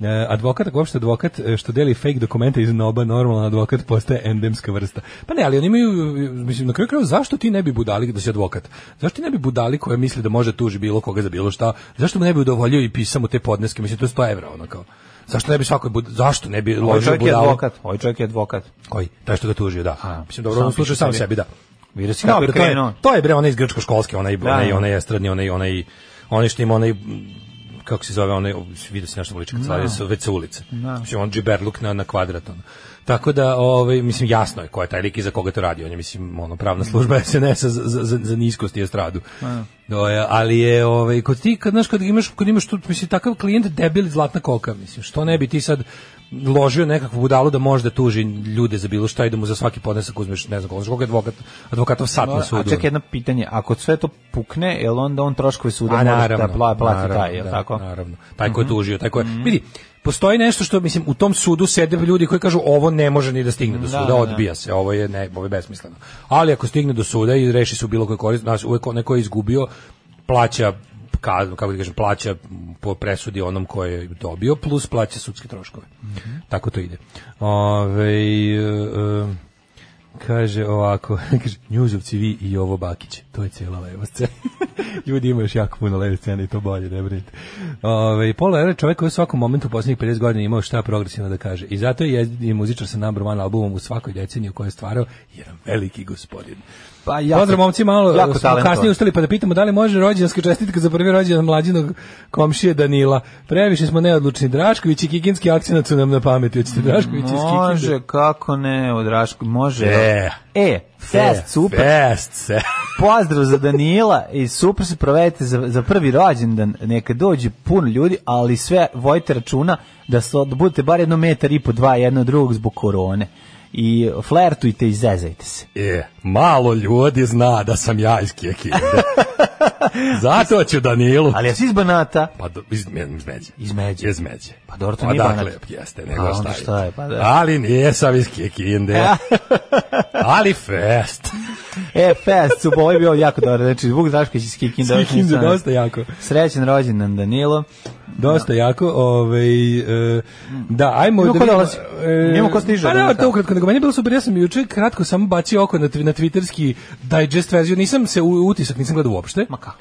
E, advokat, ako uopšte advokat, e, što deli fake dokumente iz noba, normalan advokat postaje endemska vrsta. Pa ne, ali oni imaju, e, mislim, na kraju krajeva, zašto ti ne bi budali da si advokat? Zašto ti ne bi budali koja misli da može tuži bilo koga za bilo šta? Zašto mu ne bi udovoljio i pisao mu te podneske? Mislim, to je 100 evra, ono kao. Zašto ne bi svakoj bud... zašto ne bi Ovaj ložio čovjek je budalu? advokat. Ovaj čovjek je advokat. Koji? Taj što ga tužio, da. A, Mislim, dobro, on sam slušao piše sam sebi. sebi, da. Vidio si kako Dobro, je to je, krenuo. to je bre onaj iz grčko-školske, onaj, Da. onaj, onaj estradni, onaj, onaj, onaj što ima onaj m, kako se zove, onaj, vidio si nešto voliče kad slavio sa već sa ulice. Mislim, on džiberluk na, na kvadrat, ono. Tako da, ovaj, mislim, jasno je ko je taj lik i za koga to radi. On je, mislim, ono, pravna služba SNS-a za, za, za, za niskost i estradu. Do, je, ali je, ovaj, kod ti, kad, znaš, kad imaš, kad imaš tu, mislim, takav klijent debil i zlatna koka, mislim, što ne bi ti sad ložio nekakvu budalu da može da tuži ljude za bilo šta i da mu za svaki podnesak uzmeš, ne znam, koliko koliko je advokat, advokatov sat na sudu. ono. A ček jedno pitanje, ako sve to pukne, je li onda on troškove suda A može naravno, da pla, plati naravno, taj, je li da, tako? Mhm. Naravno. Taj ko je tužio, taj ko je. Vidi, postoji nešto što mislim u tom sudu sede ljudi koji kažu ovo ne može ni da stigne do Da, suda, da, da. odbija se, ovo je ne, ovo je besmisleno. Ali ako stigne do suda i reši se u bilo kojoj korist, nas uvek onaj ko je izgubio plaća kaznu, kako da kažem, plaća po presudi onom ko je dobio, plus plaća sudske troškove. Mhm. Tako to ide. Ove, e, Kaže ovako, kaže, njuzovci vi i ovo Bakić, to je cijela leva scena. Ljudi ima još jako puno leve scene i to bolje, ne brinite. Ove, Paul Weller je čovjek koji je u svakom momentu u posljednjih 50 godina imao šta progresivno da kaže. I zato je jedini muzičar sa number one albumom u svakoj deceniji u kojoj je stvarao jedan veliki gospodin. Pa Jako, Pozdrav momci, malo jako smo talentovan. kasnije ustali pa da pitamo da li može rođendanska čestitka za prvi rođendan mlađinog komšije Danila. Previše smo neodlučni Drašković i kikinski akcenat su nam na pameti. Hoćete Drašković iz Kikinde? Može, kako ne, od Raško, može. E. E, Fest, super. Fest, se. Pozdrav za Danila i super se provedete za, za prvi rođendan. Neka dođe puno ljudi, ali sve vojte računa da, so, da budete bar jedno metar i po dva jedno od drugog zbog korone. I flertujte i zezajte se. E, malo ljudi zna da sam ja iz Kikinde. Zato ću Danilu. Ali jesi iz Banata? Pa do, iz, iz Međe. Iz Međe. Iz Međe. Pa dobro, to pa nije dakle, Banat. jeste, A, nego onda šta, šta je, pa da. Ali nisam iz Kikinde. ali fest. E, fest, super, ovo je bio jako dobro. Znači, Vuk Drašković iz Kikinda. Iz Kikinde, dosta jako. Srećen rođendan Danilo. Dosta jako, ovaj e, da, ajmo Ima da ko vidimo, dolazi? e, Ima ko stiže Pa do da, nas, da. to ukratko, nego meni je bilo super, ja sam juče kratko samo bacio oko na, twi- na twitterski digest verziju, nisam se u utisak, nisam gledao uopšte. Ma kako?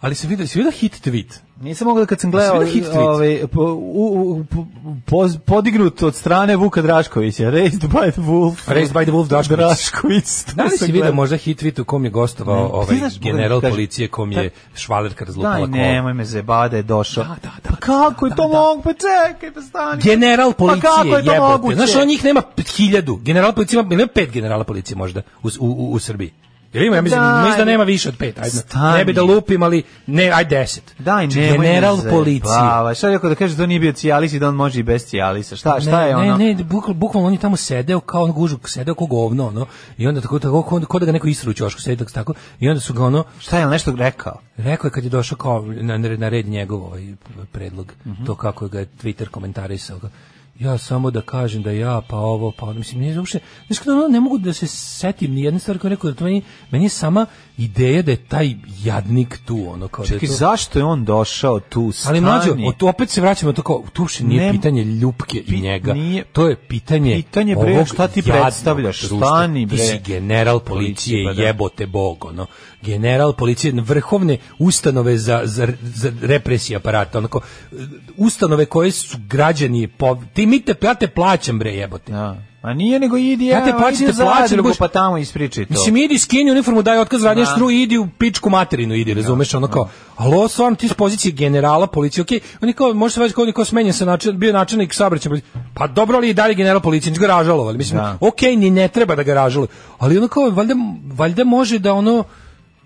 Ali se vidio, se vidio hit tweet. Nisam mogao da kad sam gledao Jesi vidio hit tweet? ovaj, po, u, u, po, poz- podignut od strane Vuka Draškovića. Raised by the Wolf. Raised by the Wolf Drašković. Drašković. to Da li sam si vidio gledao. možda hit tweet u kom je gostovao Ti ovaj znaš, Boga mi general kaže, policije kom je švalerka razlupala Daj, kolo? nemoj me zebada je došao. Da, da, da, pa kako je to mogu? Pa čekaj, pa stani. General policije, pa kako je to jebote. moguće? Znaš, on njih nema p- hiljadu. General policije ima, ima pet generala policije možda u, u, u, u Srbiji. Jel ima, ja mislim, Daj. mislim da nema više od pet. Ajde, Stani. ne bi da lupim, ali ne, aj deset. Daj, Znači, nemoj General me policije. zajebava. Šta je rekao da kaže da to nije bio cijalis i da on može i bez cijalisa? Šta, šta je ne, ono? Ne, ne, bukval, bukvalno on je tamo sedeo kao on gužu, sedeo kao govno, ono, i onda tako, tako, ko, ko da ga neko isru u ćošku, sedeo tako, i onda su ga, ono, Šta je on nešto rekao? Rekao je kad je došao kao na, na red njegov ovaj predlog, to kako ga je Twitter komentarisao ga. Ja samo da kažem da ja, pa ovo, pa ono, mislim, nije uopšte, znaš kada ono, ne mogu da se setim ni jedne stvari koja je rekao, da to meni, meni je sama ideja da je taj jadnik tu, ono, kao da Čekaj, je to... zašto je on došao tu? Stani. Ali mlađo, o to opet se vraćamo na to kao, to uopšte nije Ne- pitanje ljupke i pi- njega, nije- to je pitanje, Pitanje, bre, ovog šta ti jadnog predstavljaš, društva. stani, Ti bre. si general policije, Policije, pa da. jebote bog, ono, general policije, vrhovne ustanove za, za, za represije aparata, onako, e, ustanove koje su građani, po, ti mi te, ja te plaćam, bre, jebote. Da. A nije nego idi, ja, Ja te plaćam, idi te u plaćam, zadrugu, budeš- pa tamo ispričaj to. Mislim, idi, skini uniformu, daj otkaz, radnje Da. štru i idi u pičku materinu, idi, razumeš, ono kao, ali ovo stvarno ti s pozicije generala policije, okej, on je kao, može se vaći kao on je kao smenjen sa način, bio je načelnik saobraćaja policije, pa dobro li je i dalje general policije, nisu ga ražalovali, mislim, Da. okej, ni ne treba da ga ražaluju, ali ono kao, valjda, valjda može da ono,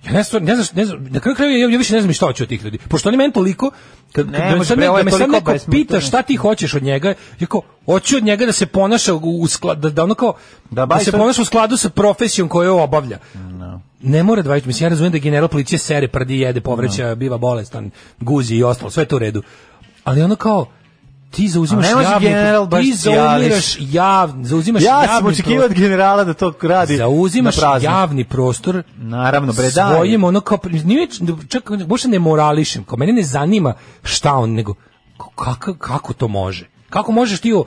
Ja ne, znam, ne, znam, ne znam, na kraju krajeva ja, ja više ne znam ni šta hoću od tih ljudi. Pošto oni meni toliko, kad, Ne kad me može, sad, bre, ne- ovo je da me sad toliko neko besmisleno. pita šta ti hoćeš od njega, ja kao, hoću od njega da se ponaša u, u sklad, da, da ono kao, Da da, bavi se svoj- ponaša u skladu sa profesijom koju obavlja. Ne mora da važi, mislim, ja razumijem da general policije sere, prdi, jede, povreća, biva bolestan, guzi i ostalo, sve je to u redu. Ali ono kao, ti zauzimaš A ne može javni, general baš ti zauziraš cijalis. jav, zauzimaš Ja sam javni očekivao od prostor, generala da to radi zauzimaš na prazno. javni prostor Naravno, bre, daj. svojim ono kao, nije, čak, možda ne morališem, kao mene ne zanima šta on, nego kako, kako to može? Kako možeš ti, o-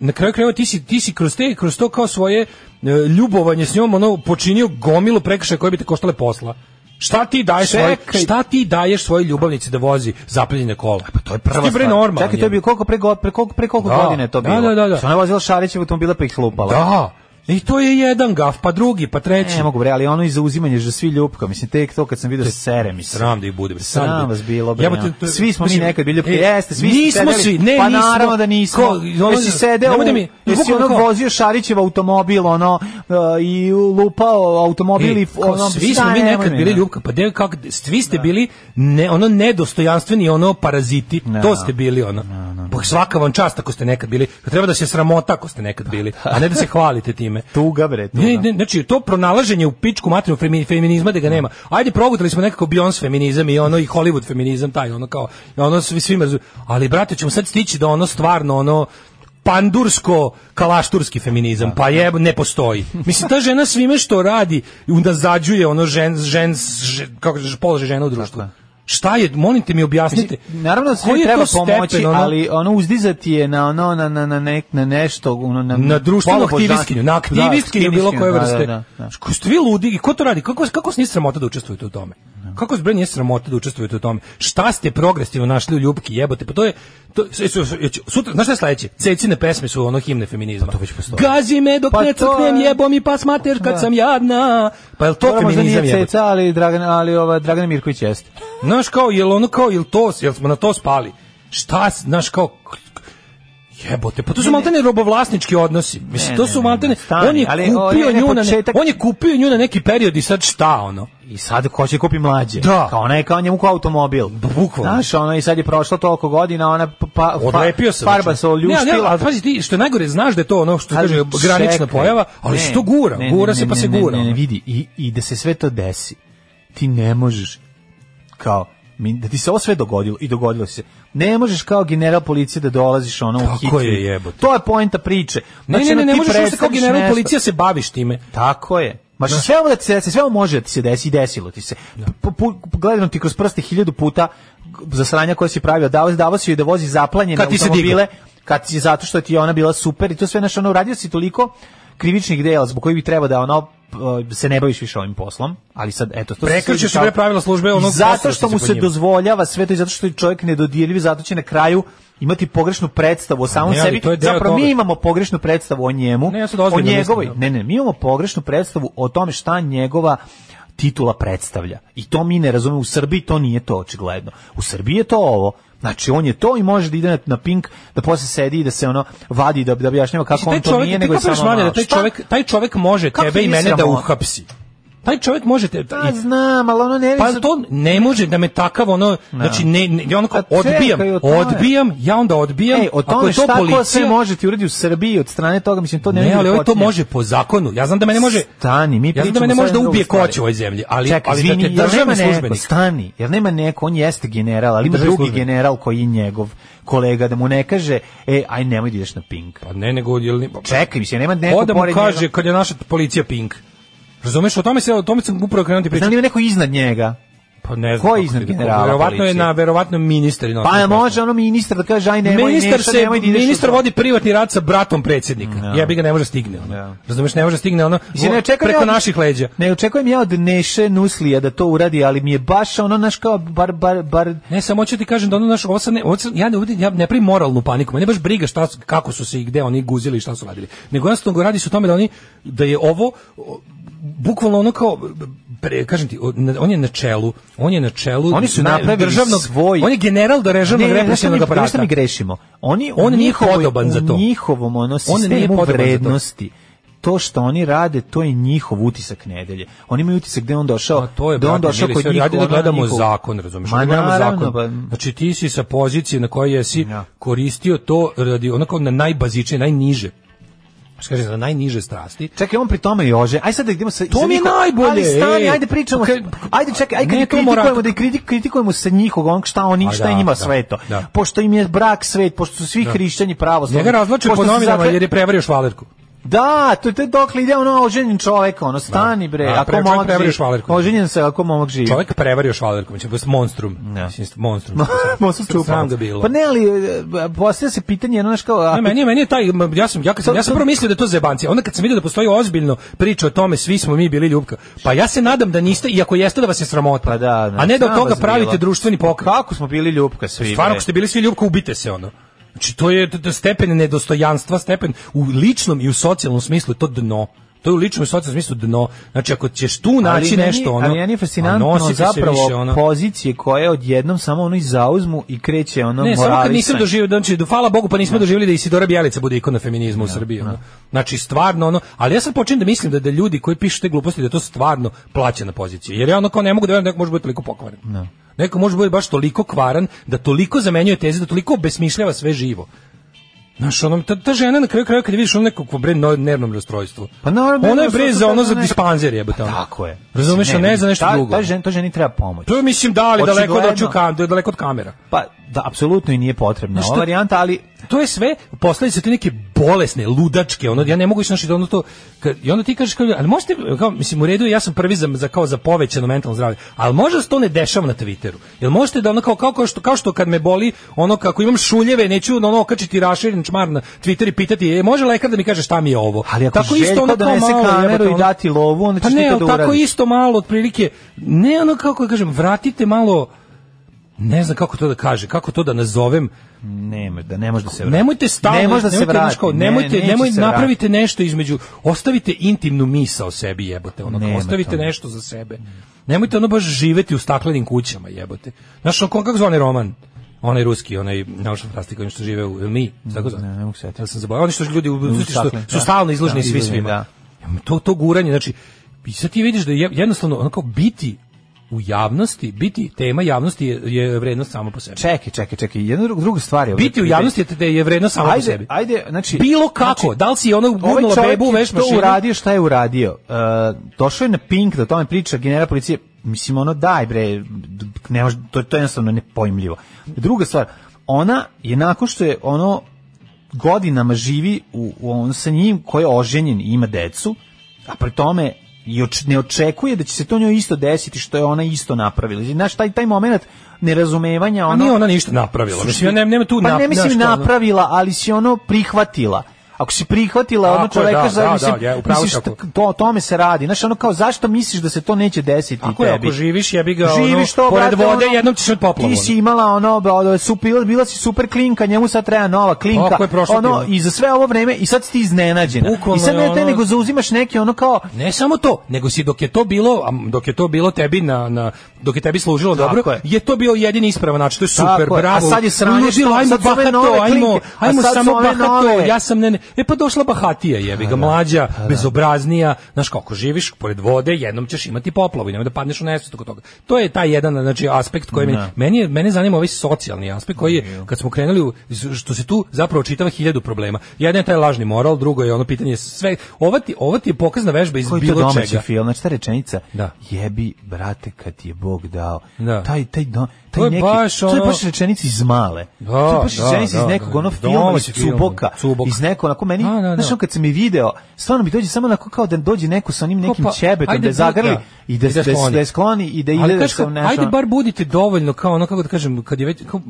na kraju krajeva ti si, ti si kroz, te, kroz to kao svoje e, ljubovanje s njom ono, počinio gomilu prekršaja koje bi te koštale posla. Šta ti daješ svoj, Čekaj. E, šta ti daješ svojoj ljubavnici da vozi zapljene kola? Pa to je Prva bre stvar. normalno. Čekaj, to je bio koliko pre, go- pre, koliko, pre koliko Da. godine je to Da, bilo? da, da, da. Što ona je vozila Šarićev automobila pa ih lupala. Da. I to je jedan gaf, pa drugi, pa treći. Ne mogu bre, ali ono i zauzimanje za svi ljubka, mislim tek to kad sam video sere mi se. Sram da ih bude. bre, sram Sram da ih- vas bilo, bre, Jebote, ono. to- Svi smo mi mislim, nekad e, bili ljubki. Jeste, svi ste nismo sedeli. svi, ne, pa nismo. naravno da nismo. Ko- ono- jesi sedeo, nemoj da u- mi- jesi bukvalno ono kao- vozio Šarićev automobil, ono, e, i lupao automobil E, i kao ono, svi šta, smo mi nemoj nekad mi, bili da. ljubka, pa de, kako, svi ste bili ne, ono nedostojanstveni, ono paraziti, Ne, to ne. ste bili ono. Pa svaka vam čast ako ste nekad bili, Pa treba da se sramota ako ste nekad bili, a ne da se hvalite time. Tuga bre, tuga. Ne, ne, znači to pronalaženje u pičku materinu femi- feminizma da ga nema. Ajde progutali smo nekako Beyoncé feminizam i ono i Hollywood feminizam taj ono kao ono svi svima razum- ali brate ćemo sad stići da ono stvarno ono pandursko kalašturski feminizam pa je ne postoji mislim ta žena svime što radi unazađuje ono žen žen že- kako kažeš, položaj žena u društvu Tako šta je molim te mi objasnite Naravno da se koji je treba to stepen, pomoći, ono? ali ono uzdizati je na ono na na na nek na nešto ono, na na društvenu polubožanstvo. aktivistkinju, na aktivistkinju Da, bilo koje da, vrste. Da, da, da. Ko ste vi ludi i ko to radi? Kako kako se nije sramota da učestvujete u tome? Kako se bre nije sramota da učestvujete u tome? Šta ste progresivno našli u ljubki jebote? Pa to je to su- su- su- sutra znaš šta je sledeće? Cecine pesme su ono himne feminizma. Pa to već postoji. Gazi me dok Pa ne to crknem je- Pa jebo mi pas mater kad Da. sam jadna. Pa jel to Dobro, možda feminizam nije je? Ceca, ali Dragan, ali ova Dragana Mirković jeste. Znaš kao jel ono kao jel to jel smo na to spali? Šta s- znaš kao Jebote, pa to su maltene robovlasnički odnosi. Mislim, Ne, to ne, su ne, maltene, ne, stani, on je ali ovo kupio je nju na, ne- početak- on je kupio nju na neki period i sad šta ono? I sad ko će kupi mlađe? Da. Kao ona je kao njemu kao automobil. bukvalno. Znaš, ona i sad je prošlo toliko godina, ona pa, pa, Odlepio se. farba se Ne, ne, oljuštila. ali pazi ti, što je najgore, znaš da je to ono što Ali kaže granična čekaj. pojava, ali Ne, se to gura, ne, ne, gura ne, se pa ne, se ne, gura. Ne, ne, ono. vidi, i, i da se sve to desi, ti ne možeš kao mi, da ti se ovo sve dogodilo i dogodilo se. Ne možeš kao general policije da dolaziš ono u Tako hitri. je, jebote. To je poenta priče. Ne, ne, ono, ne, ne možeš ti uopšte kao predstaviš general nešto. policija se baviš time. Tako je. Ma sve ovo da ti se desi, sve ovo može da ti se desi i desilo ti se. Po- po- Gledano ti kroz prste hiljadu puta za sranja koje si pravio, davo, davo si joj da vozi zaplanjene Kad ti se automobile, kad si zato što ti je ona bila super i to sve, znaš, ono, uradio si toliko krivičnih dela zbog kojih bi trebao da ono p- se ne baviš više ovim poslom, ali sad eto to Prekršio si, sve bre, pravila službe, ono, zato posao što si mu po se njima. dozvoljava sve to i zato što je čovjek nedodirljiv, zato će na kraju imati pogrešnu predstavu o samom ne, ali sebi. to je deo Zapravo mi toga. imamo pogrešnu predstavu o njemu, Ne, ja sad o ozbiljno njegovoj, mislim, da. ne, ne, mi imamo pogrešnu predstavu o tome šta njegova titula predstavlja. I to mi ne razumemo. U Srbiji to nije to očigledno. U Srbiji je to ovo. Znači, on je to i može da ide na, na pink, da posle sedi i da se ono vadi, da, da objašnjava kako Mislim, on to Znači, nije, ti nego je kapiraš, samo... Vanja, ono, da taj šta? čovjek, taj čovjek može Kako Pa, tebe i ti mene da sramota? uhapsi. Taj čovjek može te Da, i- znam, ali ono ne... Pa to ne može da me takav ono, znači ne, ne ja ono kao Pa čekaj, odbijam, o tome. odbijam, ja onda odbijam. Ej, o Ako tome je to šta ko sve policija, može ti uradi u Srbiji od strane toga, mislim, to ne... Ne, vidim ali da ovo to počinje. može po zakonu. Ja znam da mene može... Stani, mi ja znam da mene pričamo može da sad o ubije drugoj koć u ovoj zemlji, ali, Čekaj, ali da te izvini, jel nema državni neko? službenik... Stani, jer nema neko, on jeste general, ali ima Državni drugi službenik. general koji je njegov kolega, da mu ne kaže, e, aj nemoj da ideš na pink. Pa ne, nego... Jel, ne- Čekaj, mislim, nema neko Ko da mu pored kaže njega. kad je naša policija pink? Razumeš, o tome se o tome sam upravo krenuti Znam pričati. li ima neko iznad njega? Pa ne znam. Ko je kako ti iznad da- generala Verovatno je policije? na verovatno ministar. i nosi Pa poslove. može ono ministar da kaže, aj nemoj, ministar nešto, se nemoj da ideš u ministar to. vodi privatni rat sa bratom predsjednika. Jebi ga ne može stigne ono. Da. Razumeš, ne može stigne ono. Mislim, ne očekujem preko ja od- naših leđa. Ne očekujem ja od Neše Nuslija da to uradi, ali mi je baš ono, naš kao, bar, bar, bar, Ne, samo hoću ti kažem da ono naš ovo sad ne, ovo sad- ja ne vidim, ja ne primim moralnu paniku. Mene baš briga šta su- kako su se i gde oni guzili i šta su radili. Nego jednostavno radi se o tome da oni da je ovo o, bukvalno ono kao pre, kažem ti, o, na- on je na čelu, on je na čelu Oni su naj- napravili svoj- On je general da režavnog Ne, znaš šta mi- represivnog znaš šta aparata. mi grešimo? Oni, u On nije njihovoj- podoban za to. U njihovom ono nije sistemu podoban za to. vrednosti to što oni rade, to je njihov utisak nedelje. Oni imaju utisak da je on došao, Pa to je da je on brate, došao mili, kod sad njih. ajde da ono, gledamo njihov- zakon, razumeš? Ma da gledamo naravno, zakon. pa- Znači ti si sa pozicije na kojoj jesi Ja. koristio to radi onako na najbazičnije, najniže. Što kaže, na najniže strasti. Čekaj, on pri tome jože. Aj sad da idemo sa To sa mi je njiho- najbolje, Ali stani, ej. ajde pričamo. Okej, Ajde čekaj, ajde kad ne, je to mora- kritikujemo da je kriti- kritikujemo sa njihov onog šta oni A šta je da, njima da, sveto. da. Pošto im je brak svet, pošto su svi hrišćani pravoslavni. Njega razvlače pošto po su novinama zakle- jer je prevario švalerku. Da, to to je dokle ide ono oženjen čovjek, ono stani bre, Da, ako pre- čovjek momak prevario živi. švalerku. Oženjen se ako momak živi. Čovjek prevario švalerku, mislim, baš monstrum. Da. Mislim, monstrum. Ma, sam čupao. Sram ga bilo. Pa ne, ali e, postavlja se pitanje, jedno znaš kao... Ne, ako- meni, je- meni je taj, m, ja sam, ja, kad sam, To- ja sam to- prvo mislio da je to zebancija. Onda kad sam vidio da postoji ozbiljno priča o tome, svi smo mi bili ljubka. Pa ja se nadam da niste, iako jeste da vas je sramota. Pa da, da. Pa A ne da od Sram toga vas pravite bilo. društveni pokret. Kako smo bili ljubka svi, Stvarno, bre. ako ste bili svi ljubka, ubite se ono. Znači, to je t- t- stepen nedostojanstva, stepen u ličnom i u socijalnom smislu, je to dno. To je u ličnom i socijalnom smislu dno. Znači, ako ćeš tu Ali naći meni- nešto, ono, ali meni je a fascinantno nosite se zapravo više, ono. pozicije koje odjednom samo ono i zauzmu i kreće ono Ne, samo kad nisam moralisanje. doživio, znači, do, hvala Bogu, pa nismo doživjeli da Isidora Bjelica bude ikona feminizma u Srbiji. ono. Znači, stvarno, ono, ali ja sad počinjem da mislim da, da ljudi koji pišu te gluposti, da je to stvarno plaćena pozicija. Jer ja ono kao ne mogu da verujem da neko može biti toliko pokvaren. Neko može biti baš toliko kvaran, da toliko zamenjuje teze, da toliko obesmišljava sve živo. Znaš, ono, ta, ta žena na kraju kraja kad je vidiš ono nekako bre no, nervnom rastrojstvu. Pa naravno, Ona je nervno bre za rastrojstvo, ono to za ne- dispanzer jebote. ono. Tako je. Razumeš, a ne za nešto ta- drugo. Ta ženi, to ženi treba pomoć. To je, mislim da, ali daleko, od očiju Očigledno. kam- daleko od kamera. Pa, da, apsolutno i nije potrebna Znaš ova šta- varijanta, ali to je sve posledice te neke bolesne, ludačke, ono ja ne mogu znači da ono to kad, i onda ti kažeš kao, ali možete kao mislim u redu je, ja sam prvi za, za kao za povećano mentalno zdravlje, ali možda se to ne dešava na Twitteru. Jel možete da ono kao kao, kao što kao što kad me boli, ono kako imam šuljeve, neću ono okačiti raširen čmar na Twitter i pitati, e, može lekar da mi kaže šta mi je ovo? Ali ako Željko ono kao donese malo, kameru jebote, i dati lovu, onda pa ćeš ne, ti to ali da tako uradiš. isto malo otprilike, ne ono kako da kažem, vratite malo ne znam kako to da kaže, kako to da nazovem, ne, da ne može da se vrati. Nemojte stalno, ne može da se nemojte, vrati. znaš kao, Ne, nemojte, neće nemoj, se napravite nešto između, ostavite intimnu misao sebi jebote, ono, kao, Nema ostavite toga. nešto za sebe. Nemojte ono baš živeti u staklenim kućama jebote. Znaš, ono, kako zvani roman? onaj ruski, onaj naučna fantastika, oni što žive u, ili mi, se tako zove? Ne, ne mogu se setiti. Jel sam zaboravio, oni što ljudi u, U što, stakle, su da. stalno izloženi Da, svi izloženi, svima. da. To, to guranje, znači, i sad ti vidiš da je jednostavno, onako, biti u javnosti, biti tema javnosti je, je vrednost samo po sebi. Čekaj, čekaj, čekaj. Jedna dru- druga stvar je... Biti u javnosti je, da je vredno samo po Ajde, sebi. ajde, znači- Bilo kako, znači, da li si ono Ovaj gurnula čovjek bebu u je veš to mašinu? uradio, šta je uradio? Uh, došao je na Pink da o tome priča general policije. Mislim, ono, daj bre, d- ne može, to, to je jednostavno nepojmljivo. Druga stvar, ona je nakon što je ono godinama živi u, u on sa njim koji je oženjen i ima decu, a pri tome i oč- ne očekuje da će se to njoj isto desiti što je ona isto napravila. Znaš, taj, taj moment nerazumevanja, A ono... nije ona ništa napravila. Mislim, ja nema, nema tu Pa nap- ne mislim znaš šta, ono- napravila, ali si ono prihvatila. Ako si prihvatila ono Tako je, čoveka, da, za, da, mislim, da, je, upravo misliš, tako. to, o tome se radi. Znaš, ono kao, zašto misliš da se to neće desiti ono. Ako je, tebi? ako živiš, ja bi ga Živiš ono, to, pored brate, vode, ono, jednom ćeš od poplava. Ti si imala ono, super, bila si super klinka, njemu sad treba nova klinka. Tako je, prošlo ono, ti je. i za sve ovo vreme, i sad si ti iznenađena. Bukvalno I sad je ne te, ono- nego zauzimaš neke ono kao, Ne samo to, nego si dok je to bilo, a dok je to bilo tebi na, na dok je tebi služilo Tako dobro, je. je. to bio jedini ispravan način, to je Tako super, je. bravo. A sad je sranje Ljudi, što- ajmo sad su ove bahato, nove ajmo, klinke, a ajmo sad su samo ove bahato, nove. ja sam ne, ne, e pa došla bahatija, jebi ga, mlađa, bezobraznija, znaš kako živiš, pored vode, jednom ćeš imati poplavu i nemoj da padneš u nesvest oko toga. To je taj jedan, znači, aspekt koji meni, meni, je- mene zanima ovaj socijalni aspekt koji je, kad smo krenuli, u- što se tu zapravo čitava hiljadu problema. Jedan je taj lažni moral, drugo je ono pitanje sve, ova ti, ova ti je pokazna vežba iz koji to bilo domaći čega. film, znači ta rečenica, Da. jebi, brate, kad ti je Bog dao, Da. taj, taj, do, taj To je neki, baš to je ono- baš rečenica iz male, Da, to je baš da, rečenica da, iz nekog da. ono filma, iz Domaći film, Cuboka, Cubok. iz nekog, onako meni, Da, da, da. znaš, ono kad sam je video, stvarno mi dođe samo onako kao da dođe neko sa onim Ko nekim pa, ćebetom, ajde, da je zagrli da. i da, I da, da da, skloni. je skloni i da Ali ide da ono- znaš se kako, nešto, ajde bar budite dovoljno kao ono kako da kažem kad je već kao,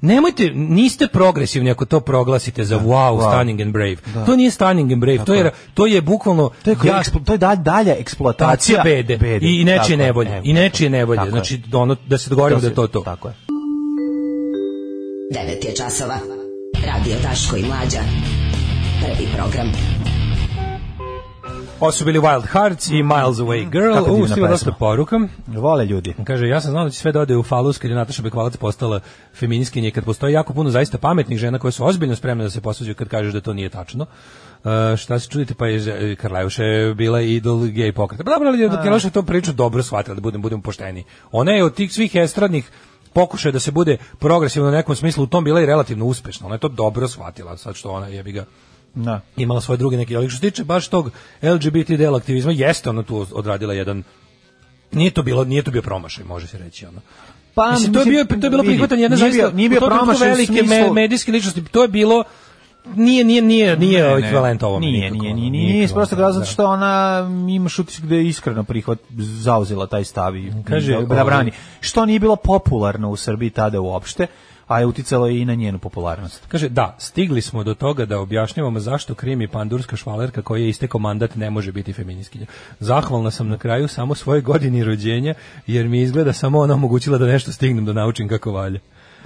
nemojte niste progresivni ako to proglasite za wow, wow. stunning and brave. To nije stunning and brave, to je to je bukvalno to je, ja- ja, to je dalj- dalja eksploatacija eksploatacija bede, i Tako je, nečije nevolje. evo, I nečije nevolje. tako je. Znači ono da se dogovorimo da je to se- to. Tako je. 9 je časova. Radio Daško i Mlađa. Prvi program. Ovo su bili Wild Hearts i Miles Away Mhm. Kako Girl. U, divna stigla dosta pesma. poruka. Vole ljudi. Kaže, ja sam znao da će sve da ode u falus kad je Nataša Bekvalac postala feminiskinje, kad postoji jako puno zaista pametnih žena koje su ozbiljno spremne da se posuđuju kad kažeš da to nije tačno. E, šta se čudite, pa je Ž- Karlajuša je bila idol gej pokreta. Pa dobro, ali je Karlajuša to priču dobro shvatila, da budem, budemo pošteni. Ona je od tih svih estradnih pokušaja da se bude progresivno u nekom smislu u tom bila i relativno uspešna. Ona je to dobro shvatila, sad što ona jebi ga Da. imala svoje druge neke, ali što se tiče baš tog LGBT del aktivizma, jeste ona tu odradila jedan Nije to bilo, nije to bio promašaj, može se reći ono. Pa, mislim, to je bio to je bilo vidi, prihvatanje jedne nije zaista bio- nije bio u tom trenutku promašaj u velike smislu- medijske ličnosti, to je bilo nije nije nije nije Ne, ne. ekvivalent ovom. Nije, nikako, nije, ono, nije, nije, nije, iz ekvivalent, prostog razloga da. što ona ima šutić gde je iskreno prihvat zauzela taj stav i Kaže, da- da ovaj- brani. Što nije bilo popularno u Srbiji tada uopšte, a je uticalo i na njenu popularnost. Kaže, da, stigli smo do toga da objašnjavamo zašto Krim i pandurska švalerka koji je istekao mandat ne može biti feminiskinja. Zahvalna sam na kraju samo svoje godini rođenja, jer mi izgleda samo ona omogućila da nešto stignem da naučim kako valje.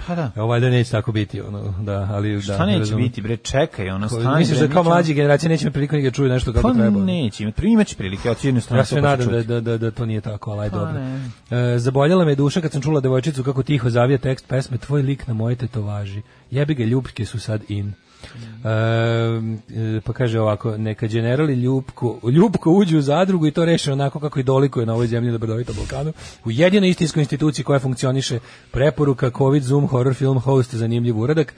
Pa da. Ovaj da neće tako biti, ono, da, ali da. Šta neće razumem. biti, bre, čekaj, ono, Ko- stani. Misliš bre, da kao mi ćemo- mlađe generacije neće priliku ni da čuju nešto kako Pa treba? neće, imat- imaće prilike, ja ću jednu stranu Ja se pa ću nadam da, čuti. da, da, da to nije tako, ali ajde, Pa dobro. E, zaboljela me duša kad sam čula devojčicu kako tiho zavija tekst pesme Tvoj lik na moje tetovaži. Jebi ga, ljubke su sad in. Mm. E, e, pa kaže ovako, neka generali ljubko, ljubko uđu u zadrugu i to reše onako kako i dolikuje na ovoj zemlji na Brdovitom Balkanu. U jedinoj istinskoj instituciji koja funkcioniše preporuka COVID, Zoom, horror film, host, zanimljiv uradak.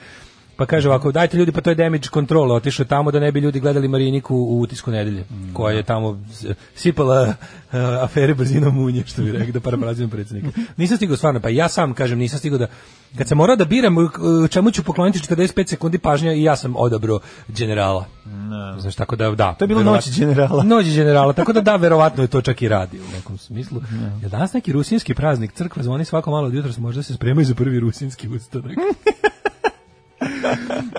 Pa kaže ovako, dajte ljudi, pa to je damage control, otišao tamo da ne bi ljudi gledali Mariniku u utisku nedelje, koja je tamo s- sipala e, afere brzino munje, što bi rekao, da paraprazim predsjednika. Nisam stigao stvarno, pa ja sam, kažem, nisam stigao da, kad sam morao da biram e, čemu ću pokloniti 45 sekundi pažnja i ja sam odabrao generala. Znaš, tako da, da. To je bilo verovatno- Noć generala. Noć generala, tako da da, verovatno je to čak i radi u nekom smislu. Ja danas neki rusinski praznik, crkva zvoni svako malo od jutra, možda se spremaju za prvi rusinski ustanak.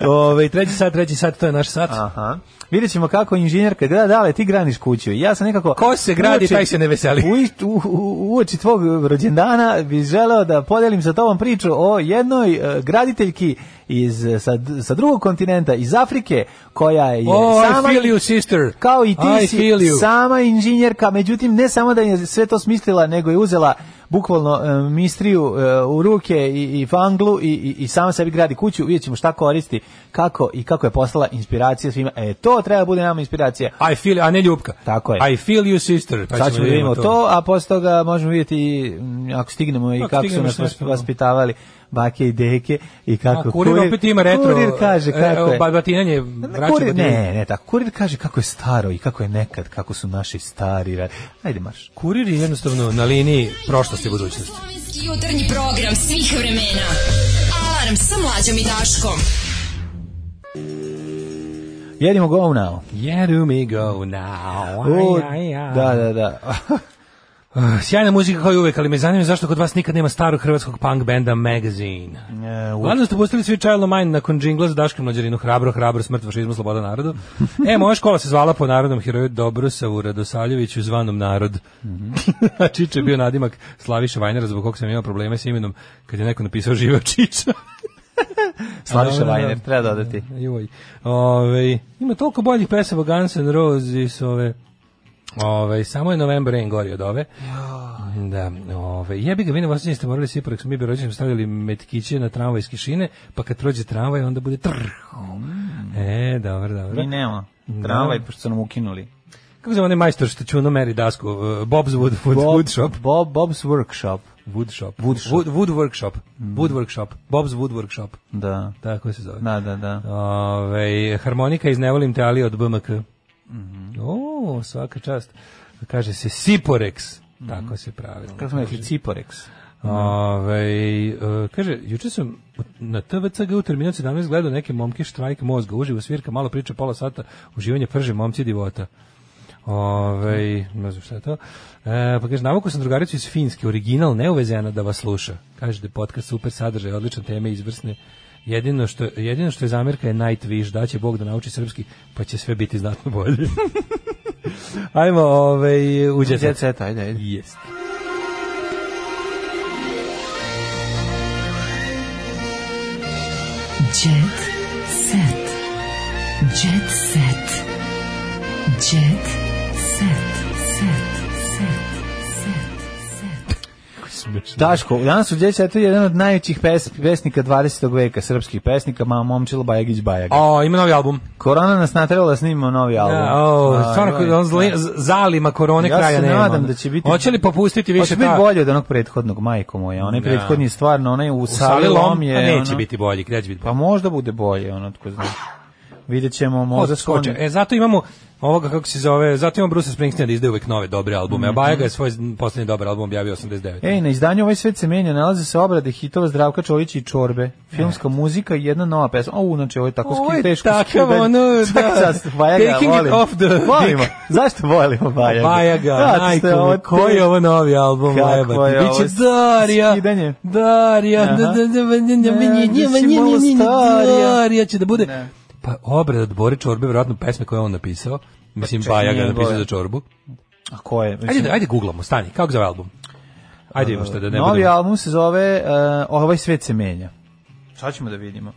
Ove, treći sat, treći sat, to je naš sat. Aha. Vidjet ćemo kako inženjerka, da, da, ali ti graniš kuću. Ja sam nekako... Ko se gradi, uoči- taj se ne veseli. U, ist- u, u, uoči tvog rođendana bi želeo da podelim sa tobom priču o jednoj e, graditeljki iz, e, sa, d- sa drugog kontinenta, iz Afrike, koja je O, Oh, I sama... feel you, sister. Kao i ti I si feel you. sama inženjerka, međutim ne samo da je sve to smislila, nego je uzela bukvalno e, mistriju e, u ruke i, i fanglu i, i, i sama sebi gradi kuću, vidjet ćemo šta koristi, kako i kako je poslala inspiracija svima. E, to treba da bude nama inspiracija. I feel, a ne ljubka. Tako je. I feel you sister. Pa Sad ćemo da vidimo to, a posle toga možemo vidjeti i, m, ako stignemo i Ako kako su stignemo, nas šta vas- ćemo. vaspitavali bake i deke i kako A kurir opet ima retro. Kurir kaže kako e, je. ba- batinanje, vraća kurir, batinanje. ne, ne, tako. Kurir kaže kako je staro i kako je nekad, kako su naši stari. ra- Ajde marš. Kurir je jednostavno na liniji prošlosti i budućnosti. Slovenski jutarnji program svih vremena. Alarm sa mlađom i Daškom. Jedimo go now. Jeru mi go now. O, Aj, aj, aj. Da, da, da. Ah, Sjajna muzika kao i uvek, ali me zanima zašto kod vas nikad nema starog hrvatskog punk benda Magazine. E, u- Uglavnom ste pustili svi Child of Mine nakon džingla za Daška i mlađarinu Hrabro, hrabro, smrt, fašizmu, sloboda narodu. E, moja škola se zvala po narodnom heroju Dobrosavu Radosaljeviću zvanom narod. A Čiče je bio nadimak Slaviša Vajnera zbog kog sam imao probleme s imenom kad je neko napisao živeo Čiča. Slaviša Dobro, Vajner, da. treba dodati. Joj. Ove, ima toliko boljih pesama Guns N' Roses, ove, ove, samo je November Rain gori od ove. Da, ove, jebi ga, vi na Vosanji ste morali svi, pored smo mi bi rođenim stavljali metkiće na tramvajske šine, pa kad prođe tramvaj, onda bude trr. E, dobro, dobro. Mi nema. Tramvaj, pošto su nam ukinuli. Kako se zove onaj majstor što čuno meri dasku? Uh, Bob's Wood, wood, wood Shop. Bob, Bob's Workshop. Wood Shop. Wood shop. Wood, wood Workshop. Wood Workshop. Bob's Wood Workshop. Da. Tako se zove. Da, da, da. Ove, Ovaj, harmonika iz Nevolim te ali od BMK. O, svaka čast. Kaže se Siporex. Tako se pravi. Kako smo rekli, Ciporex. Ove, e, kaže, juče sam u- na TVCG u Terminal 17 gledao neke momke štrajk mozga, uživo svirka, malo priča, pola sata, uživanje prže, momci divota. Ove, ne znam šta je to. E, pa kaže, navukao sam drugaricu iz Finjske, original, neuvezena da vas sluša. Kaže da je podcast super sadržaj, odlične teme, izvrsne. Jedino što, jedino što je zamjerka je Night Wish, da će Bog da nauči srpski, pa će sve biti znatno bolje. Ajmo, ovaj u Jet Set. Djeceta, ajde, ajde. Jest. Jet set. Jet set. Jet set. Set. Set. Set. Daško, danas u Djeci je jedan od najvećih pes, pesnika 20. veka, srpskih pesnika, ma momčilo Bajagić Bajag. O, ima novi album. Korona nas naterala da snimimo novi album. Da, o, A, stvarno, joj. on zli, z- zalima korone Ja kraja se nema. nadam da će biti... Hoće li popustiti više Hoće biti ta... bolje od onog prethodnog, majko moja. Onaj Da. prethodni je stvarno, onaj u, U sali lom, je... a neće ono- biti bolje, gde će biti Pa bolje? možda bude bolje, ono, tko zna. Vidjet ćemo, možda Hoće, skoče. E, zato imamo ovoga kako se zove, zato imamo Bruce Springsteen da izdaje uvek nove dobre albume, a Bajaga je svoj posljednji dobar album objavio 89. Ej, na izdanju ovaj svet se menja, nalaze se obrade hitova Zdravka Čolića i Čorbe, filmska muzika i jedna nova pesma. O, znači, ovo je tako Ovo ski, je teško takav, skiben. ono, Svaka da. čast, Bajaga, Taking it volim. off the Volimo. dick. Zašto volimo Pa Bajaga? Bajaga, Zato što je ovo najko, koji je ovo novi album? Kako jebate? je ovo Biće Darija, skidanje? Darija, Aha. da, da, da, da, da, Ne, da, biće da, malo da, starija. Darija će da bude. Ne. Pa Pa obrada od Bori Čorbe, vjerojatno pesme koje je on napisao. Mislim, čekaj, Bajaga je nije napisao Bora. za Čorbu. A ko je? Mislim, Ajde, da- ajde googlamo, stani, kako zove album? Ajde vidimo šta da ne novi budemo. album se zove uh, Ovaj svet se menja. Šta ćemo da vidimo?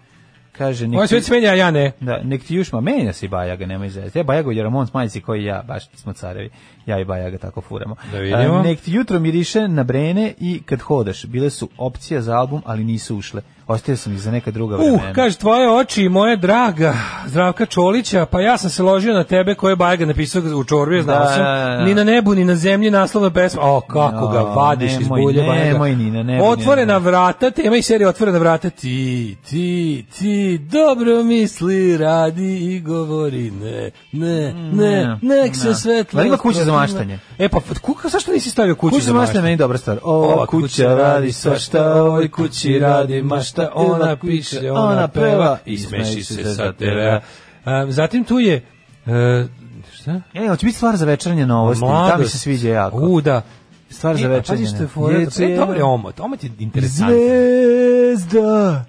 Kaže, nek Ovo je ti, svet se menja, a ja ne. da, nek ti jušma, menja se i Bajaga, nema izvesti. Ja Bajago jer on smajci koji ja, baš smo carevi. Ja i Bajaga tako furamo. Da vidimo. A, nek ti jutro miriše na brene i kad hodaš. Bile su opcija za album, ali nisu ušle. Ostavio sam ih za neka druga Uh, vremena. kaže, tvoje oči i moje draga, Zdravka Čolića, pa ja sam se ložio na tebe koje je Bajga napisao u čorbi, znao Da, sam, da, da. ni na nebu, ni na zemlji naslovna pesma, o, kako No, ga vadiš iz nemoj, bulje Bajega. nemoj, ni na nebu, ni na Otvorena nebu. vrata, tema i serija Otvorena vrata, ti, ti, ti, dobro misli, radi i govori, ne, ne, ne, nek se Mm, ne. svetlo. Da li ima kuća za maštanje? E, pa, kuka, zašto nisi stavio kuću Kuća za mašta je meni dobra stvar. Ova kuća radi svašta, ovoj kući radi mašta, ona piše, ona peva i smeši se sa tebe. Um, zatim tu je... e, šta? E, hoće biti stvar za večernje novosti, tam mi se sviđa jako. U, da. stvar za E, pa večernje. pazi što je fora, da pre dobro je omot. Omot je interesantan. Zvezda!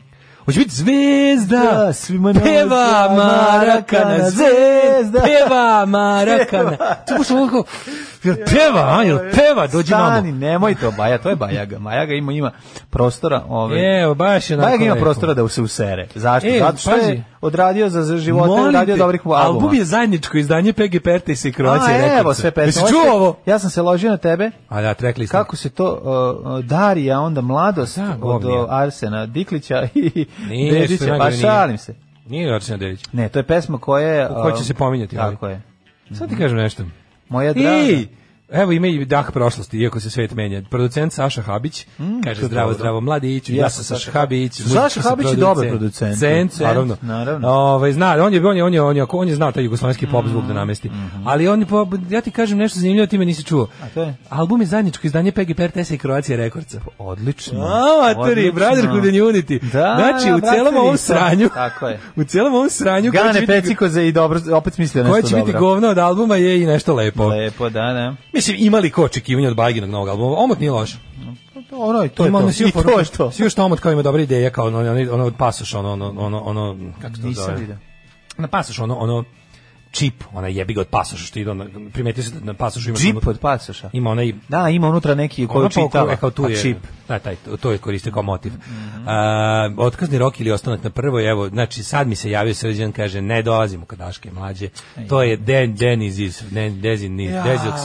Hoće biti zvezda, Da, svima na peva zvezda, Marakana, Marakana, zvezda, zvezda. peva Marakana. To je baš ovako, jel peva, a, jel peva, dođi namo. Stani, nemoj to, Baja, to je Bajaga. Bajaga ima, ima prostora. Ove. Evo, baš E, je onako Bajaga ima lepo. prostora da se usere. Zašto? E, Zato što pazi. je odradio za, za života, Molim odradio te, dobrih albuma. Album je zajedničko izdanje PG Pertesa i Kroacije. A, rekao evo sam. sve pesme. Jesi Ovo čuo sve- ovo? Ja sam se ložio na tebe. A da, track list. Kako se to uh, uh, Darija, onda mladost Da, od govnija. uh, Arsena Diklića i Nije, što je Dedića, pa najgore, šalim nije. se. Nije Arsena Dedić. Ne, to je pesma koja je... Ko će um, se pominjati, ali? Tako je. Sad ti kažem nešto. Moja draga. I, evo ima i dah prošlosti, iako se svet menja. Producent Saša Habić, kaže Mm, to je zdravo, dobro. zdravo, mladiću, ja, sam Saša Habić. Saša muzički sam Habić je dobar producent. Cent, Cent, naravno. naravno. Mm, Ovaj, zna, on je, on je, on je, on je, on je znao taj jugoslovenski pop zvuk da namesti. mhm. Ali on, je po, ja ti kažem nešto zanimljivo, ti me nisi čuo. A to je? Album je zajedničko izdanje PGP, RTS i Kroacija Rekordca. Odlično. A, materi, Odlično. Brotherhood and Unity. Da, znači, da, u celom brateri, ovom to- sranju, Tako je. u celom ovom sranju, koje će Gane biti- Pecikoze i dobro, opet smislio nešto koje dobro. će biti govno od albuma je i nešto lepo. Lepo, da, da. Mislim, imali ko očekivanja od Baginog novog albuma? Omot nije loš. Ono, i to je Ima ono to. svi I to poruku- je to. Svi još to omot kao ima dobra ideja, kao ono, ono, ono od pasoša, ono, ono, ono, ono, kako se to Nisam zove? vidio. Na pasoš, ono, ono, čip, ona jebi ga od pasoša, što ide, ono, primetio se da na pasošu ima... Džip samo- od pasoša. Ima onaj Da, ima unutra neki koju Ono pa oko- čitava. kao tu pa je, čip. Mhm. Da, taj, to- to je koristio kao motiv. A, otkazni rok ili ostanak na prvoj, evo, znači sad mi se javio srđan, kaže, ne dolazimo kod Daške mlađe. To je den, denizis, den, dezin, ja,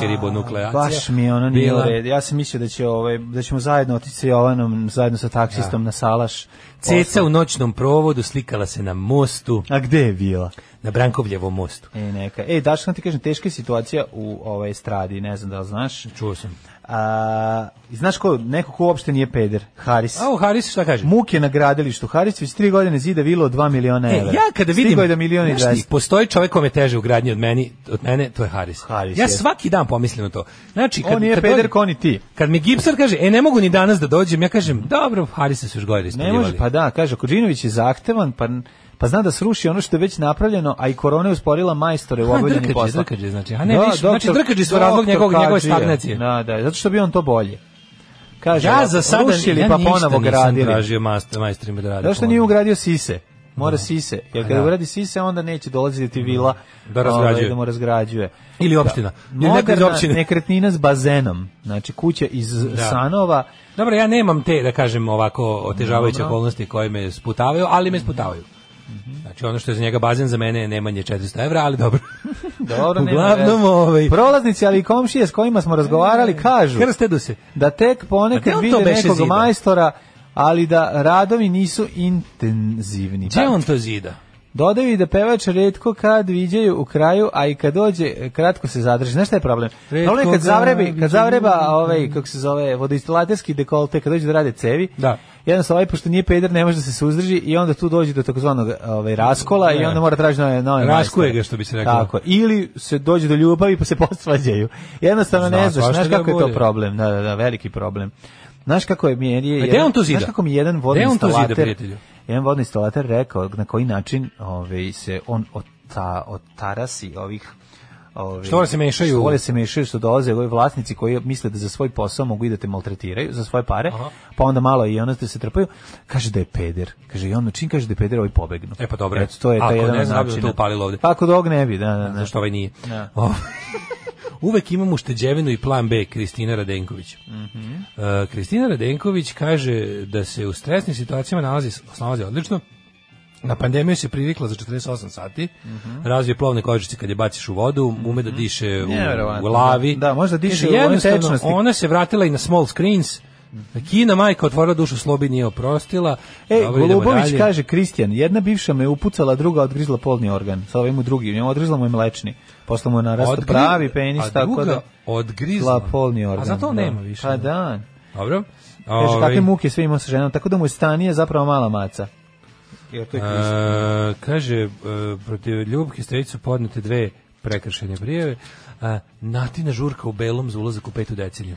dezoksiribonukleacija. Baš mi je ono nije u bila. redu. Ja sam mislio da, će, ovaj, da ćemo zajedno otići sa Jovanom, zajedno sa taksistom na salaš. Ceca Posla- u noćnom provodu slikala se na mostu, A gde je bila? na Brankovljevom mostu. E, neka. E, Daška, ti kažem, teška je situacija u ovoj stradi, ne znam da li znaš. Čuo sam. A, i znaš ko, neko ko uopšte nije peder, Haris. A o Haris šta kaže? Muk je na gradilištu. Haris već tri godine zida vilu od 2 miliona E, evra. ja kada vidim, Stigao je do miliona i znaš ti, 20. postoji čovjek kome je teže u gradnji od meni, od mene, to je Haris. Haris, ja jeste. svaki dan pomislim na to. Znači, kad, On nije kad peder, dođe- ko ni ti. Kad mi Gipsar kaže, e, ne mogu ni danas da dođem, ja kažem, dobro, Harisa su još gore Ne ispaljivali. može, pa da, kaže, Kođinović je zahtevan, pa, pa zna da sruši ono što je već napravljeno, a i korona je usporila majstore u A, obavljanju drkađe, posla. drkađe, znači. A ne, više, znači, drkađe su razlog doktor njegovog- njegove Kađije. stagnacije. Da, da, zato što bi on to bolje. Kaže, ja za sada rušili, ja pa ništa ponovo nisam gradili. tražio majstor, majstorima da rade. Zato što ponovo. nije ugradio sise. Mora sise. Jer kada Da. uradi sise, onda neće dolaziti vila Da ovaj, razgrađuje. da mu razgrađuje. Ili opština. Ili neko iz Moderna opštine. nekretnina s bazenom. Znači, kuća iz sanova. Dobro, ja nemam te, da kažem, ovako otežavajuće okolnosti koje me sputavaju, ali me sputavaju. Mhm. Znači, ono što je za njega bazen, za mene je nemanje 400 evra, ali dobro. Dobro, nema Uglavnom, veze. ovaj- Prolaznici, ali i komšije s kojima smo razgovarali, kažu Krstedu se. da tek A gde ponekad on vide to beše nekog zida? majstora, ali da radovi nisu intenzivni. Gde on to zida? Dodaju i da pevač redko kad viđaju u kraju, a i kad dođe, e, kratko se zadrži. Znaš šta je problem? Retko problem je kad ga zavrebi, viđaju. kad zavreba ovaj, kako se zove, vodoinstalaterski dekolte, kad dođe da rade cevi, Da. jednostavno ovaj, pošto nije peder, ne može da se suzdrži i onda tu dođe do takozvanog ovaj, raskola i Ne. onda mora tražiti nove, nove Raskuje majstore. ga, što bi se reklo. Tako, ili se dođe do ljubavi pa se posvađaju. Jednostavno Zna, ne znaš, svašta znaš kako ga je to bude. problem. Da, da, da, veliki problem. Znaš kako je meni je A E, gde jedan- on to zida? Znaš kako mi jedan Gde on to zida, vodoinstalater prijatelju? jedan vodni instalater rekao na koji način ovaj se on od ta od tarasi ovih ovaj Što one se mešaju? Što one se mešaju što dolaze ovi vlasnici koji misle da za svoj posao mogu i da te maltretiraju za svoje pare, pa onda malo i ono se trpaju. Kaže da je peder. Kaže i on čim kaže da je peder, ovaj pobegnu. E, pa dobro. Eto, to je Ako taj jedan ne od znam, bi načina. to upalilo ovde. Pa ako dog ne bi, da, da, da. zašto ovaj nije. Da. Ovaj, Uvek imam ušteđevinu i plan B, Kristina Radenković. Mhm. E, Kristina Radenković kaže da se u stresnim situacijama nalazi, snalazi odlično, Na pandemiju se privikla za 48 sati, Mhm. razvije plovne kožice kad je baciš u vodu, ume da diše u, Nevjerovatno, u lavi. Mhm. da. Da, može da diše Kaže, u onoj jednostavno, tečnosti. Mhm. Ona se vratila i na small screens, Kina majka otvorila dušu slobi nije oprostila. E, Dobro, idemo Golubović dalje. kaže, Kristijan, jedna bivša me upucala, druga odgrizla polni organ. Sad ovaj mu drugi, njemu odgrizla mu je mlečni. Posle mu je narastao Odgri- pravi penis, a tako druga da... odgrizla. Gla- polni organ. A zato on da. nema više. Pa da. Dobro. Kaže, Ovaj, kakve muke sve imao sa ženom, tako da mu je stanije zapravo mala maca. Jer to je Kristijan. e, kaže, e, protiv Ljubke Stević su podnete dve prekršene prijeve. A, natina žurka u belom za ulazak u petu deceniju.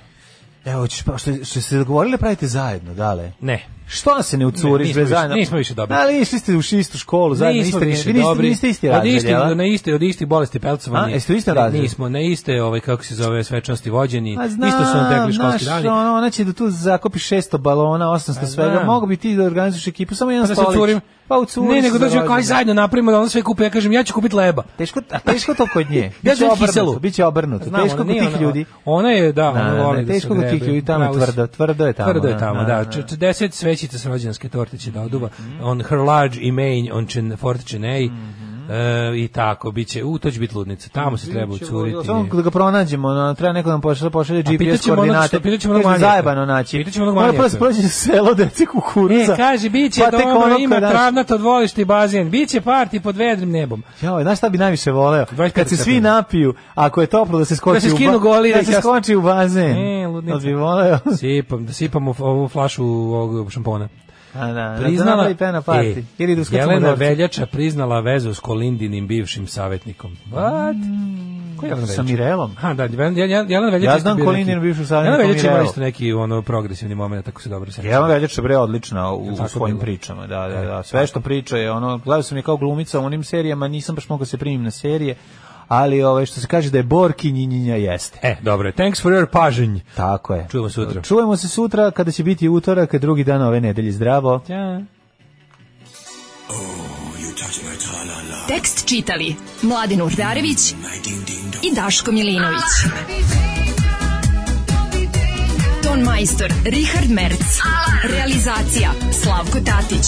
Evo, ćeš, pa, što, što ste dogovorili da pravite zajedno, dale? Ne. Što se ne Ne, ucuriš nismo bre više- zajedno? nismo više dobri. Ali išli ste u istu školu, zajedno nismo iste, više vi niste, dobri. Pa niste isti od razred, isti, jel? na isti, od istih bolesti pelcova. A, ni- jeste u istom ni- razredu? Nismo, na iste, ovaj, kako se zove, svečanosti vođeni. A Pa znam, isto su nam tekli školski znaš, dani. Ono, ona će da tu zakopi 600 balona, 800 svega, znam. mogu bi ti da organizuješ ekipu, samo jedan Pa da se stolić. curim, Pa u curi Ne, su nego dođemo za kao aj rođendan. zajedno napravimo da ona sve kupi, ja kažem ja ću kupiti leba. Teško, a teško to kod nje. Ja Biće ću kiselu. obrnuto, biće obrnuto. Znam, teško ona kod Pa nije ono- tih ona- ljudi. Ona je, da, Da, ona da, voli da, teško se kod tih grebe. ljudi tamo Pravo si. tvrdo, tvrdo je tamo, Tvrdo je da, tamo, da, da. da. Mhm. 40 svećica s rođendanske torte će da oduva. On her large imain, on će fort čenej. Mhm. E, i tako biće u to će biti ludnica tamo se treba ucuriti Samo da ga pronađemo, no, treba neko da nam pošalje, pošalje pitaćemo GPS onog što- koordinate. pitaćemo onog Kažu, manijaka. Zajebano znači." naći. Pitaćemo onog Mora manijaka. prosto proći selo deci kukuruca. E, kaže, bit će Pa tek dobro, ono ima kada- travnato dvorište i bazen, bit će parti pod vedrim nebom. Jao, znaš šta bi najviše voleo? 25 Kad se svi stepeni. napiju, ako je toplo da se skoči Da se u ba- skinu goli, da da se jasno. skoči u bazen. E, ludnica. To bi voleo. Sipam, da sipam u f- ovu flašu ovog šampona. A, da, da, Priznala, E, napravi pena party. Ili da uskačemo Jelena gorci. Veljača priznala vezu s Kolindinim bivšim savjetnikom. What? Ko je Jelena Veljača? Sa Mirelom. Ha, da, Jelen- Jelen- Jelena Veljača. Ja isto znam bio Kolindinu neki- bivšu savjetniku Jelena Veljača ima Mirelu. isto neki ono progresivni moment, tako se dobro sećam. Jelena Veljača bre odlična u, u tako svojim bilo? pričama, da, da, da. Sve što priča je ono, gledao sam je kao glumica u onim serijama, nisam baš mogao se primim na serije, ali ovaj što se kaže da je Borki njinjinja jeste. E, dobro, je. thanks for your pažnj. Tako je. Čujemo sutra. Čujemo se sutra kada će biti utorak, drugi dan ove nedelje. Zdravo. Ćao. Tekst čitali Mladin Urdarević i Daško Milinović. Ton majstor Richard Merc. Realizacija Slavko Tatić.